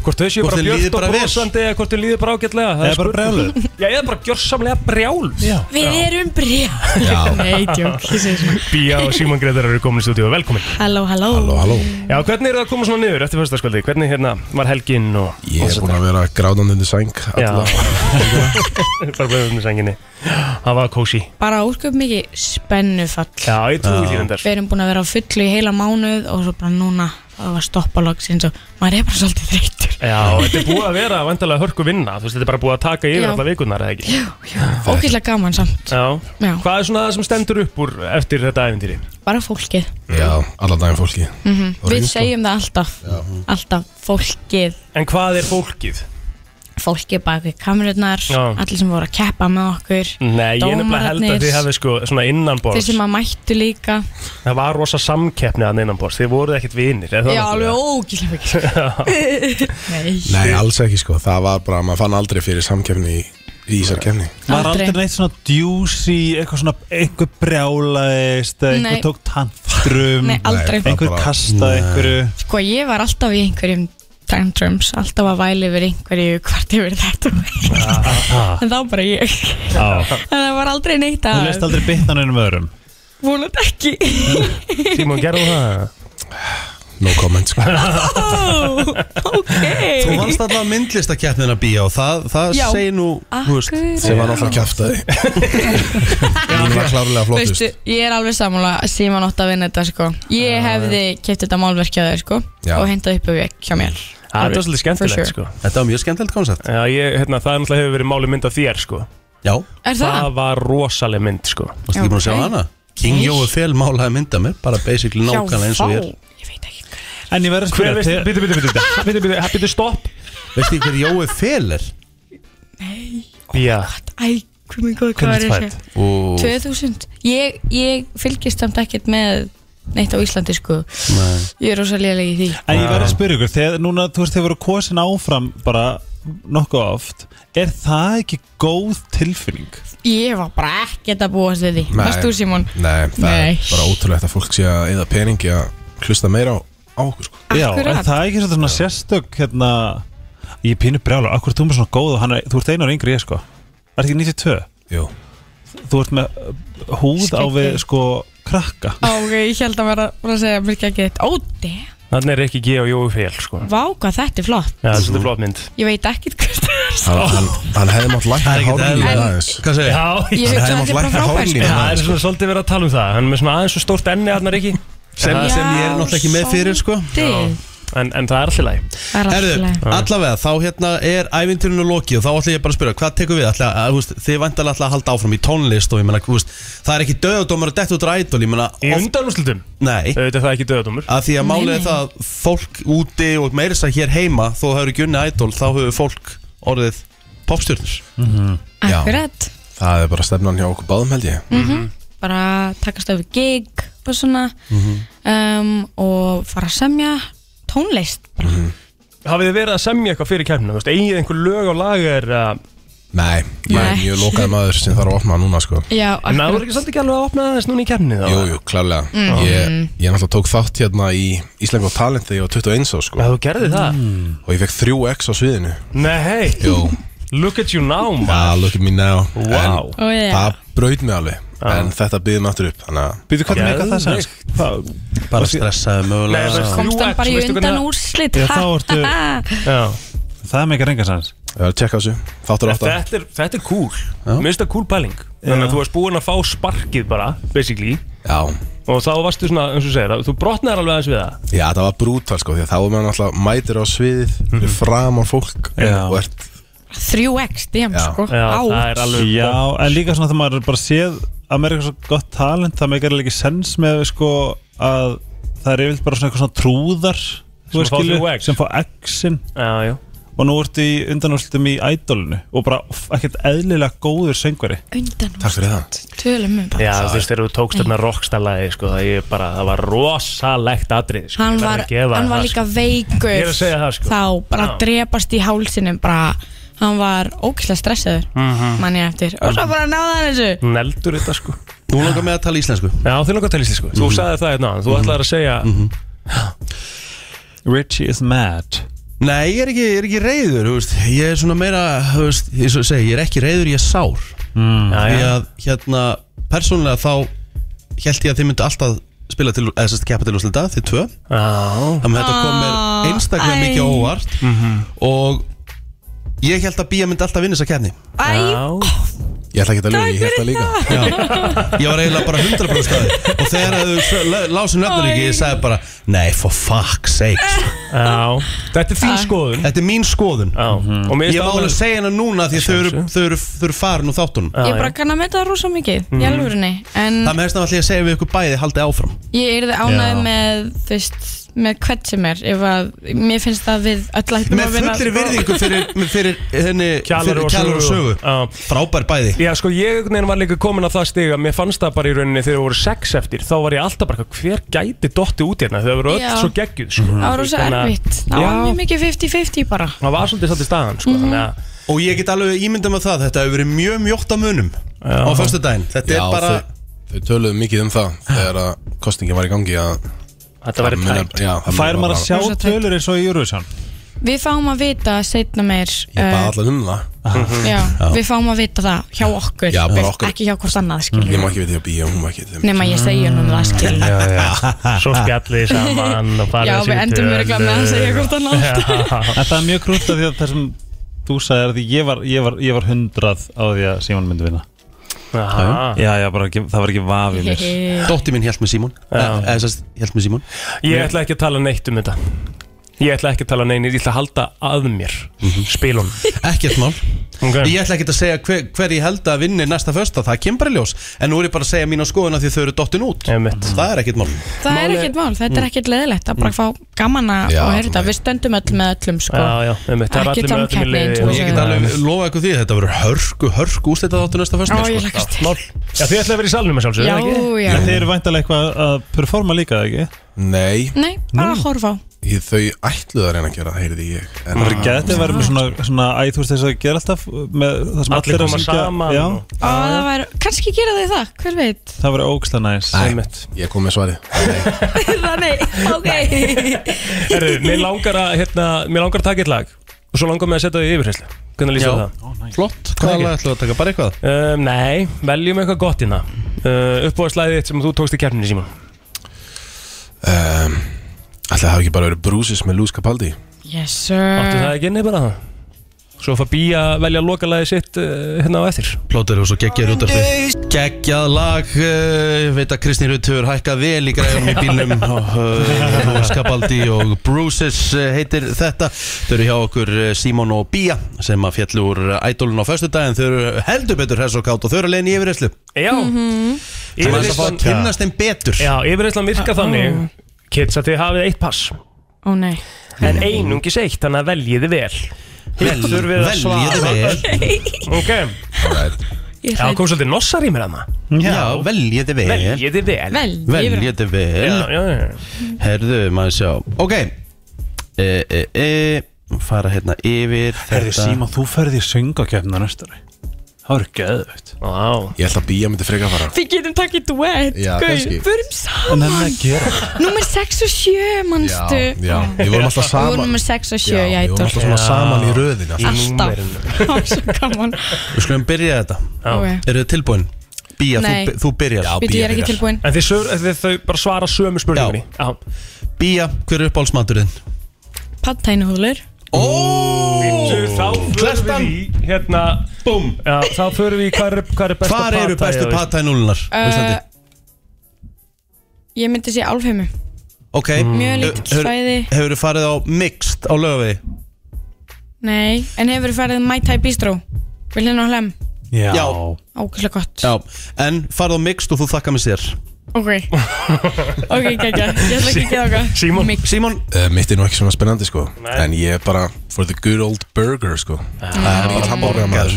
S2: hvort þau séu
S1: Hvort
S2: bara
S1: þeim líði
S2: björt og
S1: bara vel.
S2: brosandi eða hvort þau líður bara ágætlega Það
S4: Eða bara brjáluð.
S2: Já, eða bara gjörsamlega brjál Já
S3: Við erum brjál Nei, tjók, ég segi svona
S2: Bía og Símon Gretar eru komin í stúdíu, velkomin
S3: Halló, halló
S11: Halló,
S2: Já, hvernig er það að koma svona niður eftir fyrstaskvöldi? Hvernig hérna var helgin og
S11: ég er búin að vera gráðan undir sæng
S2: Já
S11: alla,
S2: Bara blöðum með senginni Það var kósi
S12: bara ósköp mikið spennufall
S2: Já, ég trúi því reyndar
S12: við erum búin að vera á fullu í heila mánuð og svo bara núna fá það var stoppalogsins og maður er bara svolítið þreytur
S2: Já, þetta er búið að vera vandalega hörku vinna Þú veist, þetta er bara búið að taka yfir
S12: Já.
S2: alla vikunar, eða ekki?
S12: Já, já, ógeðslega gaman samt
S2: Já.
S12: Já.
S2: Hvað er svona það sem stendur upp úr eftir þetta æfintýri?
S12: bara fólkið
S11: Já, allan daginn fólki
S12: mm
S11: Og
S12: við
S11: reynsla.
S12: segjum það alltaf alltaf fólkið
S2: En hvað er fólkið?
S12: fólkið bak við kamerunnar
S2: Já.
S12: allir sem voru að keppa með okkur
S2: Nei, ég nefnilega held að
S12: dómararnir,
S2: þið hefði sko svona
S12: þeir
S2: innanborðs
S12: sem að mættu líka
S2: Það var rosa samkeppni að innanborðs, þið voruð ekkert vinir er það
S12: já, alveg
S2: náttúrulega?
S12: ógeðslega mikið nei,
S11: Nei, alls ekki sko, það var bara, maður fann aldrei fyrir samkefni í, í þessar kefni
S4: Var aldrei neitt svona djúsi, eitthvað svona, einhver brjálaðist, eða
S12: Nei.
S4: einhver tók tantrum,
S12: Nei, aldrei.
S4: einhver
S12: Bara-
S4: kastaði einhverju.
S12: Sko ég var alltaf í einhverjum tantrums, alltaf að væli yfir einhverju hvort yfir þetta og hitt.
S4: Já.
S12: en þá bara ég en það var aldrei neitt
S4: Þú
S12: að
S4: leist aldrei bitnan einum öðrum.
S12: vonandi ekki
S2: Tímon, gerðu það?
S11: No comment sko
S12: oh, ok
S1: Þú vannst alltaf myndlistakeppnina bíó Það, það
S12: Já,
S1: segir nú, þú veist
S12: akkurat.
S11: Sem var náttúrulega kjaftaði Hún var klárlega flottust
S12: Veistu, ég er alveg sammála Simon átt að vinna þetta sko Ég hefði keft þetta málverkjaður sko
S2: Já.
S12: og hentað upp við hjá mér
S2: Það var svolítið skemmtilegt
S12: For sure.
S2: sko
S1: Þetta var mjög skemmtilegt koncept
S2: Já, ég, hérna, það er náttúrulega hefur verið máli mynd af þér sko
S1: Já
S12: Er það?
S2: Það var rosaleg mynd sko
S1: Varstu ekki búin að sjá
S12: Ok.
S1: hana? King Jói Fel málaði mynda mér Bara basically
S12: Já,
S1: nákvæmlega eins og
S12: vá.
S1: ég er
S4: En ég verður að
S2: Hver
S4: spyrja
S2: veist, bítu, bítu, bítu, bítu, bítu, bítu, stopp
S1: Veistu ekki hver Jói Fel er?
S2: Já
S12: Æ, hvað minn góð, hvað er þessi? 2000 ég, ég fylgist samt ekkert með neitt á Íslandi sko
S1: Nei.
S12: Ég er rosa léleg í því
S4: En ég verður að spyrja ykkur, þegar núna, þú veist, þeir voru kosin áfram bara nokkuð oft, er það ekki góð tilfinning?
S12: Ég var bara ekkert að búast við því
S11: Nei.
S12: Varst þú Simon?
S11: Nei, það
S12: Nei.
S11: er bara ótrúlegt að fólk sé að eða peningi að hlusta meira á, á okkur sko
S4: Já,
S12: Akkurat.
S4: en það er ekki svolítið svona sérstök, hérna, ég er pínu brjálar, akkur þú er með svona góð og hann er, þú ert einar yngri ég, sko. Er ekki 92?
S11: Jú
S4: Þú ert með uh, húð á við,
S12: Skeggið.
S4: sko, krakka.
S12: Á, ok, ég held að vera bara að segja mér ekki eitt Ó, damn,
S2: Þannig er ekki G og Jói Fel sko
S12: vá hvað þetta er flott
S2: Já, þetta er flott mynd
S12: Ég veit ekkert hvað það er
S11: Hann, hann, hann hefði mátt lækka
S1: Það er ekki
S11: hárinu
S1: eðlilegt.
S11: aðeins
S1: Hvað segir?
S2: Já,
S12: Ég hugsa að þetta er bara frábær
S11: hárlínu
S12: sko.
S2: það er svona svolítið verið að tala um það Hann er með svona aðeins svo stórt enni hann er ekki
S1: Sem,
S12: Já,
S1: sem ég er náttúrulega ekki með fyrir sko
S12: svolítið.
S2: En, en það er allir læg
S12: Það er alltaf
S1: Herðu,
S12: leið
S1: allavega, þá hérna er ævintýrinu lokið og þá ætla ég bara að spyrja, hvað tekur við? Ætla, að, þú veist, þið vantarlega ætla að halda áfram í tónlist og ég meina, þú veist, það er ekki döðadómar að detta út úr ædol, ég meina
S2: Í
S1: oft-
S2: undanúslutum
S1: Nei,
S2: Auðvitað er það ekki döðadómur
S1: að því að
S12: Nei,
S1: málið
S12: nei.
S1: er það að fólk úti og meira þess að hér heima, þó það eru ekki unni ædol, þá hefur fólk orðið popstjörnur.
S2: Mhm.
S11: Já.
S12: Akkurat, Mhm.
S11: Það er bara stefnan hjá okkur báðum held ég
S12: bara takast öfri gig og svona
S2: Mhm.
S12: um, og fara að semja tónlist
S2: Hafið þið verið að semja eitthvað fyrir kemna? Þú veist, eigið þið einhver lög og lagar uh,
S11: Nei, ég er
S12: Nei.
S11: mjög lokaði maður sem þarf að opna núna sko
S12: Já,
S2: Náður ekki svolítið ekki alveg að opna aðeins núna í kemni þá?
S11: Jú, jú, klárlega
S2: Mm.
S11: ég, ég náttúrulega tók þátt hérna í Íslengu á talent þegar ég var 21 á sko
S2: Já, þú gerði það?
S11: Og ég fekk 3x á sviðinu
S2: Nei,
S11: Jú,
S2: look at you now, man
S11: ah, look at me now
S2: Wow.
S11: En
S2: Ah.
S12: Oh, yeah.
S11: Það braut mig alveg En þetta byggði mig aftur upp Þannig að
S4: Býtu, hvernig meika það
S2: Geðveikt.
S4: sænsk? Það-
S1: Bara stressaði
S2: Nei,
S1: mögulega.
S2: það-
S12: komst hann
S2: 3X,
S12: bara í
S2: veistu
S12: undan
S2: hvernig-
S12: úrslit
S4: Já, þá ertu-
S2: Já.
S4: Það meika reyngar sænsk.
S11: ég var að tjekka á þessu Þáttur átta
S2: Þetta er, þetta er cool Mér finnst það cool pæling Þannig að þú varst búinn að fá sparkið bara, basically
S11: Já,
S2: Og þá varstu svona, eins og þú segir, þú brotnar alveg aðeins við það
S11: já það var brútal sko Því að þá er maður náttúrulega mætir á sviðið
S2: Mhm.
S11: mm -hmm. Fram á fólk
S4: Já.
S11: Og ert
S12: 3x, damn
S11: Já.
S12: sko
S2: Já,
S12: Á.
S2: það er alveg
S4: Já, en líka svona þegar maður er bara séð að maður er eitthvað svo gott talent það meikar alveg ekki sens með sko að það er yfirleitt bara svona eitthvað svona trúðar þú
S2: Sem
S4: veist,
S2: fá
S4: skilur,
S2: þrjú egg.
S4: sem fá X-in
S2: Já, já
S4: og nú ertu í undanúrslutum í ædolinu og bara f- ekkert eðlilega góður söngveri
S12: undan
S11: Takk fyrir það
S12: úrslit tölum um. við bara
S2: Já, þú veist, þegar þú tókst þarna rockstalaði, sko, það, ég bara, það var rosalegt atrið, sko,
S12: hann
S2: ég verð
S12: var,
S2: að gefa
S12: hann
S2: þér
S12: var
S2: það,
S12: líka
S2: sko.
S12: veikur
S2: Ég er að segja það, sko.
S12: þá bara
S2: Já.
S12: drepast í hálsinum bara hann var ókvæslega stressaður mm mann ég eftir og svo bara náða hann þessu
S2: Mhm. Neldur þetta, sko.
S1: Nú langar mig að tala íslensku.
S2: Já, þið langar að tala í sig, sko. Þú sagði það hérna, áðan, þú ætlaði að segja,
S1: Mhm.
S4: Richie is mad
S1: Nei, ég er ekki, ég er ekki reyður, þú veist, ég er svona meira, þú veist, ég, svo segi, ég er ekki reyður, ég er sár.
S2: Mm. já,
S1: Því
S2: já,
S1: að, hérna, persónulega þá held ég að þið myndu alltaf spila til, eða sérst, keppa til úrslita, þið tvö.
S2: já, Mhm.
S1: Þannig að þetta kom
S12: Ah,
S1: mér
S12: æ.
S1: einstaklega mikið á óvart og ég held að Bía myndi alltaf vinna þessa kefni.
S12: Æ,
S2: já,
S11: Ég ætla ekki að ljóða, ég held það líka
S1: Já. Ég var eiginlega bara 100% staði Og þegar að þau s- l- lásu nöfnur ekki Ég sagði bara, nei for fuck's sake sko."
S2: Já. Þetta er þín skoðun
S1: Þetta er mín skoðun
S2: Og mér finnst
S1: Ég
S2: það
S1: má alveg
S2: alveg-
S1: segja hana núna Því að þau eru, þau eru, þau eru farin úr þáttunum
S12: Ég bara kann að metta það rosa mikið
S1: Mhm.
S12: Í alvörunni En
S1: Það með þess að allir að segja við ykkur bæði Haldið áfram
S12: ég er það
S1: Já.
S12: ánægð með Þú veist Með hvert sem er Ef að Mér finnst það við öll ættum að
S1: Með
S12: vinna
S1: fullri virðingu fyrir, fyrir henni
S2: Kjalar og
S1: fyrir Kjalar og sögu Frábær bæði
S2: Já, sko, ég einhvern veginn var líka komin að það stiga Mér fannst það bara í rauninni þegar það voru sex eftir Þá var ég alltaf bara, hver gæti dotti út hérna Þau voru öll
S12: Já.
S2: svo geggjuð sko.
S12: Það var rosa
S2: Þannig að-
S12: erfitt Það var
S2: Já,
S12: mjög mikið Mm. 50-50 bara
S2: það var svolítið svolítið staðan sko, þannig að-
S1: Og ég get alveg ímynda með það Þetta hefur verið mjög mjótt af munum Á fyrstu daginn Þetta
S11: Já,
S1: er bara
S11: þau, þau töluðu mikið um það þegar að kostningin var í gangi að
S2: Þetta væri tæpt.
S11: Fær
S4: Fær maður að sjá tölur eins og í Eurovision
S12: Við fáum að vita setna meir uh,
S11: Ég bað allan um það
S12: Eh. Mhm. Já, við fáum að vita það hjá okkur,
S11: Já, bara
S12: veist,
S11: okkur.
S12: ekki hjá hvort annað skil.
S11: Ég má ekki veit ég að býja, hún má ekki veit
S12: Nema ég segi honum það, skil.
S2: Já, já. Svo spjallið saman og farið
S12: Já,
S2: þessi
S12: við
S2: í
S12: endum örugglega með að segja hvort annað.
S2: Já.
S4: En það er mjög krútt að því að það sem þú sagði er að því ég var, ég var, ég var hundrað á því að Simon myndi vinna
S2: Aha.
S4: Já, já, bara ekki, það var ekki vafi mér
S1: Dóttir minn held með Eh, Simon
S2: Já.
S1: Eða þess að held með Simon
S2: Ég ætla ekki að tala neitt um þetta Ég ætla ekki að tala neinir, ég ætla að halda að mér
S1: Mhm.
S2: Spilun
S1: Ekkert mál Ég ætla ekki að segja hver, hver ég held að vinni næsta fösta, það kemur bara í ljós En nú er ég bara að segja mína skoðuna því þau eru dottin út
S2: Einmitt.
S1: Það er ekkert mál
S12: Það er ekkert mál, þetta er
S1: Mm.
S12: ekkert leðilegt að bara fá gaman að
S1: Já,
S12: og heyra þetta, við stöndum öll með öllum sko.
S2: Já, já, einmitt, það er
S12: Ekki
S2: allir með öllum í
S12: samkeppni,
S2: liði
S12: eins og
S1: Og ég get alveg um- lofa ykkur því að þetta verður hörku, hörku úslitað áttu næsta sko. fösta
S12: Ó, ég hlakkast til.
S2: Já, þið ætlaði að vera í salnum að sjálfsögðu,
S12: Já,
S2: ekki?
S12: já.
S4: En þið eru væntalega eitthvað að performa líka, ekki?
S11: Nei,
S12: Nei,
S1: Mm.
S12: bara að horfa á
S11: ég, þau ætluðu að reyna að gera það, heyrði ég
S4: Það verður gætið að vera með svona, svona æ, þú veist þess að gera alltaf með það sem
S2: Allir
S4: allir
S2: koma saman
S4: Já,
S2: og-
S12: Ó, það væri, kannski gera þau það, hver veit
S4: það verður ógstlega næs
S11: Einmitt. Ég kom með svari
S12: Það nei, ok
S2: Herru, mér langar að, hérna, mér langar að taka eitt lag Og svo langar mér að setja þau í yfirherslu Hvernig lýsum
S1: Já.
S2: það?
S1: Flott, hvað lag ætlum við að taka? Bara eitthvað?
S2: Um, nei, veljum eitthvað gott hérna uh, Uppbóðslæðið þitt sem þú tókst í kjarninni, Simon
S11: um, Ætli það hafi ekki bara verið brúsis með Lús Capaldi
S12: Yes sir
S2: Áttu það ekki inni bara það? Svo fá bí að velja lokalæðið sitt uh, hérna á eftir
S1: Plótur og svo geggjaður út af því Geggjað lag, uh, veit að Kristín Rutt hefur hækkað vel í græðum í bílnum og uh, Skapaldi og Bruces uh, heitir þetta Þau eru hjá okkur uh, Simon og Bía sem að fjallu úr ædólun á föstudaginn Þau eru heldur betur hess og kátt og þau eru leiðin í yfirreyslu
S2: Já
S12: Mhm.
S1: Sem að það fá að kynnast þeim betur
S2: Já, yfirherslan
S12: Ah,
S2: virka þannig Kids að þið hafið eitt pass
S12: Ó nei
S2: En einungis eitt, þannig að veljiði vel Hitt þurfið að svara Ok,
S12: Ég
S2: já, kom svolítið nossar í mér hana
S1: Já, veljiði vel
S2: Veljiði vel
S12: Vel,
S1: Veljiði vel
S2: Já, já, já
S1: Herðu, maður sjá Ok e, e, e, Fara hérna yfir
S4: Herði Simon, þú ferði í söngakefna næstari Það verður gæðvögt
S2: Vá
S11: Ég ætla að býja myndi frekar að fara
S12: Við getum takkið duett,
S11: Já, kannski.
S12: förum
S4: En það er
S12: saman
S4: að gera
S12: Númer 6 og 7, manstu
S11: Já, já, við vorum alltaf
S12: Við vorum
S11: saman
S12: með 6 og 7 í
S11: Við vorum
S12: ædol
S11: alltaf svona saman í röðin
S12: Alltaf. Það var svo gaman
S1: Við skulum byrja þetta
S12: Ok.
S1: Eru þið tilbúin? Bía,
S12: Nei.
S1: þú, þú byrjar
S12: Bíddu, ég er ekki tilbúin
S2: En þið, sör, þið þau bara svara sömu spurningunni Já
S1: Bía, hver er uppáhaldsmaturinn?
S12: Pattænuhúlur
S2: Býttu, þá förum við í hérna
S1: Búm
S2: Já, þá förum við í hvað er, hvað er besta
S1: Hvar eru
S2: pata,
S1: bestu
S2: já, veist.
S1: patænúlunar?
S12: uh, Ég myndi sé álfheimu
S1: Ok
S12: Mjög lítill
S1: Hefur-
S12: svæði.
S1: Hefurðu farið á mixed á lögavi?
S12: Nei, en hefur farið Mai Tai Bistro Vil hérna á hlem
S1: Já Já,
S12: Ákvæmlega gott
S1: En farið á mixed og þú þakka mig sér
S12: Ok, ok, gækja Ég ætla ekki að geða okkar
S2: Simon
S1: Simon
S11: Uh, mitt er nú ekki svona spennandi sko En ég er bara for the good old burger sko Það er mikill hamburger maður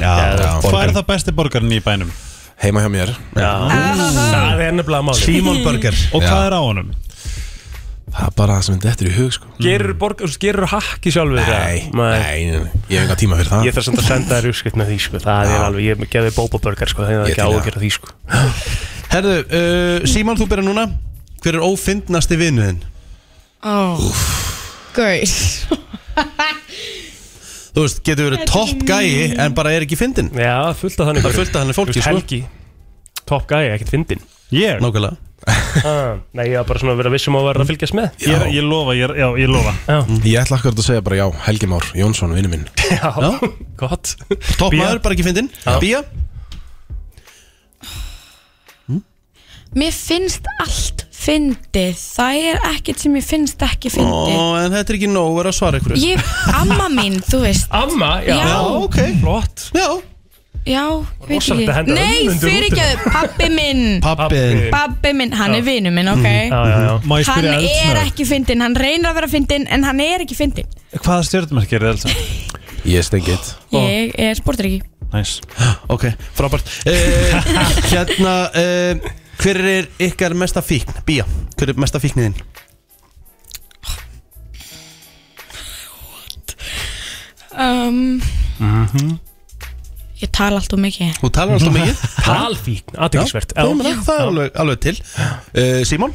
S4: Hvað er það besti borgarinn í bænum?
S11: Heima hjá mér
S2: Það er nefnilega máli
S1: Simon Burger
S11: Já.
S4: Og hvað er á honum?
S11: Það er bara það sem þetta er í hug sko
S2: Gerur borg, gerur hakki sjálfur
S11: Nei, nei, nei, nei, ég hef enga tíma fyrir það
S2: Ég þarf samt að senda þér uppskipt með því sko Það er
S11: Já.
S2: alveg, ég gefði bóbabörgar sko Það er
S11: Ég
S2: ekki
S11: til
S2: á að
S11: það.
S2: gera því sko
S1: Herðu, uh, Simon, þú byrjar núna Hver er ófindnasti vinnuðinn?
S12: oh. Gauð
S1: Þú veist, getur verið topp gæi En bara er ekki fyndin
S2: Já, fullt af þannig
S1: Það er fullt af þannig fólki,
S2: Þú veist,
S1: sko.
S2: Helgi, top guy, ekkert fyndin
S4: Ég?
S1: Nákvæmlega
S2: ah, Nei, ég var bara svona að vera vissum að vera að fylgjast með
S4: Ég, er- ég lofa, ég, er- já, ég lofa
S11: Ég ætla akkurat að segja bara já, Helgi Már, Jónsson, vinnu minn
S2: Já, gott
S1: Topp
S2: Bía.
S1: maður, bara ekki fyndin Bía
S12: mér finnst allt fyndið það er ekkert sem mér finnst ekki fyndið
S1: Ó, en þetta er ekki nóg að vera að svara ykkur
S12: ég, amma mín, þú veist
S2: Amma,
S1: já.
S12: Já,
S1: Já, ok.
S2: Flott
S1: Já,
S12: já veit
S2: Rosalegt
S12: ekki.
S2: að henda
S12: Nei,
S2: ömmundur út
S12: fyrir ekki, pappi minn
S1: Pappi.
S12: Pappi minn, hann
S2: Já.
S12: er vinur minn, ok
S2: Mhm, já, já, já. Má ég
S12: Hann er
S2: spyrja eldsnöggt?
S12: ekki fyndin, hann reynir að vera fyndin En hann er ekki fyndin
S4: Hvaða stjórnmerki er þetta?
S9: Ég er stengið
S12: Ég er sportryggi
S4: Næs
S1: Ok, frábært uh, Hérna, uh, hver er ykkar mesta fíkn? Bía, hver er mesta fíknin þín?
S12: um,
S2: Mhm.
S12: Ég tala alltaf mikið
S1: Þú talar alltaf mikið
S2: Talfíkn, athyglisvert.
S1: Já, þú meina, Það er alveg, alveg til uh, Simon?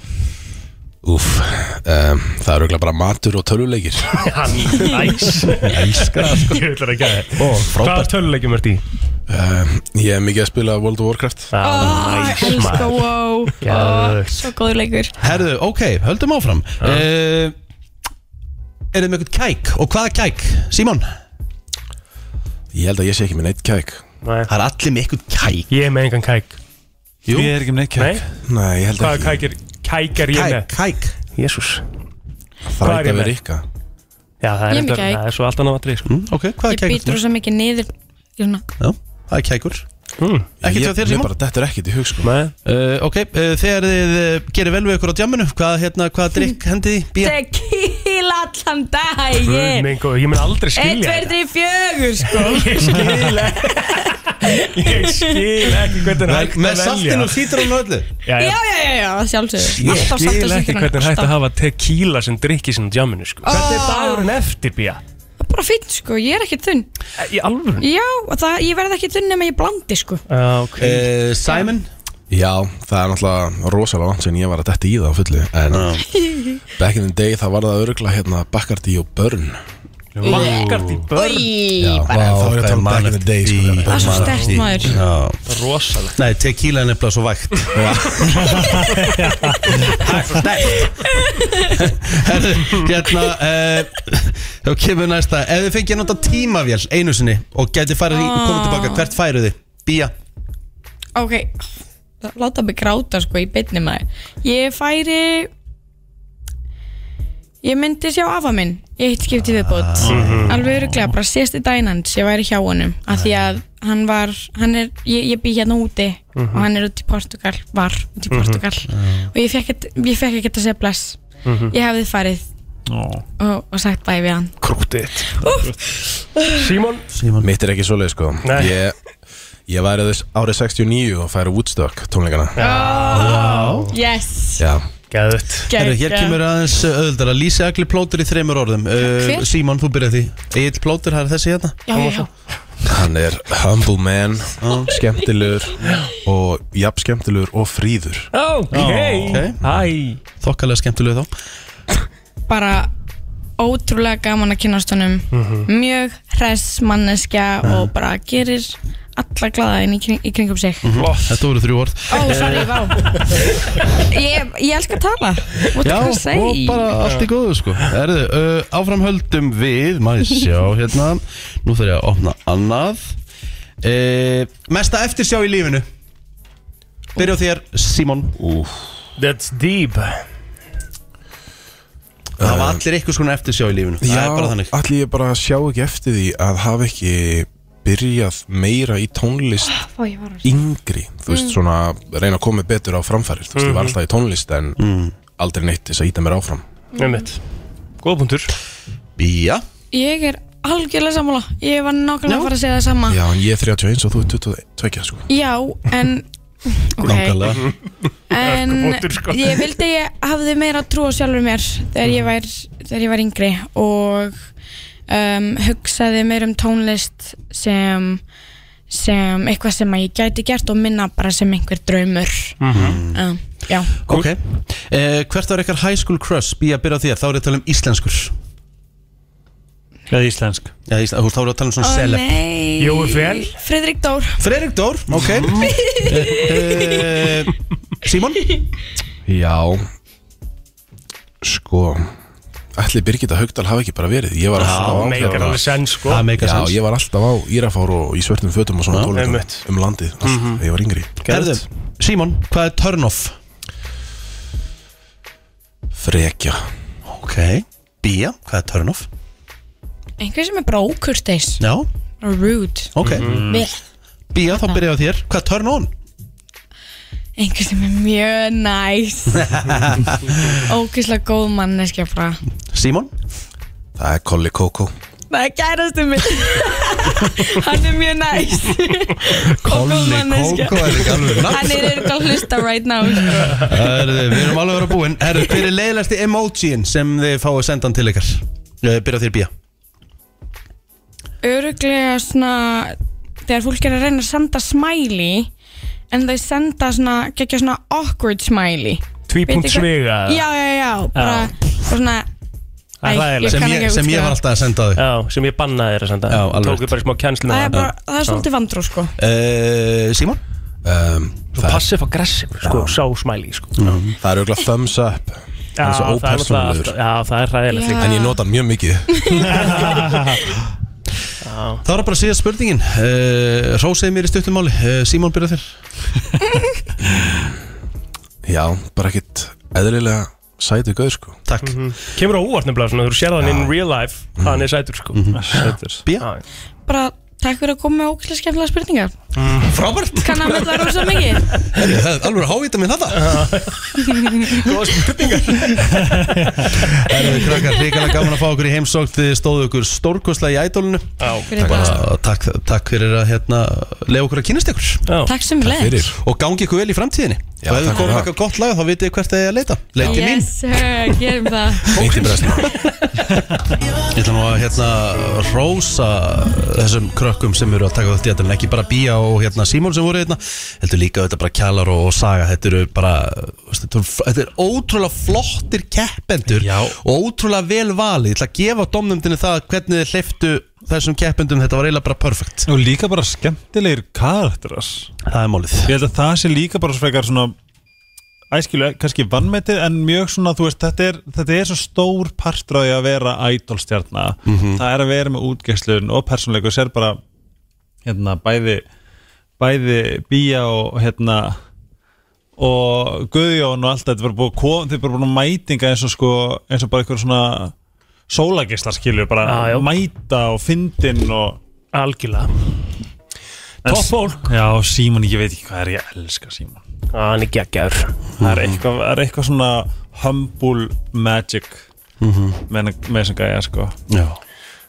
S9: Úf, um, það eru ekki bara matur og töluleikir
S2: Næs
S9: Elskar það, sko.
S2: Ég vil það ekki að
S9: Ó,
S2: það Hvaða
S9: frábært.
S2: töluleikjum ert í?
S9: um, Ég er mikið að spila World of Warcraft
S12: Ah,
S2: Næs,
S12: Elska,
S2: maður.
S12: wow
S2: Geðveikt.
S12: Ah, Svo góður leikur
S1: Herðu, ok, höldum áfram uh, Er þið með eitthvað kæk? Og hvaða kæk? Simon?
S9: Ég held að ég sé ekki með neitt kæk
S2: Nei.
S1: Það er allir með eitthvað kæk
S2: Ég er með engan kæk
S1: Jú.
S4: Ég er ekki með neitt
S2: Nei,
S4: kæk
S9: Nei, ég held
S2: hvaða
S9: ekki
S2: kæk er Kæk er ég með
S1: Kæk
S2: Jésús hvað er
S9: Þræta
S2: ég með?
S9: við Rikka
S12: Ég
S2: Já, það er,
S12: er með
S2: reyndar-
S12: kæk.
S2: það er svo allt annað atrið sko.
S1: Mm, Ok, hvaða
S12: Ég
S1: kæk?
S12: býtur
S1: ertu með?
S12: svo mikið niður Ég er svona,
S1: Já, það er kækur
S2: mm.
S1: Ekki til
S9: Ég-
S1: þér,
S9: Mér
S1: Simon?
S9: bara, þetta er ekkert í hug, sko
S2: Nei,
S1: Uh, ok, uh, þegar þið uh, gerir vel við ykkur á djamminu Hvað, hérna, hvaða drikk hendið þið? Bía?
S12: tequila allan
S2: guð
S12: daginn
S2: minn góður, Ég mun aldrei
S12: 1,
S2: skilja
S12: 2, 3, 4 sko
S2: Ég skil ekki Ég skil ekki hvernig er
S1: Með,
S2: hægt
S1: með
S2: að
S1: saltinu og
S2: velja
S1: sítrónu og öllu
S2: Já,
S12: Já,
S2: já.
S12: já, já, já, sjálfsögðu
S2: Ég
S12: Alltaf samt
S2: skil
S12: að
S2: ekki
S12: sýkra
S2: hvernig er hægt að hafa tequila sem drikki sinna djáminu sko. Hvernig er dagurinn eftir bíja?
S12: Ah, Bara fínt sko, ég er ekki þunn
S2: Í alvöru?
S12: Já, og það, ég verð ekki þunn nema ég blandi sko
S2: Já, ok
S9: Eh,
S1: uh, Simon?
S9: Já, það er náttúrulega rosalega vant sem ég var að detti í það á fullu En
S12: sko.
S9: back in the day, það var það örgla hérna Bacardi og Burn
S2: Bakkart í börn
S9: Já,
S12: Í,
S9: en þá er ég að tala um back in the day, sko
S12: það er svo stert maður
S1: Já.
S2: Rosalegt
S1: Nei, tequila er nefnilega svo vægt Það er svo stætt Herðu, hérna uh, Þá kemur næsta Ef þið fengið að nota tímavél einu sinni Og gæti farið í og
S12: Ah.
S1: komið tilbaka, hvert færuð þið? Bía,
S12: Eh. Ok, láta mig gráta sko í beinni maður Ég færi Ég myndi sjá afa minn Ég hitt skipti viðbútt Alveg öruglega, bara síðasti daginn hans Ég væri hjá honum Af því að hann var hann er, Ég, ég bý hérna úti Og hann er út í Portugal Var út í Portugal Og ég fekk, ekkert- ég fekk ekki að segja bless Ég hefði farið og, og sagt bæ við hann
S2: Krútið Simon
S1: Simon
S9: Mitt er ekki svoleið sko
S2: Nei.
S9: Ég, ég væri þess árið 69 og færi Woodstock tónleikana Já,
S12: Yes
S2: Gæðut
S1: Herru, hér kemur aðeins öðuldar að lýsa allir plótur í þreymur orðum uh,
S12: Hver?
S1: Simon, þú byrjað því Egil plótur, það er þessi hérna
S12: Já, já, já
S9: Hann er humble man, skemmtilegur og jafn skemmtilegur og fríður
S2: Ok
S1: Ok.
S2: Æ
S1: Þokkalega skemmtileg þá
S12: bara ótrúlega gaman að kynast honum
S1: Mhm.
S12: mjög hress manneskja og bara gerir alla glaða inn í, kring, í kringum sig
S1: Mhm. Þetta voru þrjú orð Eh,
S12: Ó, sorry, vá Ég, ég elska að tala What
S1: Já,
S12: can I say?
S1: og bara allt í góðu sko Erðu, uh, áframhöldum við Maður sjá hérna Nú þarf ég að opna annað uh, Mesta eftirsjá í lífinu Byrja á þér, Simon
S2: That's deep
S1: Það var allir eitthvað svona eftirsjá í lífinu Það er bara þannig
S9: allir ég bara sjá ekki eftir því að hafa ekki byrjað meira í tónlist
S12: Ó, ég var Mm. að-
S9: yngri Þú veist, svona reyna að koma betur á framfæri Þú veist, ég var alltaf í tónlist en
S1: Mm.
S9: aldrei neitt til þess að íta mér áfram
S2: Einmitt Góð punktur
S1: Bía
S12: Ég er algjörlega sammála Ég var nákvæmlega að fara að segja það sama
S9: Já, en ég er 31 og þú er 22 sko
S12: Já, en Ok,
S9: Nákvæmlega
S12: en
S2: Hörkubótur, sko.
S12: ég vildi að ég hafði meira trú á sjálfur mér þegar ég var, þegar ég var yngri og um, hugsaði meir um tónlist sem, sem eitthvað sem að ég gæti gert og minna bara sem einhver draumur
S1: Mm.
S12: um, Já,
S1: Ok uh, Hvert var ykkar high school crush? Bía, byrja á þér Þá er ég að tala um íslenskur
S4: Eða íslensk
S1: Já, Ísla, þú veist, þá er ég að tala um svona
S12: Ó,
S1: celeb
S12: nei
S2: Jói Fel.
S12: Fridrik Dór
S1: Fredrik Dór, ok Eh, uh, Simon
S9: Já Sko Ætli Birgitta Haugdal hafi ekki bara verið Ég var alltaf á
S2: Meikar alveg senn sko
S1: Það meika
S9: Já,
S1: sens
S9: ég var alltaf á Írafár og í svörtum fötum og svona
S1: Já,
S9: tónleikum
S2: einmitt. Mhm.
S11: Mhm.
S9: um landið alltaf, þegar ég var yngri
S1: Herðu, Simon, hvað er turn off?
S11: Frekja
S1: Ok, bía, hvað er turn off?
S12: Einhver sem er bara ókurteis
S1: Já,
S12: Bara rude
S1: ok
S12: Vel
S1: Bía, þá byrjaði á þér, hvað er turn on?
S12: Einhver sem er mjög næs Ógislega góð manneskja bara
S1: Simon?
S11: Það er Kolli Kókó
S12: Það er gærastu mig Hann er mjög næs
S1: Kolli Kókó er ekki alveg nafn,
S12: Hann er
S1: sko.
S12: eitthvað að hlusta right now sko.
S1: Herðu, við erum alveg að vera búin Herðu, hver er leiðlasti emojín sem þið fáið sendan til ykkar? Eh, Byrja á þér bía
S12: Öruglega svona Þegar fólk er að reyna að senda smiley En þau senda svona Gekja svona awkward smiley
S2: Tvípunktsviga, eða?
S12: Já, já, já Bara, bara svona
S2: Það er
S12: Æ,
S2: ræðilegt
S12: kann ekki að útskýra.
S1: alltaf að senda þau
S2: Já, sem ég bannaði þér að senda Já, alveg Tóku bara í smá kjænslu
S12: Það er bara, það er svolítið vandrú sko
S1: uh, Simon? Ehm,
S11: Um,
S2: Svo passif og gressif, sko, sá smæli, sko
S11: Það er auðvitað thumbs up
S2: Já,
S11: Það er svo
S2: það er náttúrulega
S11: ópersónulegur
S2: alltaf- Já, það er hræðilegt líka.
S11: En ég nota hann mjög mikið
S1: Það var bara síðast spurningin uh, Rósið mér í stuttum máli uh, Simon byrja þér
S11: Já, bara ekkit eðlilega sætu gauð sko
S1: Takk
S2: Mhm.
S1: Mhm.
S2: Kemur á óvart nefnilega svona, þú sér það in real life Hvað hann er sætur, sko Sætur
S1: Bía?
S12: Bara, takk fyrir að koma með ógislega skemmtilega spurningar
S1: Frábært
S12: Kann að mötla rosa mikið
S1: Herðu, það er alveg hávita minn þetta
S2: Góða spurningar
S1: Herðu, krakkar, hrikalega gaman að fá okkur í heimsókn Þið stóðu okkur stórkostlega í ædólinu
S12: Fyrir bara-
S1: takk, takk fyrir að hérna, lefa okkur að kynast ykkur
S2: Já.
S12: Takk sömuleiðis. Takk fyrir.
S1: Og gangi ykkur vel í framtíðinni
S11: Já,
S1: Og
S11: takk
S1: ef við
S11: fyrir
S1: komum
S11: það.
S1: eitthvað gott lag þá vitið þið hvert þið er að leita Leitið mín
S12: Yes, sir, gerum það
S11: Beint í brestina
S1: Ég ætla nú að hérna rósa þessum krökkum sem eru að taka þetta þetta en ekki bara Bía og hérna Símón sem voru hérna heldur líka þetta bara Kjallar og, og Saga þetta eru bara, veist, þetta eru- þetta eru ótrúlega flottir keppendur Já. og ótrúlega vel valið, ég ætla að gefa domnumdini það hvernig þið hleyftu þessum keppendum, þetta var eiginlega bara perfect
S4: Og líka bara skemmtilegir karakteras
S1: Það er málið
S4: Ég held að það sé líka bara svo frekar svona Æskilu, kannski vannmetið En mjög svona, þú veist, þetta er, þetta er svo stór partur partraði að vera ædolstjarna
S11: Mhm.
S4: Það er að vera með útgeislun Og persónleikur sér bara Hérna, bæði Bæði bía og hérna Og Guðjón og allt þetta var búið að koma Þeir bara búin að mætinga eins og sko Eins og bara einhver svona Sólagislar skilur, bara mæta Og fyndin og
S2: Algjörlega Topp fólk
S4: Já, Símon, ég veit ekki hvað er ég elska Símon
S2: Já, hann er geggjör
S4: Það er eitthvað, það er eitthvað svona humble magic
S2: Mhm.
S4: með, með þessum gæja, sko
S1: Já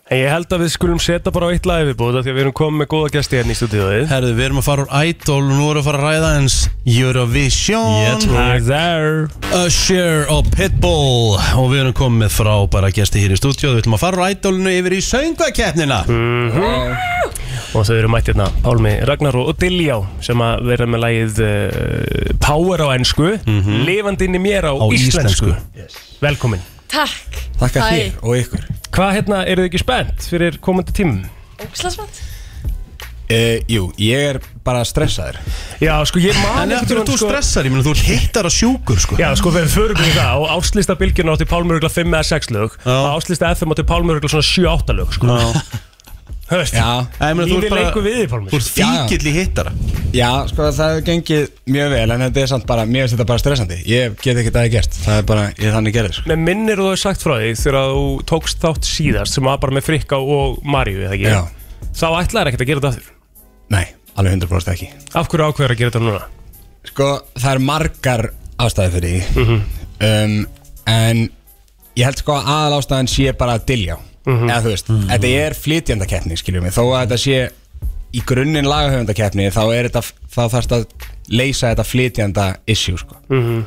S2: En ég held að við skulum setja bara á eitt lag viðbúð af Því að við erum komið með góða gæsti hérna í stúdíóið
S1: Herðu, við erum að fara úr Idol og nú erum við að fara að ræða eins Eurovision
S2: Yes, we're
S1: Usher og Pitbull og við erum komið með frábæra gæsti hér í stúdíu við ætlum að fara úr Idolinu yfir í söngakeppnina
S2: Mhm. Og þau eru mætt hérna Pálmi Ragnar og Diljá sem að vera með lagið uh, Power á ennsku Lifandi inn í mér á,
S1: Mhm. Á íslensku.
S2: Yes. Velkomin
S13: Takk
S2: Þakka
S13: Hæ.
S2: þér
S11: og ykkur
S2: Hvað hérna, eru þið ekki spennt fyrir komandi tímum?
S13: Ógislasmant
S11: Uh, jú, ég er bara stressaður
S2: Já, sko, ég man
S1: En
S2: einhvern
S1: eftir
S2: tímann,
S1: að þú
S2: sko-
S1: stressar, ég meina þú hittar að sjúkur sko
S2: Já, sko, við förum við það og áslista bylgjuna átti Pálmurugla 5 eða 6 lög og áslista FM átti Pálmurugla svona 7-8 lög, sko Höfst,
S11: Já.
S1: Ég meina, þú ert
S2: lífið
S1: bara-
S2: leikur við því, Pálmi
S1: Þú ert fíkill í hittara
S11: Já, sko, það hefur gengið mjög vel En þetta er samt bara, mér finnst þetta bara stressandi Ég get ekki það að gert Það er bara, ég er þannig gerður sko.
S2: Með minnir þú hefur sagt frá því þegar þú tókst þátt síðast sem var bara með Frikka og Maríu, eða ekki?
S11: Já.
S2: Þá ætlaðir ekkert að gera þetta aftur
S11: Nei, alveg 100% ekki
S2: Af hverju ákveður að gera þetta núna?
S11: Sko, það er margar ástæði fyrir því
S13: Mhm.
S11: um, En ég held sko að aðal ástæðan sé bara að dilja
S13: Mhm.
S11: Eða þú veist, þetta er flytjandakeppni, skiljum við Þó að þetta sé í grunninn lagahöfundakeppni Þá er þetta, þá þarfst að leysa þetta flytjanda issue, sko
S13: Mhm.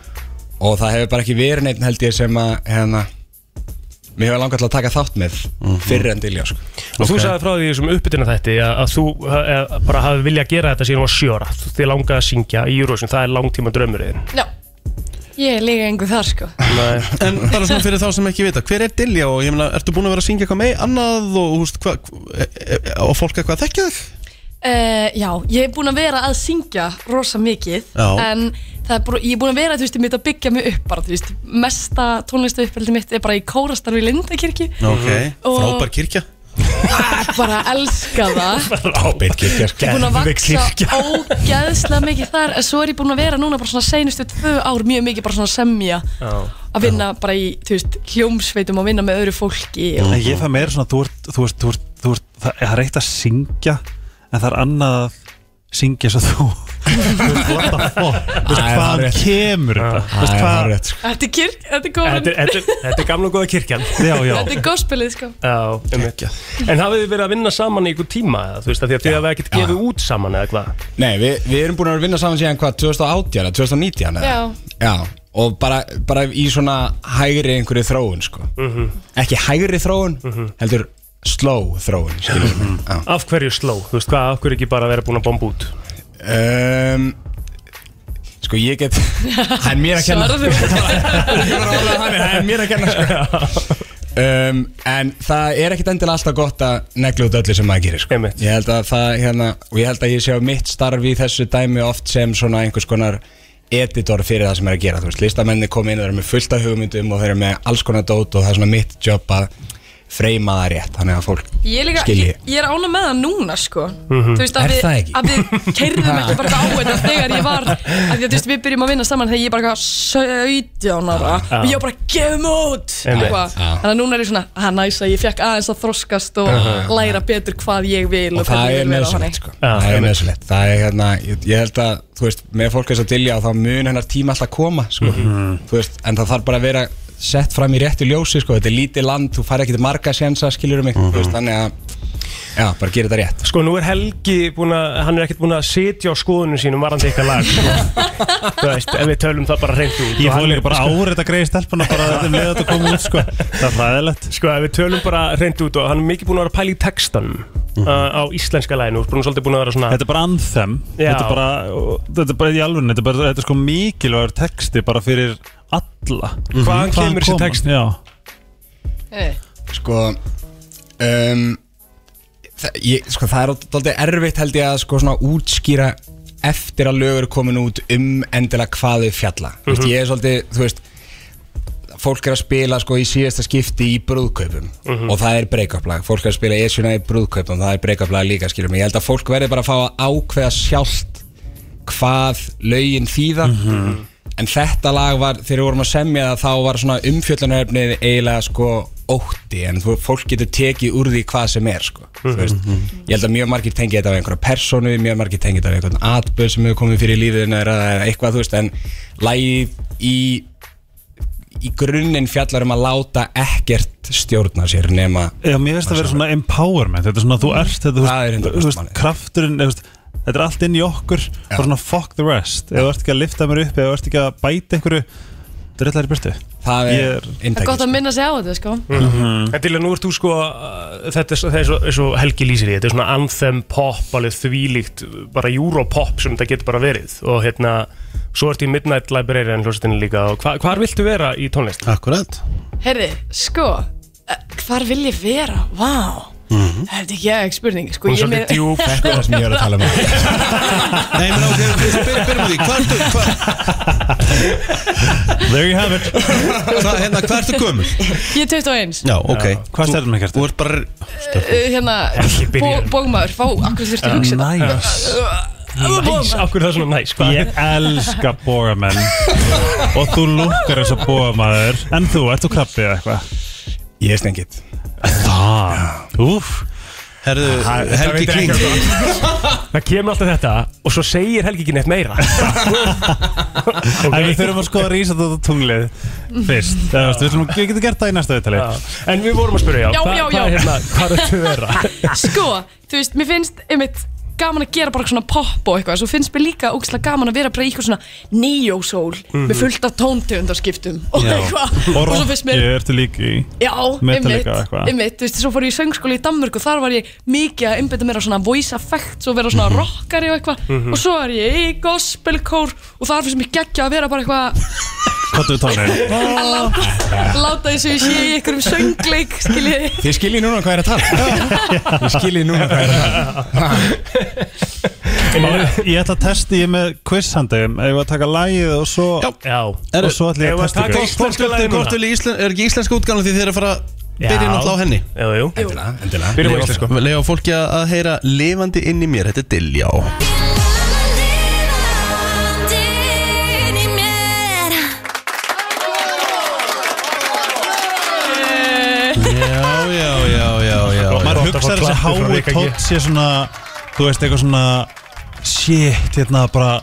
S11: Og það hefur bara ekki verið neitt held ég sem að, hérna Mér hefur langað til að taka þátt með
S13: Mhm.
S11: Fyrir en dilja, sko
S2: Og þú sagði frá því í þessum uppbytuna þætti að, að þú að, bara hafi viljað gera þetta síðan var sjóra Þið langaði að syngja í Eurovision, það er langtíma draumurinn
S13: Já Ég er líka engu þar sko
S1: En bara svona fyrir þá sem ekki vita, hver er Dilja og ég meina, ertu búin að vera að syngja eitthvað með annað og, húst, hva, e, e, og fólk eitthvað að þekkja þig?
S13: uh, Já, ég er búin að vera að syngja rosa mikið
S1: Já.
S13: En það er bara, ég er búin að vera þú veist, mitt að byggja mig upp bara, þú veist Mesta tónlistu uppeldi mitt er bara í kórastarfi í Lindakirkju
S1: Ok,
S13: Mm. Og-
S1: frábær kirkja
S13: bara elska það
S11: Toppin kirkja
S13: Ég er búin að vaksa ógeðslega mikið þar En svo er ég búin að vera núna bara svona seinustu tvö ár Mjög mikið bara svona að semja Að vinna bara í, þú veist, hljómsveitum Að vinna með öðru fólki og...
S4: Nei, ég fæ meira svona, þú ert, þú ert, þú ert, þú ert það, það er eitt að syngja en það er annað að syngja svo þú Þú veist
S2: Æ, það er
S4: hvaðan
S2: rétt.
S4: kemur þetta Þú veist
S2: Æ, það er
S4: hvað
S11: rétt
S13: Þetta er sko. kirk, þetta er góðan
S2: Þetta er- þetta er þetta er gamla og góða kirkjan
S4: Já, já.
S13: Þetta er gospelið, sko
S2: Já, einmitt. En hafið þið verið að vinna saman í ykkur tíma eða, þú veist, af því að þið hafið ekkert gefið út saman eða hvað?
S11: Nei, við, við erum búin að vera að vinna saman síðan hvað, 2018 eða 2019 eða?
S13: Já.
S11: Já, og bara, bara í svona hægri einhverju þróun sko
S2: Mhm.
S11: Ekki hægri þróun, heldur slow þróun skilur við.
S2: Af hverju sló? Þú veist hvað, af hverju ekki bara vera búin að bomba út?
S11: um, Sko ég get, það er mér að kenna
S13: Svarðu.
S11: Ég var að orða þannig, Það er mér að kenna sko Um, en það er ekkit endilega alltaf gott að negla út öllu sem maður gerir sko. ég held að það hérna, og ég held að ég sé á mitt starf í þessu dæmi oft sem svona einhvers konar editor fyrir það sem er að gera þú veist, listamenni kom inn og þeir eru með fullta hugmyndum og þeir eru með alls konar dót og það er svona mitt jobb að freyma það rétt þannig að fólk
S13: Ég er, líka,
S11: skilji
S13: ég, ég er ána með það núna sko
S11: Mhm.
S13: Þú veist að
S11: Er það
S13: við,
S11: ekki?
S13: að við keirðum ekki bara á þetta þegar ég var að því að þú veist við byrjum að vinna saman þegar ég er bara eitthvað 17
S11: Ah,
S13: ára
S2: Já.
S13: og ég var bara gefum út
S2: Einmitt.
S13: eitthvað.
S2: Já.
S13: Þannig að núna er ég svona að næsa ég fekk aðeins að þroskast og
S11: Já.
S13: læra betur hvað ég vil
S11: og það
S13: hvernig ég
S11: er
S13: vil vera og
S11: nöðsynlegt
S13: þannig.
S11: sko. það er nöðsynlegt það er hérna, ég, ég held að þú veist, með fólk þess að dilja þá mun hennar tíma alltaf koma sko. þú veist, en það þarf bara að vera sett fram í réttu ljósi, sko. þetta er lítið land þú fær ekkert marga sjensa, skilur mig þú veist, þannig að, já, bara gera þetta rétt
S2: Sko nú er Helgi búin að, hann er ekkert búin að sitja á skoðunum sínum varandi eitthvað lag sko. Þú veist, ef við tölum það bara reynd
S4: Ég
S2: út
S4: fór
S2: Og hann
S4: líka
S2: er-
S4: bara
S2: sko-
S4: árið að greiði stelpuna bara þetta með þetta kom út sko Það er fræðilegt
S2: Sko, ef við tölum bara reynd út og hann er mikið búin að vera að pæla í textanum
S4: Mhm.
S2: uh, á íslenska læginu, búin svolítið búin að vera svona
S4: Þetta er bara anthem
S2: Já.
S4: þetta er bara, þetta er bara í alveg þetta, er bara- þetta er sko mikilvægur texti bara fyrir alla
S2: Hvaðan kemur
S4: Mhm.
S2: þessi
S4: kom hann?
S2: texti?
S4: Já
S11: sko um, það, ég, sko, það er alltaf erfitt held ég að sko, svona, útskýra eftir að lögur komin út um endilega hvað þau fjalla mm veist, ég er svolítið, þú veist fólk er að spila sko, í síðasta skipti í brúðkaupum
S14: Mhm.
S11: og það er break-up lag fólk er að spila Esjuna í brúðkaupum það er break-up lag líka skilur mig, ég held að fólk verði bara að fá að ákveða sjálft hvað lögin þýða en þetta lag var, þegar við vorum að semja það þá var svona umfjöllunaröfnið eiginlega sko ótti en þú, fólk getur tekið úr því hvað sem er sko,
S4: Mhm.
S2: Mhm.
S11: þú veist ég held að mjög margir tengi þetta af einhverja personu mjög margir tengi þetta af einhvern atbyrð sem hefur komið fyrir í lífinu eða eitthvað þú veist en lagið í í grunninn fjallar um að láta ekkert stjórna sér nema
S4: Já, mér finnst það að vera svona empowerment Þetta er svona, þú ert, þetta,
S11: Það er
S4: þú veist, þú veist krafturinn þú veist, Þetta er allt inn í okkur og svona fuck the rest Ef þú ert ekki að lifta mér upp, ef þú ert ekki að bæta einhverju Þetta er alltaf í burtu
S11: Það
S4: er,
S13: Það er gott að minna sig á þetta sko
S2: Mm En til að nú ert þú sko uh, Þetta er svo- það er svo, er svo Helgi lýsir í Þetta er svona anthem pop Alveg þvílíkt Bara europop Sem þetta getur bara verið Og hérna Svo ertu í Midnight Library En hljóstinu líka Og hva, hvar viltu vera í tónlist?
S1: Akkurat
S13: Herri, sko eh, Hvar vil ég vera? Vá
S11: Mhm.
S13: Það er ekki ekki spurning sko,
S2: Hún er
S13: ég
S2: svolítið
S13: með-
S2: djúp,
S11: Þetta er það sem ég er að tala um
S1: Nei, menn ok, byrjum byrjum því, hvað ertu, hvað
S4: There you have it
S1: Hvað, hérna, hvað ertu gömul?
S13: Ég er 21
S1: Já, ok
S4: Hvað hérna, stærðum ekki ertu?
S1: Þú ert bara
S13: Eh, hérna,
S2: Ekki byrja.
S13: bó- bókmaður, fá, akkur þurfti að hugsa þetta
S2: Næs Akkur er það svona næs
S4: Ég elska bógamenn Og þú lukkar eins og bógamaður En þú, ert þú krabbið eða eitthvað?
S11: Ég er stengið
S4: Það, úf
S1: Herðu,
S2: Helgi Kling Það kemur alltaf þetta Og svo segir Helgi ekki neitt meira
S4: En við þurfum að skoða rísa þetta tunglið Fyrst, það veist, við ætlum að- við getum gert það í næsta viðtali
S2: En við vorum að spyrja,
S13: Já, hva- já, hvað já. er hérna-
S2: Hvað er þetta vera?
S13: Sko, þú veist, mér finnst einmitt gaman að gera bara svona pop og eitthvað Svo finnst mér líka ógslag gaman að vera bara í eitthvað svona Neo-soul
S4: Mhm.
S13: Með fullt af tóntegundarskiptum Og eitthvað
S4: Og
S13: svo finnst mér
S4: rocki ertu líka í
S13: Já, einmitt,
S4: Metallica eitthvað.
S13: einmitt, þú veist, svo fór ég í söngskóli í Danmörk og þar var ég mikið að einbytta mér á svona voice effects og vera svona rockari og eitthvað
S4: Mhm.
S13: og svo er ég í gospelkór og þar finnst mér geggja að vera bara eitthvað
S4: Hvað þú tónir?
S13: að láta- láta eins og ég sé í einhverjum söngleik, skiljiði
S11: Þið skiljið núna hvað er að tala um. Þið skiljið núna hvað er að tala
S4: Ég ég ætla að testa ég með quiz handegum Ef við að taka lagið og svo
S1: Já.
S2: Já
S4: Og svo ætla ég að
S1: Hvort-
S4: testa
S1: hvort-
S4: ykkur
S1: hvort vil íslen- Er ekki íslenska útgáðan því þið er að fara byrjum náttúrulega á henni
S2: Jú, jú
S11: Endilega, endilega
S2: Byrjum á
S1: Leyfa-
S2: íslensku.
S1: Leyfa fólki að að heyra lifandi inn í mér, þetta er Diljá Já, já, já, já, já
S4: maður hugsaði þessi háu tótt sé svona þú veist eitthvað svona shit, hérna bara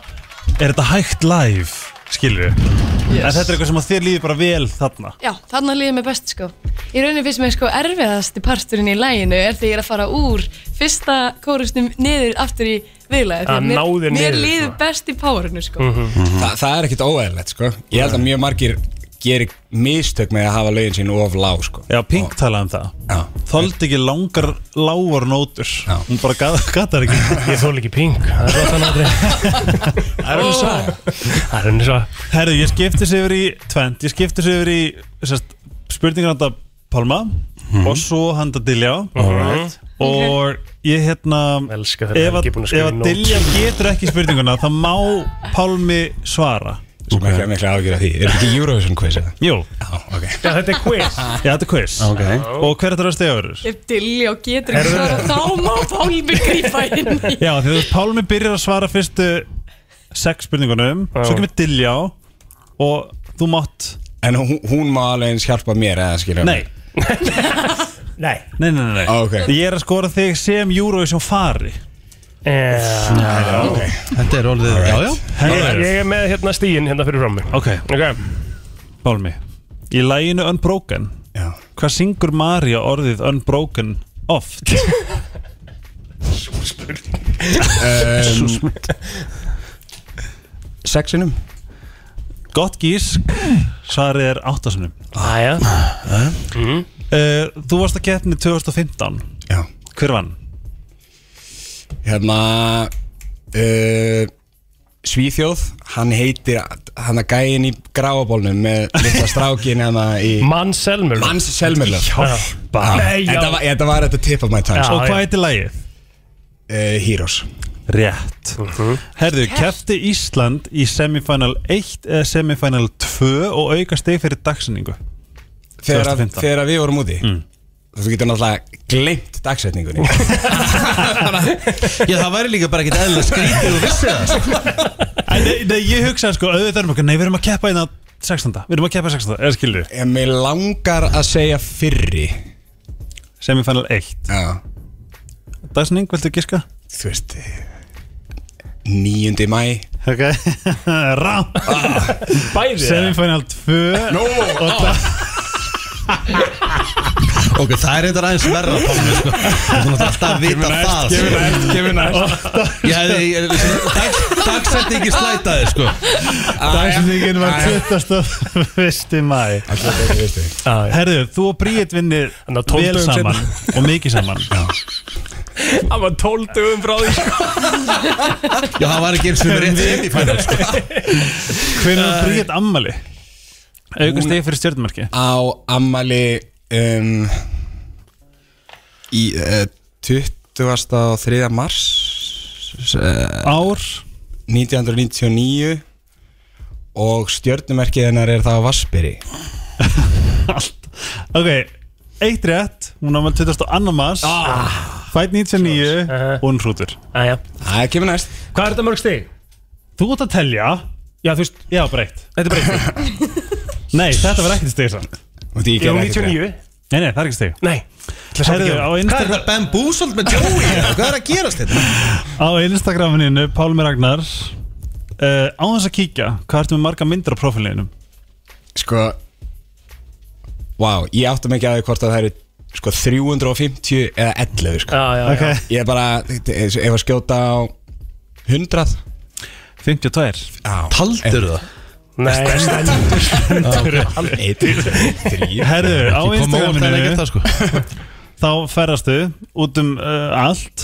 S4: er þetta hægt live, skilur
S13: Yes.
S4: en þetta er eitthvað sem að þér líður bara vel þarna
S13: Já, þarna líður mér best sko Í rauninni finnst mér sko erfiðasti parturinn í læginu er þegar ég er að fara úr fyrsta kórustum niður aftur í viðlæði
S11: Að ná þér
S13: Mér
S11: niður,
S13: líður
S11: sko.
S13: best í párinu sko
S2: Mhm.
S11: Þa, það er ekkit óæðilegt sko Ég held að mjög margir gerir mistök með að hafa lögin sín of lág sko
S4: Já, Pink talaði um það Þoldi ekki langar lágar nótur Já. Hún bara gattar ekki
S2: Ég þoldi ekki Pink Það er
S4: alveg satt
S2: Það er henni svo
S4: Oh. Herðu, ég skipti sig yfir í tvent Ég skipti sig yfir í sest, spurningar handa Palma
S1: Mhm.
S4: og svo handa Dilljá
S2: Mhm. Alright.
S4: og ég hérna
S2: Elska þegar
S4: ef að,
S2: Helgi er búinn að skrifa
S4: ef að
S2: í
S4: Dilljá
S2: nótur.
S4: getur ekki spurninguna þá má Palmi svara
S11: Sem okay. ekki að mikla ágjöra því Er ekki Eurovision quiz eða?
S4: Jú
S2: Já, þetta er quiz
S4: Já, þetta er quiz okay. Og hver er þetta að stiga verður?
S13: Ef dilli og getur
S4: Erfiðasti.
S13: ekki svara þá má Pálmi grípa inn í
S4: Já, því þú veist, Pálmi byrjar að svara fyrstu sex spurningunum Svo kemur Dilljá og þú mátt
S11: En hún, hún má alveg eins hjálpa mér eða skilja
S4: Nei
S2: Nei
S4: Nei, nei, nei, nei.
S11: Ah, Ok.
S4: Ég er að skora þig sem Eurovision fari
S2: Eh. Já,
S4: ok.
S1: Þetta er orðið, já, já
S2: Ég ég er með hérna stíin hérna fyrir fram mig
S4: Ok, Pálmi Í læginu Unbroken
S11: Já.
S4: Hvað syngur Marja orðið Unbroken oft?
S11: um, Sexinum
S4: Gott gísk Svarið er áttasunum
S2: Æja
S11: Ah,
S2: Mhm.
S4: mm. Þú varst að getni 2015
S11: Já.
S4: Hver vann?
S11: Hérna uh, Svíþjóð Hann heitir Hann að gæin í gráabólnum Með litla strákin hérna í
S2: Manns Selmur
S11: Manns Selmur
S2: Hjálpa Nei,
S11: Ah.
S2: já.
S11: Þetta var, þetta var at the tip of my tongue
S2: Já, Og hvað já.
S4: heitir lagið?
S11: Uh, Heroes
S4: Rétt
S11: Mhm.
S4: Herðu, kefti Ísland í semifinal 1 eða semifinal 2 og auka steg fyrir dagsinningu
S11: Þegar að- þegar að við vorum úti
S4: Mm.
S11: Þú getur náttúrulega gleymt dagsetningunni
S1: Já, það væri líka bara ekkert eðla skrítið og vissi það sko.
S4: Nei, nei, ég hugsaði sko, auðvitað erum okkur, nei, við erum að keppa einna 16. Við erum að keppa 16, eða skilur
S11: Ég mig langar að segja fyrri
S4: Semifinal 1
S11: Já
S4: Dagsinning, viltu giska?
S11: Þú veist 9. mæ
S4: Ok, rám
S2: Bæði
S4: Semifinal 2
S11: No,
S4: og
S11: á.
S4: dag
S1: Ok, það er eitthvað aðeins verra Pálmi, sko. Þú mátt alltaf að vita það sko.
S4: gefur næst
S1: Ég hefði, ég- dag- dagsetningi slætaði, sko
S4: Dagsinningin var 21. mæ Herðu, þú og Bríett vinnir
S2: Þannig að 12
S4: vel
S2: dögum
S4: saman og mikið saman
S2: Það var 12 dögum frá því sko.
S1: Já, það var ekki eins og rétt semifænal, sko
S4: Hvernig var Bríett ammali? Auka steg fyrir stjórnmarki
S11: á ammali um, í uh, 23. mars uh,
S4: Ár
S11: 1999 og stjörnumerkið hennar er það á Vassbyrji
S4: Ok, eitt rétt Hún ámæl 22. mars
S2: Ah.
S4: Fætt 99 og hún hrútur
S2: Æja
S11: Það kemur næst
S2: Hvað er þetta mörg stig?
S4: Þú ert að telja
S2: Já, þú veist
S4: Já, breytt
S2: Þetta er breytti
S4: Nei, þetta var ekkert steg samt
S11: Og því ég
S2: Ég
S11: gerði
S2: er
S11: ekkert
S2: 99
S4: Nei, nei, það er ekki steg
S2: Nei Ætla samt
S4: Herðu,
S2: ekki að-
S4: á
S1: Hvað er
S4: Instagram
S1: það bambúsold með Joey? eða? Hvað er að gerast hérna? þetta?
S4: Á Instagraminu, Pálmi Ragnar uh, Á þess að kíkja Hvað ertu með marga myndir á profilinu?
S11: rétt. Sko Vá, ég átta mig ekki að því hvort að það eru sko 350 eða 11 sko.
S2: Já, já, já
S4: Ok.
S11: Ég er bara, ef að skjóta á 100
S4: 52
S1: Taldur
S11: Eh,
S1: það?
S2: Nei, stendur Stendur
S4: Herðu, á
S1: Ég kom á óvart að
S4: Instagraminu
S1: leggja það, sko
S4: Þá ferðastu út um uh, allt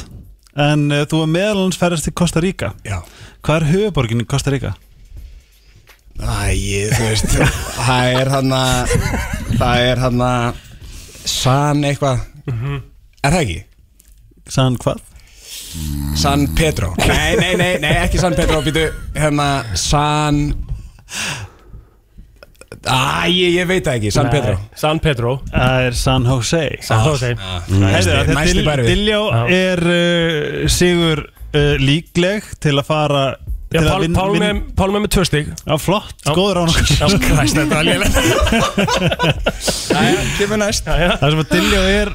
S4: En uh, þú er meðalans ferðast til Costa Rica
S11: Já
S4: Hvað er höfuborgin í Costa Rica?
S11: Æ, þú veist Það er hann að Það er hann að San eitthvað
S7: Mhm.
S11: Er það ekki?
S4: Sann hvað?
S11: San Pedro Nei, nei, nei, nei ekki San Pedro Býtu, hérna San Æ, ég, ég veit það ekki, San
S2: Nei.
S11: Pedro Ah,
S2: San Pedro
S4: Það er San Jose
S2: San Jose
S4: Heyrðu, að
S11: Næsti
S4: þetta
S11: bærið.
S4: Diljá
S2: Já.
S4: er uh, sigur uh, líkleg til að fara
S2: Já,
S4: til að
S2: Pál-
S4: vin-
S2: Pálmi-
S4: vin-
S2: Pálmi með tvö stig
S4: Já, flott, góður án okkur
S2: Já, kræst, þetta var lélega
S11: Jæja, kemur næst
S4: Það sem að Diljá er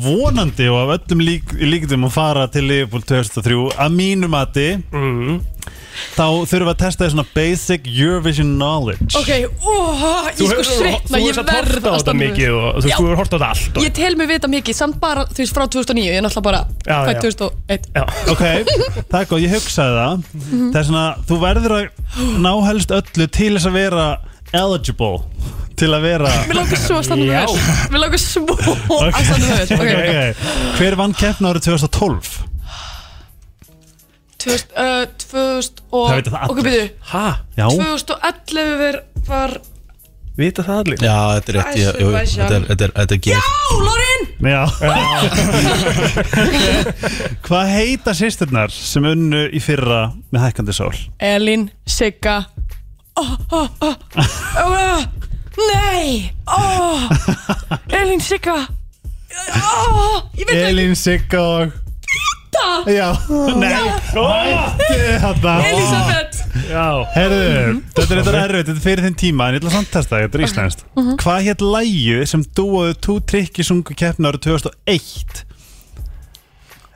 S4: vonandi og af öllum lík, líktum að fara til Liverpool 2003 að mínu mati
S2: Mhm.
S4: þá þurfum við að testa þér svona basic Eurovision knowledge
S13: Ok, óh,
S2: Þú
S13: ég sko
S2: hefur-
S13: svitna,
S2: þú
S13: ég
S2: hefur samt
S13: verð
S2: horft á þetta
S13: standa
S2: mikið
S13: við.
S2: og þú veist,
S13: Já.
S2: þú hefur hort á þetta allt og-
S13: Ég tel mig vita mikið, samt bara, þú veist, frá 2009, ég er náttúrulega bara
S4: Já,
S13: fædd
S4: já.
S13: 2001
S4: Ok, það er góð, ég hugsaði það
S13: Mhm.
S4: Það er svona, þú verður að ná helst öllu til þess að vera eligible til að vera
S13: Mér langar svo að standa með þér Mér langar svo að standa með þér Ok, ok
S4: Hver vann keppna árið 2012?
S13: 2000, uh, 2000 og
S4: Það vita það allir.
S13: Ok, byrju
S2: Hæ?
S4: Já.
S13: 2011 var, var
S2: Vita það allir
S1: Já, þetta er rétt ég- jú, jú, Þetta er, þetta er, þetta er gef
S13: Á, Lorin!
S4: Já Hvað heita sýsturnar sem unnu í fyrra með hækkandi sól?
S13: Elín, Sigga oh, oh, oh. oh, Nei oh. Elín, Sigga oh, Ég veit það
S4: Elín Sigga og
S13: ekki
S4: Eh, Já, nei Þetta
S13: Elisabeth
S4: Herðu,
S2: Mhm.
S4: þetta er eitthvað erfitt, þetta er fyrir þinn tíma en ég ætla samt að testa, það, þetta er íslenskt
S2: Mhm.
S4: Hvað hétt lægið sem dúaðu tú trikki sungu keppna árið 2001?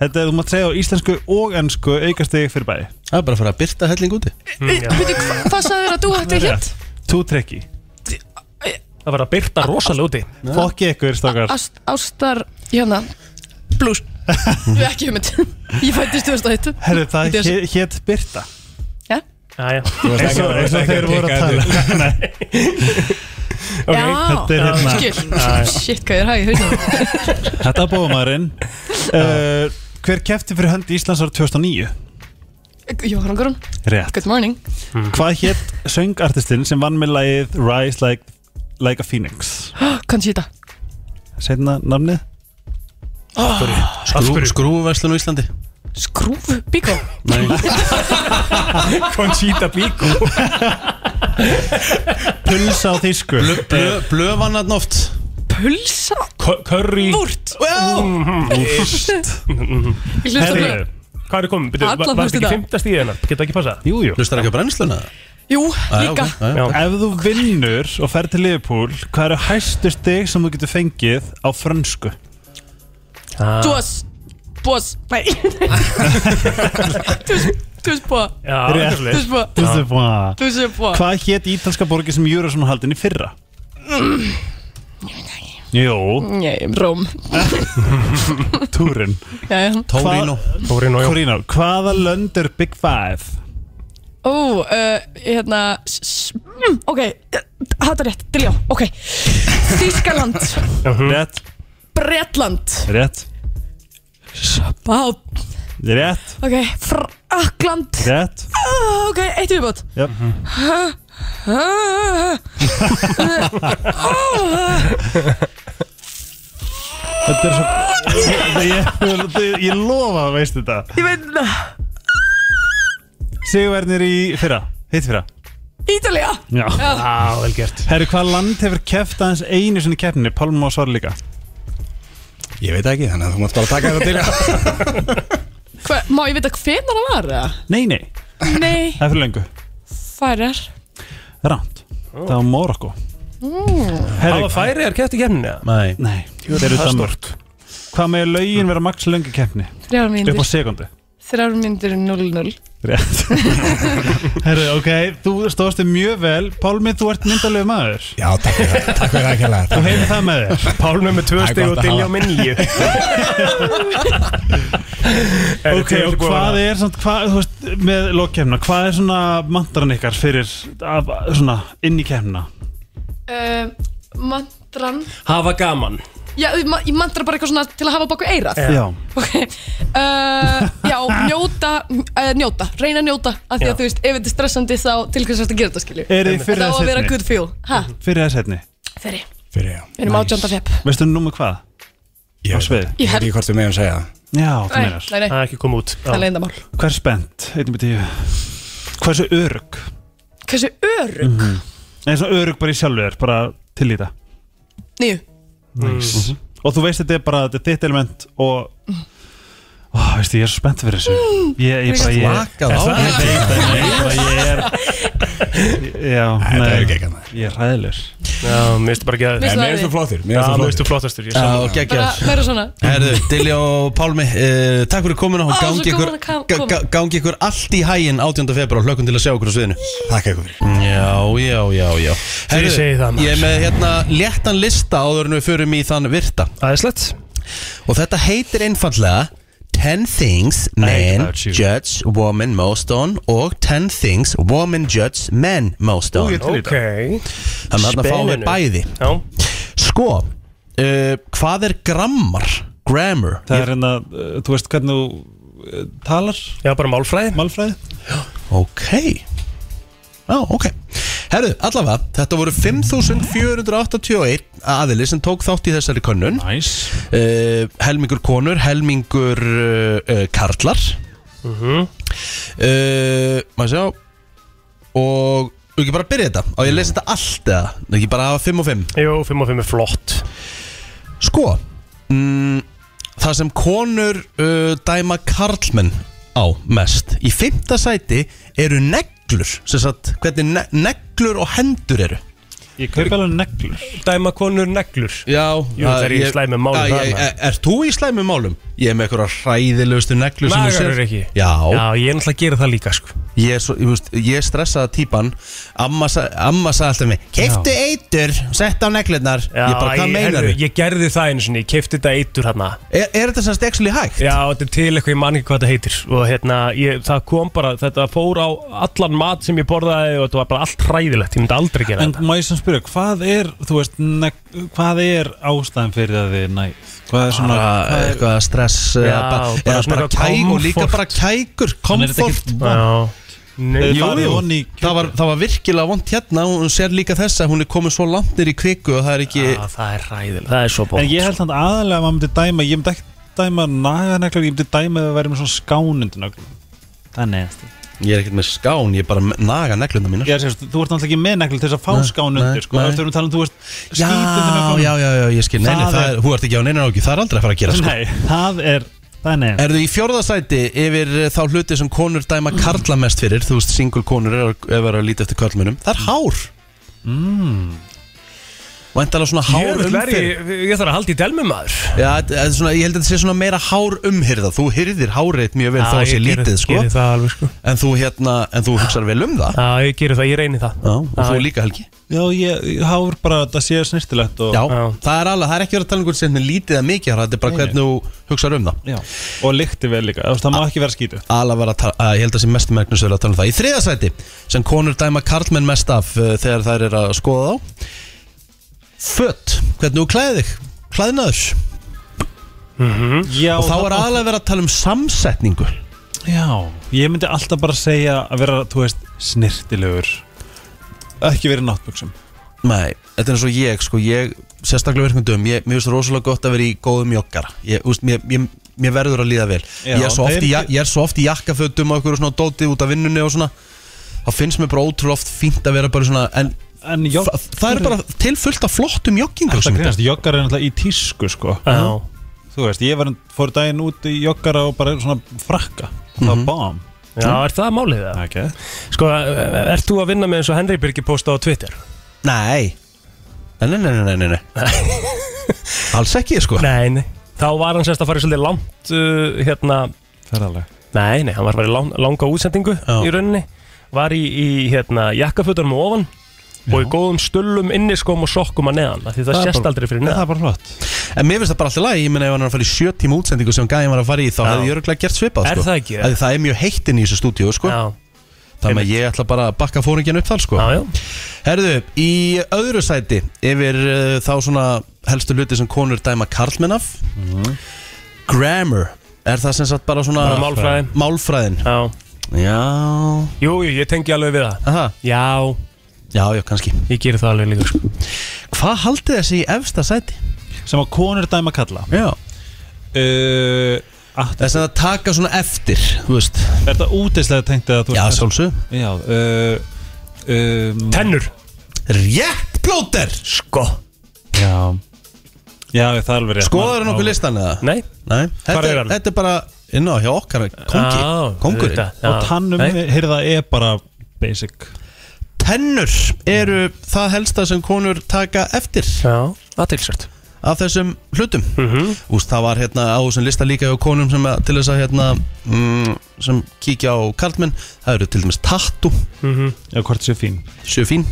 S4: Þetta er, þú mátt segja á íslensku og ennsku aukastegi fyrir bæði
S1: Það er bara að fara að byrta helling úti
S2: Hm,
S13: Veitu, hva- Hvað sagði þér að þú hérna ætti hér?
S4: Tú trikki
S2: Það var að byrta rosalega úti
S4: Fokki ykkur, stokkar
S13: Ást, ástar, hérna Blues Ég hef ekki hugmynd Ég fættist 2001
S4: Herðu, það
S13: Þetta er-
S4: hétt Byrta
S13: Já.
S2: Já, já
S4: Eins og eins og þeir voru að tala
S2: Ok,
S13: Já,
S4: þetta er hérna. Já, já.
S13: skil Shit, hvað ég er hæg, hérna
S4: Þetta er bóðumæðurinn uh, Hver kefti fyrir hönd Íslands árið 2009?
S13: Jóhann Grún,
S4: Rétt
S13: good morning
S1: Hmm.
S4: Hvað hétt söngartistinn sem vann með lagið Rise Like, like a Phoenix?
S13: Conchita
S4: Segna namnið? Ah,
S1: Skrú, Skrúverslun á Íslandi
S13: Skrúfu, bíkó
S2: Conchita Bíko
S4: Pulsa á þýsku
S1: Blö, blö,
S4: Eh.
S1: Blövan hann oft
S13: Pulsa,
S2: Curry Mm-hmm.
S13: vúrt Ég hlusta á blöð.
S2: Herri, hvað er komið? Byrju,
S13: Allan
S2: var var þetta
S13: hlusta
S2: ekki
S13: það.
S2: fymta stíð hennar? Getur það ekki passa?
S4: Jú, jú
S1: Hlustar ekki á brennsluna?
S13: Jú,
S1: Ah, já,
S13: líka
S1: ok, já, já.
S2: Já,
S4: Ef þú vinnur og fer til Liverpool Hvað eru hæstu stig sem þú getur fengið á frönsku?
S13: Tjós, bós, nei Tjós, tjós bó
S2: já,
S4: Rétt.
S2: eitthvað
S13: Tjós
S2: svoleiðis.
S13: bó,
S4: Hvað
S13: tjós bó
S4: hétt ítalska borgi sem Júrasson haldin í fyrra? Jú,
S13: Nei, Róm
S4: túrin
S13: Jæja.
S1: Tórino
S2: Torino, já.
S4: Corino, hvaða lönd er Big Five?
S13: Ó, uh, hérna s- s- mm, Ok, þetta er rétt, diljá Ok, Þískaland
S2: Uh-huh.
S4: Rétt,
S13: Bretland
S4: rétt,
S13: Vá,
S4: rétt,
S13: ok Frakland
S4: rétt
S13: Ah, Ok, eitt viðbót
S4: Jöp.
S13: Ah,
S4: Þetta er svo Ég, ég, ég lofa að veist þetta
S13: Ég veit það
S4: Sigurvernir í fyrra, hitt fyrra
S13: Ítalía
S4: Já
S2: Já, vel gert
S4: Herru, hvað land hefur keft aðeins einu sinni keppninni? Pálma má svara líka
S11: Ég veit það ekki, þannig að þú mátt bara taka þetta til
S13: Hva, Má ég vita hvenær það var? eða?
S4: Nei, nei,
S13: Nei,
S4: það er fyrir lengu
S13: færar
S4: Ránt, það var Morocco
S2: Hafa
S4: Herru,
S2: færi er kæft í kemni?
S1: Nei
S4: nei, þeir eru
S2: það er
S4: Danmörk Hvað með lögin vera maks lengi keppni?
S13: Þrjár
S4: Upp á
S13: myndir
S4: sekundu
S13: Þrjár myndir 0-0
S4: Rétt Herru, ok, þú stóðst þig mjög vel Pálmi, þú ert myndalegu maður
S11: Já, takk fyrir það, takk fyrir það kjærlega
S4: Þú hefur það með þér
S2: Pálmi með tvö
S11: Það er
S2: stíð
S11: gott
S2: og
S11: að
S2: Dilljá
S11: hafa.
S2: með nýju
S4: Ok, og hvað er samt, hvað, þú veist, með lokkefna, hvað er svona mantran ykkar fyrir, af, svona, inn í kefna?
S13: uh, Mantran
S2: Hafa gaman
S13: Já, ég ma- ég mantra bara eitthvað svona til að hafa baku eirað
S2: Já.
S13: Ok uh, Já, njóta, uh, njóta, reyna að njóta af því
S2: Já.
S13: að þú veist, ef þetta er stressandi þá til hvers þetta gera þetta skilju
S4: Er þið fyrir
S13: Þetta á
S4: að
S13: að vera
S4: setni?
S13: good feel ha,
S2: Mhm.
S4: Fyrir að setni.
S13: Þeirri,
S11: Fyrir, já
S13: við erum átjönda fepp
S4: Veistu nú með hvað?
S11: Ég
S4: Á
S11: veit
S4: svið.
S11: það. Ég veit ekki hvort við meðum að segja það
S4: Já, þú
S13: Nei,
S4: meinar.
S13: nei, nei,
S2: Það er ekki komið út
S13: það er
S2: Já.
S13: leyndamál
S4: Hvað er spennt? Einn með tíu. Hversu örug?
S13: Hversu örug
S4: En Mhm. svona örug bara í sjálfu þér, bara til í það
S13: Níu
S4: nice. Og þú veist þetta er bara, þetta er þitt element og Ó, veistu, ég er svo spennt fyrir þessu Ég, ég bara, ég
S1: Slakað á.
S4: Ég veit það, ég bara, ég er Já,
S2: Þetta er
S4: nei,
S2: geggjað,
S4: ég er hræðilegur
S2: Já, mér finnst bara ekki að
S13: Mér finnst Nei, mér finnst þú flottur,
S2: Já,
S1: mér finnst þú
S2: mér
S1: flottur.
S2: finnst þú flottastur
S1: Já, geggjaður.
S13: Bara meira svona
S1: Herðu, Dilja og Pálmi, uh, takk fyrir komuna og
S13: Ó,
S1: gangi
S13: svo
S1: ykkur,
S13: gaman að ka-
S1: ga-
S13: koma.
S1: ga- gangi ykkur allt í hæginn 18. februar, hlökkum til að sjá ykkur á sviðinu
S11: Takk ykkur
S1: Já, já, já, já
S2: Þegar ég segi það, maður.
S1: Ég er með hérna léttan lista áður en við förum í þann virta
S2: Æðislegt
S1: Og þetta heitir einfallega 10 things men judge women most on og 10 things women judge men most
S2: Ú,
S1: on
S2: ég til í þetta. Ókei.
S1: Þannig að þarna fáum við
S2: Spenninu.
S1: bæði
S2: Já.
S1: Sko, uh, hvað er grammar? Grammar
S4: Það er hérna, uh, þú veist hvernig þú uh, talar
S2: Já, bara málfræði
S4: Málfræði
S1: Ok Já, ok Herru, allavega, þetta voru 5.481 aðili sem tók þátt í þessari könnun Eh,
S4: nice.
S1: Helmingur konur, helmingur uh, uh, karlar
S2: mm -hmm.
S1: uh, Maður sjá Og Þú ekki bara að byrja þetta Og ég lesi þetta allt eða Þú ekki bara að hafa 5 og 5
S2: Jú, 5 og 5 er flott
S1: Sko mm, Það sem konur uh, dæma karlmenn á mest Í fymta sæti eru neglur Sem sagt, hvernig ne neglur og hendur eru
S4: Ég kaupi alveg neglur
S2: Dæma konur neglur
S1: Já
S2: Jú, það er í slæmum málum þarna.
S1: Er þú í slæmum málum? Ég er með eitthvað hræðilegustu neglur sem þú
S2: Nagar
S1: sér
S2: er ekki
S1: Já
S2: Já, ég er náttúrulega að gera það líka sko
S1: Ég, er svo, ég, veist, ég stressaði típan Amma, sa- amma sagði alltaf mig Keiftu eitur, sett á neglurnar
S2: Já,
S1: Ég bara, hvað meinar
S2: Ég gerði það eins og ég keifti þetta eitur hérna
S1: Er, er þetta semst actually hægt?
S2: Já, þetta er til eitthvað, ég man ekki hvað þetta heitir og hérna, ég, það kom bara, þetta fór á allan mat sem ég borðaði og þetta var bara allt hræðilegt, ég myndi aldrei gera
S4: En
S2: þetta
S4: má ég sem spyrja, hvað er, þú veist, neg, hvað er ástæðan fyrir að þið næð? Hvað er svona, hvað
S1: Bara
S4: er,
S1: Ah, eitthvað stress
S2: Já,
S1: eða bara,
S2: bara
S1: eða
S2: svona
S1: bara
S2: eitthvað
S1: kæg og
S2: komfort.
S1: líka bara kægur
S4: Þannig er þetta
S1: komfort
S4: ekkert
S2: Já,
S4: Þið
S2: Nei,
S4: farið
S1: jú.
S4: von í
S1: það var, það var virkilega vond hérna og hún sér líka þess að hún er komið svo langt nýr í kviku og það er ekki
S2: Já, það er hræðilegt, það er svo
S4: En
S2: bótt
S4: ég held þannig aðalega að maður myndi dæma, ég myndi ekki dæma naganeglur, ég myndi dæma að það væri með svona skánundu neglur. Það er neðast.
S1: ég er ekkert með skán, ég er bara m- naga neglunda mínar
S4: Ég er að segja, þú- þú ert náttúrulega ekki með neglur til þess að fá
S1: Nei, nei,
S4: skánundu, sko.
S1: nei.
S4: Það er að tala um, þú veist,
S1: já, já, já, já, ég skil, nei, nei,
S4: Það
S1: það
S4: er-
S1: er, hú ert ekki á neina ákju, það er aldrei að fara að gera sko.
S4: Nei, það er, það er neðast.
S1: Erðu í fjórðasæti yfir eh, þá hluti sem konur dæma karla mest fyrir, þú veist, single konur er, ef er að líta eftir karlmönum, það er hár mm. Væntalega svona hár
S2: Ég, vil vera í- ég þarf að halda í delmi maður
S1: Já, þetta er svona, ég held að þetta sé svona meira hár umhyrða Þú hyrðir hárið mjög vel þá
S2: Já, ég
S1: sé
S2: geri-
S1: lítið sko.
S2: geri það alveg sko
S1: en, þú, hérna, en þú hugsar vel um það
S2: Já, ég gerir það, ég reyni það
S1: Já, og
S2: Já,
S1: þú
S2: ég-
S1: líka Helgi
S4: Já, ég, ég hár bara að það sé snirtilegt og,
S1: Já,
S2: Já.
S1: það er alveg, það er ekki verið að tala um hvernig sem er lítið eða mikið hár, Þetta er bara hvernig þú hugsar um það
S4: já, og lykti vel líka, þú veist, það má ekki vera skítið.
S1: Alveg var að tala, að ég held að sé mestum megnum sem er að tala um það Í þriðasæti, sem konur dæma karlmenn mest af uh, þegar þær er að skoða þá Fött, hvernig þú klæði þig, klæðinaður
S2: Mhm.
S4: Já,
S1: Og þá er
S4: þarna-
S1: alveg verið að tala um samsetningu
S4: Já, ég myndi alltaf bara segja að vera, þú veist, snirtilegur Ekki verið náttböksum
S1: Nei, þetta er eins og ég sko, ég sérstaklega virkundum, ég, mér finnst rosalega gott að vera í góðum joggara ég, úst, mér, ég, mér verður að líða vel
S4: Já,
S1: ég er, svo oft
S4: þeir-
S1: í, ja- ég er svo oft í jakkafötum og einhverju svona dóti út af vinnunni og svona þá finnst mér bara ótrúlega oft fínt að vera bara svona en
S4: En jogg
S1: það, það er bara til fullt af flottum joggingum
S4: Það grínast, joggar er náttúrulega í tísku, sko
S2: Já,
S4: Þú veist, ég var, fór daginn út í joggara og bara svona frakka Það
S1: Mhm.
S4: var bám
S2: já, er það málið það?
S4: okay.
S2: Sko, ert þú að vinna með eins og Henry Birgir posta á Twitter?
S1: Nei, nei, nei, nei, nei, nei, nei. Alls ekki sko
S2: Nei, nei Þá var hann semst að fara í svolítið langt uh, hérna
S4: Ferðalega
S2: Nei, nei, hann var að fara í lang, langa útsendingu í rauninni Var í, í hérna, jakkafötunum og ofan Og í góðum stullum, inniskóm og sokkum að neðan af Því það,
S4: Það er
S2: sést
S4: bara-
S2: aldrei fyrir
S4: Nei, það
S2: neðan
S4: er bara flott
S1: En mér finnst það bara alltaf lægi, ég meina ef hann er að fara í sjö tíma útsendingu sem gæði var að fara í þá
S2: Já.
S1: hefði ég örgulega gert svipað
S2: Er
S1: sko.
S2: það ekki?
S1: Af því Það er mjög heittin í þessu stúdíu sko.
S2: Já,
S1: Þannig að ég ætla bara að bakka fóringin upp þar sko
S2: já, já
S1: Herðu, í öðru sæti yfir uh, þá svona helstu hluti sem konur dæma karlmenn af Grammar Er það sem sagt bara svona
S2: Bara málfræði.
S1: Málfræðin
S2: Já,
S1: Já,
S2: jú, jú, ég tengi alveg við það
S1: aha,
S2: Já,
S1: já, já, kannski
S2: ég gerir það alveg líka
S1: Mhm.
S2: sko.
S1: Hvað haldið þessi í efsta sæti?
S4: Sem að konur dæma kalla
S1: Já
S4: uh, að,
S1: Þess að það taka svona eftir, þú veist
S4: Er þetta útislega tengt eða þú eh,
S1: Já,
S4: veist,
S1: sjálfsög
S4: Já, uh, um,
S2: Tennur
S1: Rétt plóter Sko
S4: Já Já, það er alveg rétt
S1: Skoðar hann okkur listan eða?
S2: Nei,
S1: Nei.
S4: Hvar
S1: Þetta,
S4: er
S1: er
S4: hann?
S1: þetta er bara inn á hjá okkar kongi
S2: Já,
S1: Kongurinn
S2: auðvitað, já.
S4: Og tannum,
S1: Nei.
S4: heyrða, er bara basic
S1: Tennur eru það helsta sem konur taka eftir
S2: Já, Mhm. aðtilsvært
S1: Af þessum hlutum mm Úst, það var hérna á þessum lista líka hjá konum sem að, til þess að hérna mm, sem kíkja á karlmenn það eru til dæmis tattu
S2: Mhm.
S1: Já, hvort séu fín Séu fín,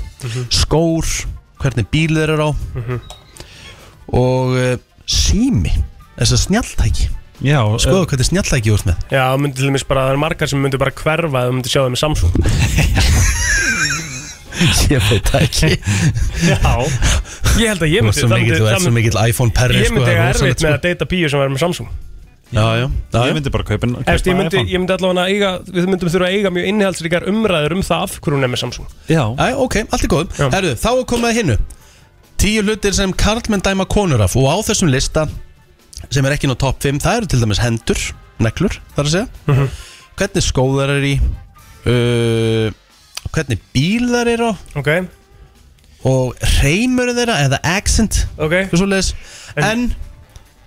S1: skór, hvernig bíl þeir eru á
S2: Mhm.
S1: og uh, sími þessar snjalltæki
S4: Já,
S1: Skoðu hvernig snjalltæki þú ert með
S2: Já, myndi til dæmis bara, það er margar sem myndi bara hverfa ef þú myndi sjá það með Samsung
S1: Ég veit það ekki
S2: Já, ég held að ég
S1: Þú ert
S2: myndi
S1: svo mikill, þú ert svo mikill iPhone perri
S2: Ég myndi
S1: það
S2: eiga
S1: er
S2: erfitt
S1: rosalegt,
S2: með
S1: sko.
S2: að deyta píu sem væri með Samsung
S1: Já, já, já, já.
S4: Ég myndi bara kaupin
S2: Eftir, ég, myndi, ég myndi allavega eiga, við myndum þurfa að eiga mjög innihaldsríkar umræður um það af hverju hún er með Samsung
S4: Já
S1: Æ, ok, allt er góð Herru, þá er komið að hinnu Tíu hlutir sem karlmenn dæma konur af Og á þessum lista Sem er ekki ná top 5 Það eru til dæmis hendur, neklur, þar að segja Hvernig skóðar er í uh, Hvernig bílar er á
S2: Ok
S1: Og reymur þeirra Eða accent
S2: Ok
S1: Svoleiðis En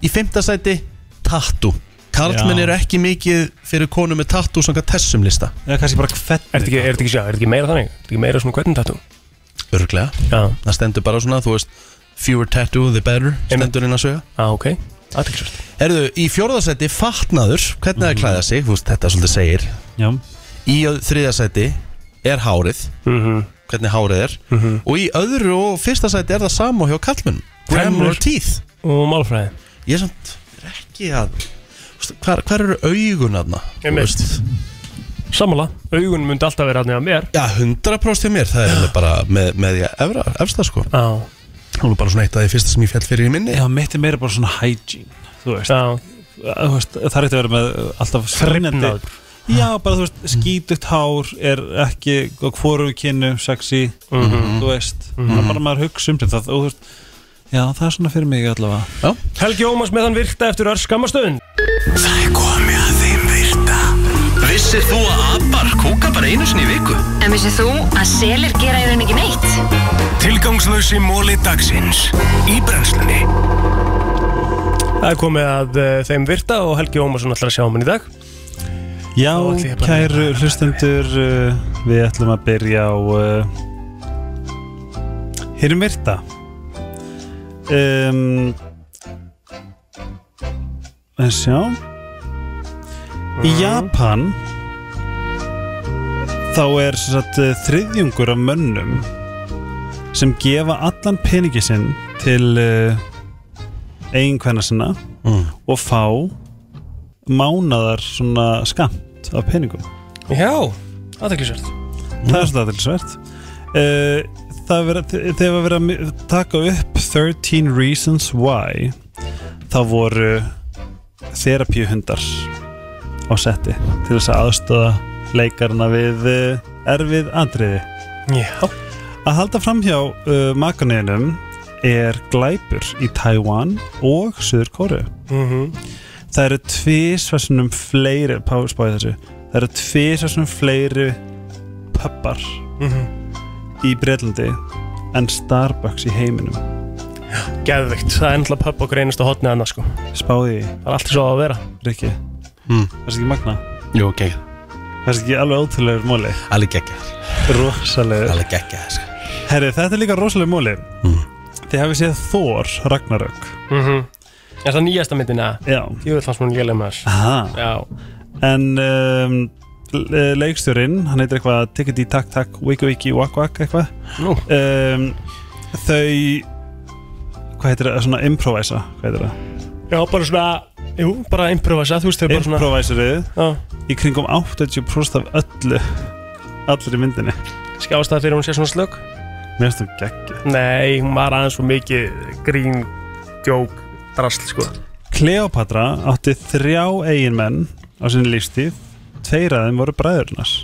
S1: í fimmta sæti Tattoo Karlmenn
S2: Já.
S1: eru ekki mikið fyrir konur með tattoo Svona þessum lista
S4: Eða kannski bara hvernig
S2: Er þetta ekki, er þetta ekki, já, er þetta ekki meira þannig? Er þetta ekki meira svona hvernig tattoo?
S1: Örglega
S2: Já
S1: Það stendur bara svona, þú veist Fewer tattoo, the better Stendur inn að sögja
S2: Já, ah, ok Aðtilsvært
S1: Erðu, í fjórðasæti fatnaður Hvernig það klæða sig, þú veist, þetta svolítið segir
S4: Já
S1: Í þriðasæti er hárið
S2: Mhm.
S1: Hvernig hárið er Og í öðru og fyrsta sæti er það sama hjá kallmenn Grammar
S2: Grammar.
S1: og teeth
S2: Og málfræði
S1: Ég er samt er ekki að þú veist, Hvar, hvar eru augun aðna?
S2: Einmitt. Sammála, augun myndi alltaf vera aðnið að mér
S1: Já, 100% hjá mér, það er alveg bara með, með því að efra, efsta sko
S2: Já
S1: Hún er bara svona eitt af því fyrsta sem ég fjall fyrir í minni
S4: Já, mitt er meira bara svona hygiene Þú veist
S2: Já
S4: Þú veist, það er ekki að vera með uh, alltaf skrínandi
S2: Þrifnaður.
S4: Já, bara þú veist, skítugt hár er ekki á hvoru kynnu sexy,
S2: Mhm.
S4: þú veist það er bara maður hugsa um þetta og þú veist Já, það er svona fyrir mig allavega
S2: Helgi Ómars með hann virta eftir örs skammastöðun
S7: Það er komið að þeim virta Vissir þú að abar kúka bara einu sinni í viku?
S14: En vissið þú að selir gera í rauninni ekki neitt?
S7: Tilgangslösi móli dagsins Í brennslunni
S2: Það er komið að uh, þeim virta og Helgi Ómarsson ætlar að sjá um hann í dag
S4: Já,
S2: Þá ætla ég bara-
S4: kæru hlustendur uh, Við ætlum að byrja á uh, Hér er Myrta um, En sjá Í Japan Þá er sem sagt, uh, þriðjungur af mönnum sem gefa allan peningi sinn til uh, eiginkvenna sinna og fá mánadar svona skamt af peningum
S2: Já, aðeinsvært
S4: það er svona aðeinsvert uh, það vera, þegar var verið að mi- taka upp 13 reasons why þá voru þerapíuhundar á setti til þess að aðstöða leikarna við uh, erfið andriði
S2: Já
S4: að halda framhjá uh, makaneinum er glæpur í Taiwan og Suður Kóru
S2: Mhm.
S4: það eru tvísvarsinum fleiri páspáði þessu það eru tvísvarsinum fleiri pubbar
S2: Mhm.
S4: í Breitlandi en Starbucks í heiminum
S2: Geðvikt, það er ennlega pöpp okkur einasta hotnið annars sko Það
S4: spáði því,
S2: er allt svo að vera
S4: Rikki
S2: Hmm.
S1: Mm.
S4: það er ekki magna,
S1: Jú, geggjað,
S4: það er ekki alveg ótrúlegur móli
S1: alveg geggjað,
S4: rosalegur,
S1: alveg geggjað sko.
S4: herri þetta er líka rosalegur móli
S1: Mm.
S4: þið hafið séð Thor Ragnarök
S2: Mhm. Er það nýjasta myndin að?
S4: já,
S2: Ég vil fannst mér lélega með þess
S4: aha
S2: Já,
S4: En um, le- leikstjórinn, hann heitir eitthvað Tickety Tack Tack, Wiki Wiki Wack Wack eitthvað
S2: nú
S4: um, Þau Hvað heitir það? Svona improvisa Hvað heitir það?
S2: Já, bara svona, jú, bara improvisa, þú veist þau bara svona
S4: Improviserið
S2: Já,
S4: Í kringum 80% af öllu Allir í myndinni
S2: skjástaði fyrir að hún sé svona slögg
S4: Mér finnst það geggja
S2: Nei, hún var aðeins svo mikið grín, djók, drasl sko
S4: Kleopatra átti þrjá eiginmenn á sinni lífstíð Tveir af þeim voru bræðurnars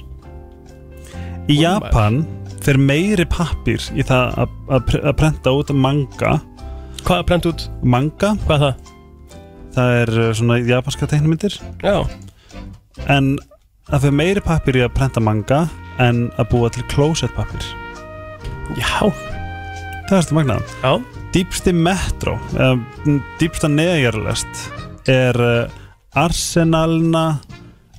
S4: Í
S2: Oh my.
S4: Japan fer meiri pappir í það að- að pre- að prenta út manga
S2: Hvað er brent út?
S4: Manga
S2: Hvað er það?
S4: það er uh, svona japanska teiknumyndir
S2: Já,
S4: en það fyrir meiri pappir í að prenta manga en að búa til closet pappir
S2: já
S4: það er stu magnað
S2: Já.
S4: Dýpsti metro eða, mm, Dýpsta neðjarlest Er uh, Arsenalna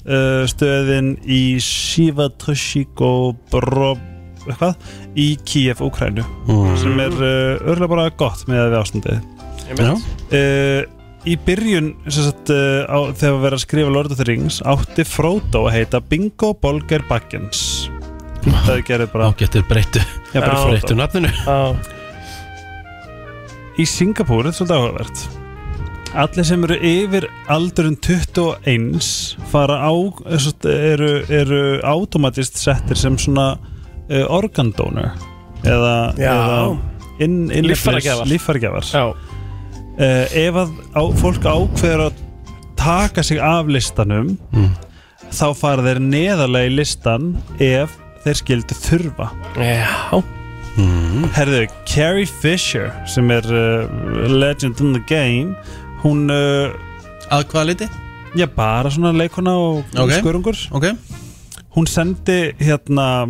S4: uh, Stöðin í Sivatrshiko Brob Hvað? Í Kiev, Ukrænu
S5: Mm.
S4: Sem er uh, örlega bara gott með að við ástandið
S5: Einmitt. Já.
S4: uh, Í byrjun sem sagt, uh, á, þegar við verðum að skrifa Lord of the Rings átti Frodo að heita Bingo Bolger Baggins Það gerði bara
S1: Ágættir breyttu
S4: Já, bara Frodo.
S1: breyttu nafninu
S2: Já.
S4: Í Singapúr er þetta svolítið áhugavert Allir sem eru yfir aldurinn 21 fara á, eh, sem sagt, eru, eru automatist settir sem svona uh, organ donor eða,
S2: Já.
S4: eða inn, inn
S2: Líffæragjafar.
S4: líffæragjafar Eh, ef að á, fólk ákveður að taka sig af listanum
S1: Mm.
S4: þá fara þeir neðarlega í listan ef þeir skildu þurfa
S2: Já
S1: Mm.
S4: Herðu, Carrie Fisher sem er uh, legend in the game hún uh,
S1: Að hvaða liti?
S4: Já, bara svona leikona og
S1: Ok.
S4: skörungur
S1: okay.
S4: Hún sendi hérna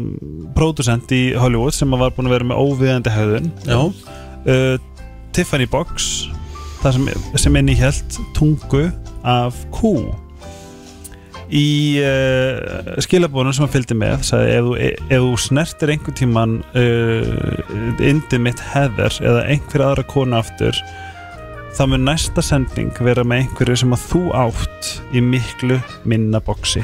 S4: pródusent í Hollywood sem var búin að vera með óviðandi höfðun uh, Tiffany Box það sem, sem inni held tungu af kú í uh, skilabónum sem hann fylgdi með sagði ef þú, e, ef þú snertir einhvern tíman uh, indið mitt heðar eða einhver aðra konu aftur þá mun næsta sending vera með einhverju sem að þú átt í miklu minna boksi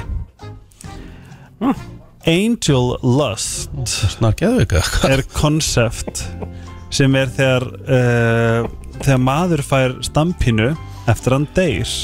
S4: Angel Lust er konsept sem er þegar uh, þegar maður fær stampinu eftir að hann deyr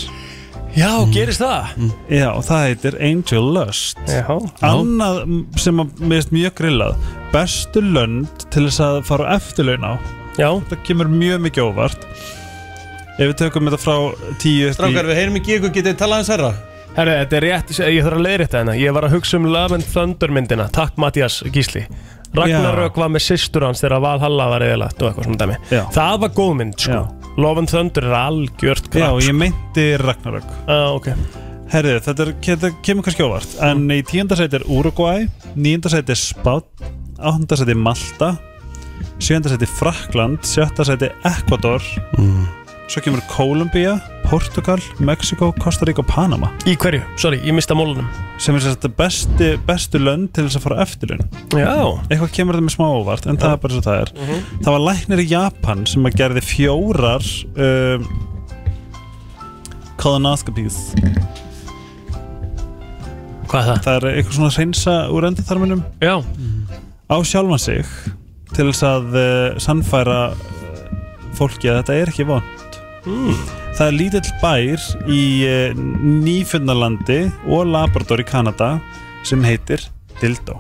S4: Mm.
S2: Já, gerist það?
S4: Já, það heitir Angel Lust
S2: Já.
S4: Annað m, sem að mér finnst mjög grillað Bestu lönd til þess að fara á eftirlaun á
S2: Já
S4: Það kemur mjög mikið óvart Ef við tökum þetta frá tíu upp í-
S1: Strákar, við heyrum ekki ykkur getið talað hans herra
S2: Herru, þetta er rétt, ég þarf að leiðrétta hérna Ég var að hugsa um Love and Thunder myndina Takk Mattias Gísli Ragnarök var með systur hans þegar Valhalla var eðalagt og eitthvað svona dæmi
S4: Já.
S2: Það var góð mynd, sko Love and Thunder er algjört
S4: Já,
S2: krakk sko.
S4: ég meinti Ragnarök
S2: ah, okay.
S4: Herðu, þetta, er, þetta kemur kannski óvart En
S2: Mm.
S4: í tíunda sæti er Uruguay Níunda sæti er Spát Áttunda sæti er Malta Sjönda sæti er Frakland Sjötta sæti er Ecuador
S2: Mm.
S4: Svo kemur Kólumbía, Portugal, Mexiko, Costa Rica og Panama
S2: Í hverju? Sorry, ég mista mólunum
S4: Sem er sérst besti, bestu lönd til þess að fara eftirlun
S2: Já. Mhm.
S4: Eitthvað kemur þetta með smá óvart En það er bara svo það er Það var læknir í Japan sem að gerði fjórar um, Colonoscopies
S2: Hvað er það?
S4: Það er eitthvað svona að reynsa úr endaþarminum
S2: Já
S4: Á sjálfan sig Til þess að uh, sannfæra uh, fólki að þetta er ekki vond
S2: Mm.
S4: Það er lítill bær í uh, Nýfjöndalandi og Labrador í Kanada sem heitir Dildó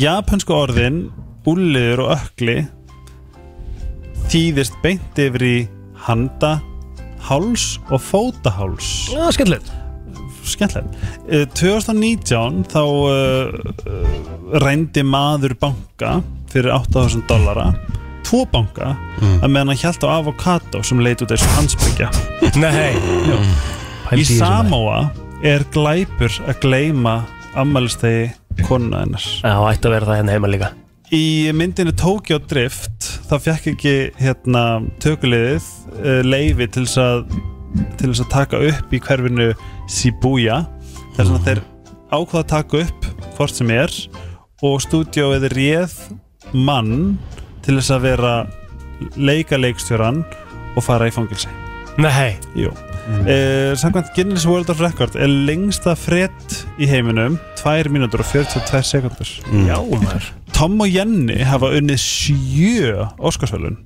S4: Japansku orðin Ulliður og ökli Þýðist beint yfir í handa, háls og fótaháls
S2: Já, skemmtilegt
S4: skemmtilegt Eh, 2019 þá uh, reyndi maður banka fyrir 8000 dollara tvo banka
S2: Mm.
S4: að meðan hann hjælt á avokado sem leit út eins og hansbyggja
S2: Nei
S4: Í
S2: Pældi í þessu,
S4: Samoa er glæpur að gleyma ammælistegi konu hennar
S2: Já, ætti að vera það hérna heima líka
S4: Í myndinu Tokyo Drift þá fekk ekki hérna, tökulegið uh, leifi til þess að til þess að taka upp í hverfinu Shibuya þar
S2: Mhm.
S4: sem að þeir ákvaða að taka upp hvort sem er og stúdíóið réð mann til þess að vera leika leikstjóran og fara í fangilsi
S2: Nei Mhm.
S4: Jú mm. Samkvæmt Guinness World of Record er lengsta frett í heiminum 2 mínútur og 42 sekundur
S2: Mm. Já, maður.
S4: Tom og Jenny hafa unnið sjö Óskarsvölun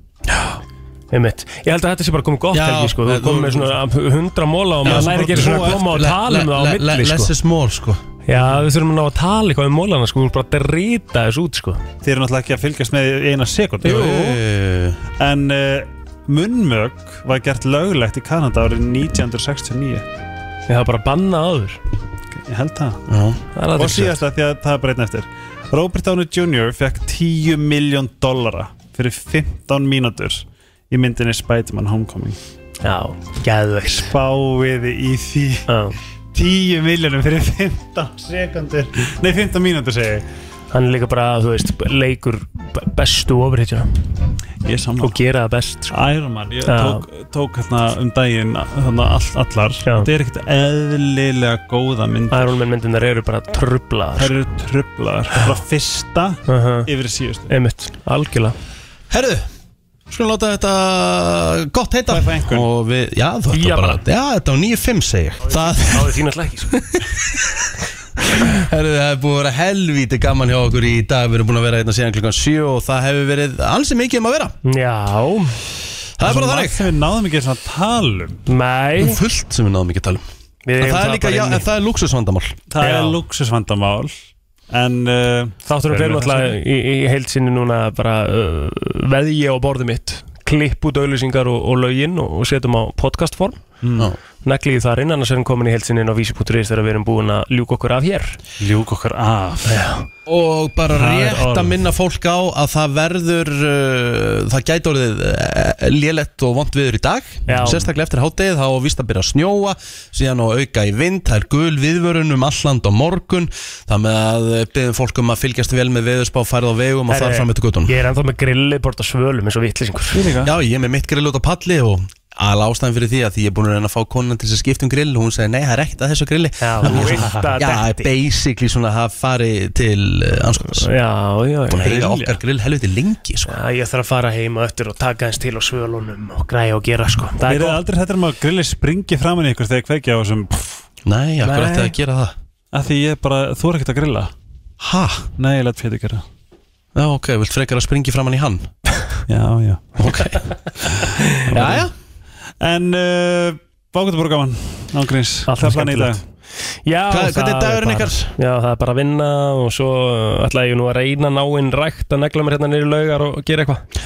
S2: Einmitt. Ég held að þetta sé bara komið gott
S4: Já,
S2: helgi sko. Þú
S4: þú-
S2: komið með svona hundra móla og
S4: Já,
S2: maður
S4: svo
S2: læri
S4: bara
S2: ekki svona
S4: þú
S2: að koma
S4: ert-
S2: og tala um
S1: le-
S2: það á
S1: le- le-
S2: milli
S1: less is more sko
S2: Já, við þurfum að ná að tala eitthvað um mólana sko. Þú ert bara að rýta þessu út sko.
S4: Þið eru náttúrulega ekki að fylgjast með í eina sekundu
S2: Jú.
S4: En uh, munnmög var gert löglegt í Kanada árið 1969
S2: Ég hafa bara bannað áður
S4: Ég held það
S1: Já.
S4: það Og síðasta því að það er bara einn eftir Robert Downey Jr. fekk 10 miljón dollara fyrir 15 mínútur í myndinni Spider-Man Homecoming
S2: Já, gæðvegt
S4: Spáiði í því
S2: Já.
S4: 10 miljónum fyrir 15 sekundur Nei, 15 mínútur segi ég
S2: Hann er líka bara, þú veist, leikur b- bestu ofurhitjuna
S4: Ég saman
S2: Og gera það best sko.
S4: Iron Man, ég
S2: Já.
S4: tók, tók hérna um daginn hérna all, allar Þetta er ekkert eðlilega góða mynd
S2: Iron Man myndunar eru bara trublaðar
S4: Þær eru trublaðar, sko. bara fyrsta yfir síðustu
S2: Einmitt, algjörlega
S1: Herðu, skulum láta þetta gott heita Og við, já þú ætti
S2: Já,
S1: bara
S2: bara.
S1: Já, þetta var 9.5 segi ég Það
S2: Náðu þín alltaf ekki sko.
S1: Herðu, það hefur búið að vera helvíti gaman hjá okkur í dag Við erum búin að vera hérna síðan klukkan 7 Og það hefur verið ansi mikið um að vera
S2: Já
S1: Það er bara þannig
S4: Við náðum ekki svona talum
S2: Nei
S1: Um fullt sem við náðum ekki að tala um
S2: Við
S1: En
S2: eigum
S1: það er
S2: það
S1: líka,
S2: bara
S1: já,
S2: inni.
S1: en það er luxusvandamál
S4: Það er luxusvandamál En uh,
S2: Þátturum fyrir náttúrulega í, í heild sinni núna bara uh, veðja á borðið mitt klipp út auðlýsingar og, og lögin og, og setjum á podcastform
S4: Mm.
S2: neglið þar inn, annars er hann komin í heild sinni inn á vísi.is þegar við erum búin að ljúka okkur af hér
S4: Ljúk okkar af
S1: Og bara
S2: Það er
S1: rétt
S2: orð.
S1: að minna fólk á að það verður uh, Það gæti orðið uh, lélegt og vond viður í dag
S2: Já.
S1: Sérstaklega eftir háttegið þá á víst að byrja að snjóa Síðan á auka í vind, það er gul viðvörun um alland á morgun Það með að byrðum fólk um að fylgjast vel með veðurspá færð á vegum og
S2: Herre,
S1: þar fram eftir guttunum
S2: Ég er ennþá með grillið bort að svölum eins og vitlýsingur
S1: Já, ég er með mitt grill út á palli og alveg ástæðan fyrir því að því ég er búin að reyna að fá konan til þess að skipta um grill og hún segi nei, það er ekkert að þessu grilli Já,
S2: þú veist að
S1: Já,
S2: detti.
S1: basically svona að það fari til uh, anskotans
S2: Já, já,
S1: Búin að
S2: grilla.
S1: reyna okkar grill helviti lengi sko.
S2: Já, ég þarf að fara heima öttur og taka eins til á svölunum og græja og gera sko Það
S4: Við
S2: er
S4: erum
S2: gott
S4: aldrei hættir um að grilli springi framan í ykkur þegar kveikja á þessum
S1: Nei, af hverju ætti það að gera það?
S4: Af því ég bara, þú er ekkert að grilla
S1: Ha?
S4: Nei, ég let fyrir gera
S1: Já, ok, vilt frekar að springi framann í hann?
S4: Já, já
S1: Ok Já, já
S4: En uh, bákvæmt bara gaman Ángríns, það er planið í dag
S2: Já, það
S1: Hvað- hvernig er dagurinn
S2: bara-
S1: ykkar?
S2: Já, það er bara að vinna og svo ætla ég nú að reyna að ná inn rækt að negla mér hérna niður í laugar og gera eitthvað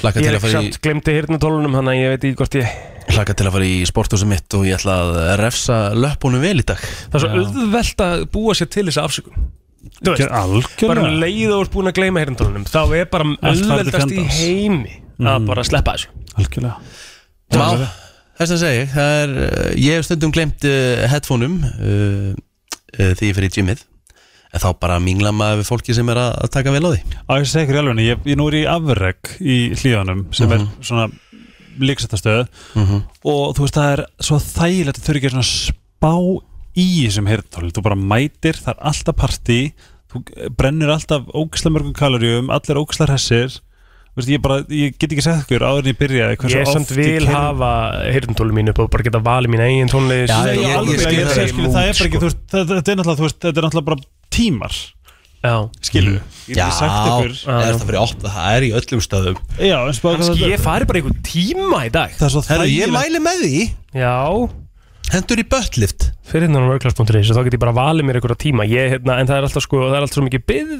S1: Laka
S2: Ég
S1: til
S2: er
S1: að
S2: ekki
S1: fara í
S2: samt glemdi hirnatólunum þannig að ég veit ekki hvort ég
S1: Laka til að fara í sporthúsum mitt og ég ætla að refsa löpunum vel í dag
S2: Það er svo auðvelt að búa sér til þessa afsökun Þú veist,
S4: Algjörlega.
S2: bara um leið og ert búin að gleyma hirnatólunum þá er bara
S4: Allt farið til
S2: auðveldast í
S4: fjandans.
S2: heimi
S1: Mhm.
S2: að bara sleppa þessu
S4: Algjörlega
S1: Má, þess að segja, það er, uh, ég hef stundum glemt uh, headphoneum uh, uh, því ég fyrir í gymið en þá bara mingla maður við fólki sem er að, að taka vel á því
S4: Á ég segi ykkur í alveg, ég, ég nú er í afreg í hlíðanum sem er svona líksettastöð
S1: Mhm.
S4: og þú veist það er svo þægilegt að þurfi ekki svona spá í þessum heyrðartóli, þú bara mætir, það er alltaf partí, þú brennir alltaf ógislega mörgum kaloríum, allir ógislega hressir Þú veist, ég, bara, ég get ekki sagt ykkur áður en ég byrjaði hversu
S2: Ég
S4: oft
S2: samt vil
S4: keyri-
S2: hafa hirnatólum mínu upp og bara geta valið mín eigin tónlist
S1: Já,
S4: Já,
S1: ég-
S4: alveg,
S1: ég skil
S4: ég
S1: það.
S4: segi, skilur, það er bara ekki, þú veist, þetta þetta er náttúrulega, þú veist, þetta er náttúrulega bara tímar,
S2: sko. Já,
S4: skilur Ég get
S1: Já,
S4: ekki sagt ykkur
S1: það er það fyrir opna, það er í öllum stöðum
S4: Já, en spá hvað
S2: kannski
S4: þetta-
S2: ég fari bara einhvern tíma í dag
S4: það er svo
S1: Herru, ég
S4: þægilegt
S1: mæli með því
S2: Já,
S1: Hendur í böttlift
S2: fyrir hérna á workclass.is og þá get ég bara valið mér einhverja tíma ég, hérna, en það er alltaf sko, það er alltaf svo mikið byð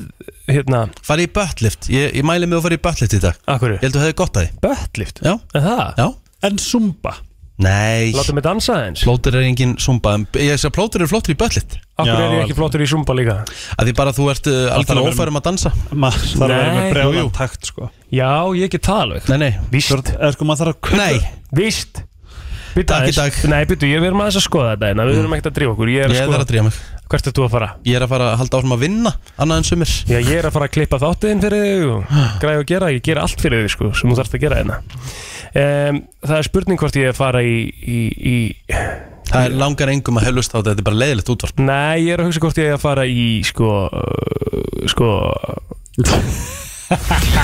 S2: hérna,
S1: Farið í böttlift, ég, ég mæli með að fara í böttlift í dag
S2: að
S1: Ég
S2: hverju?
S1: held að þú hefði gott að því
S2: Böttlift,
S1: Já,
S2: en það?
S1: já
S4: En Zumba
S1: Nei,
S2: Láta mig dansa eins
S1: plótur er engin sumba en Ég sé að plótur er flottur í böttlift
S2: Akkur
S4: Já,
S2: er ég ekki
S4: alveg.
S2: flottur í Zumba líka
S1: að Því bara þú ert uh,
S4: þarf að
S1: algjörlega
S4: vera-
S1: ófærum að dansa
S4: maður þarf að vera
S2: Nei,
S4: með
S2: jú,
S4: bregðan takt sko
S2: Já, ég get það alveg
S1: Nei, nei
S2: Víst,
S4: eða sko maður þarf að kunna-
S1: Nei,
S2: víst Bíddu
S1: Takk í
S2: aðeins.
S1: dag. Mm.
S2: Nei, byrju, ég verðum aðeins að skoða þetta en við verðum ekkert að drífa okkur Ég er
S1: ég
S2: að
S1: er
S2: skoða,
S1: að dríja mig
S2: hvert er þú að fara?
S1: Ég er að fara að halda áfram að vinna Annað en sumir Ah.
S2: Já, ég er að fara að klippa þáttiðin fyrir þig og græði að gera, ég gera allt fyrir þig sko, sem þú þarfst að gera hérna um, Það er spurning hvort ég fara í, í, í
S1: Það er langar engum að helust á þetta, þetta er bara leiðilegt útvarp
S2: Nei, ég er að hugsa hvort ég eigi að fara í sko, uh, sko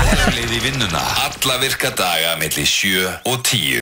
S7: Hjólið í vinnuna Alla virka daga millir 7 og 10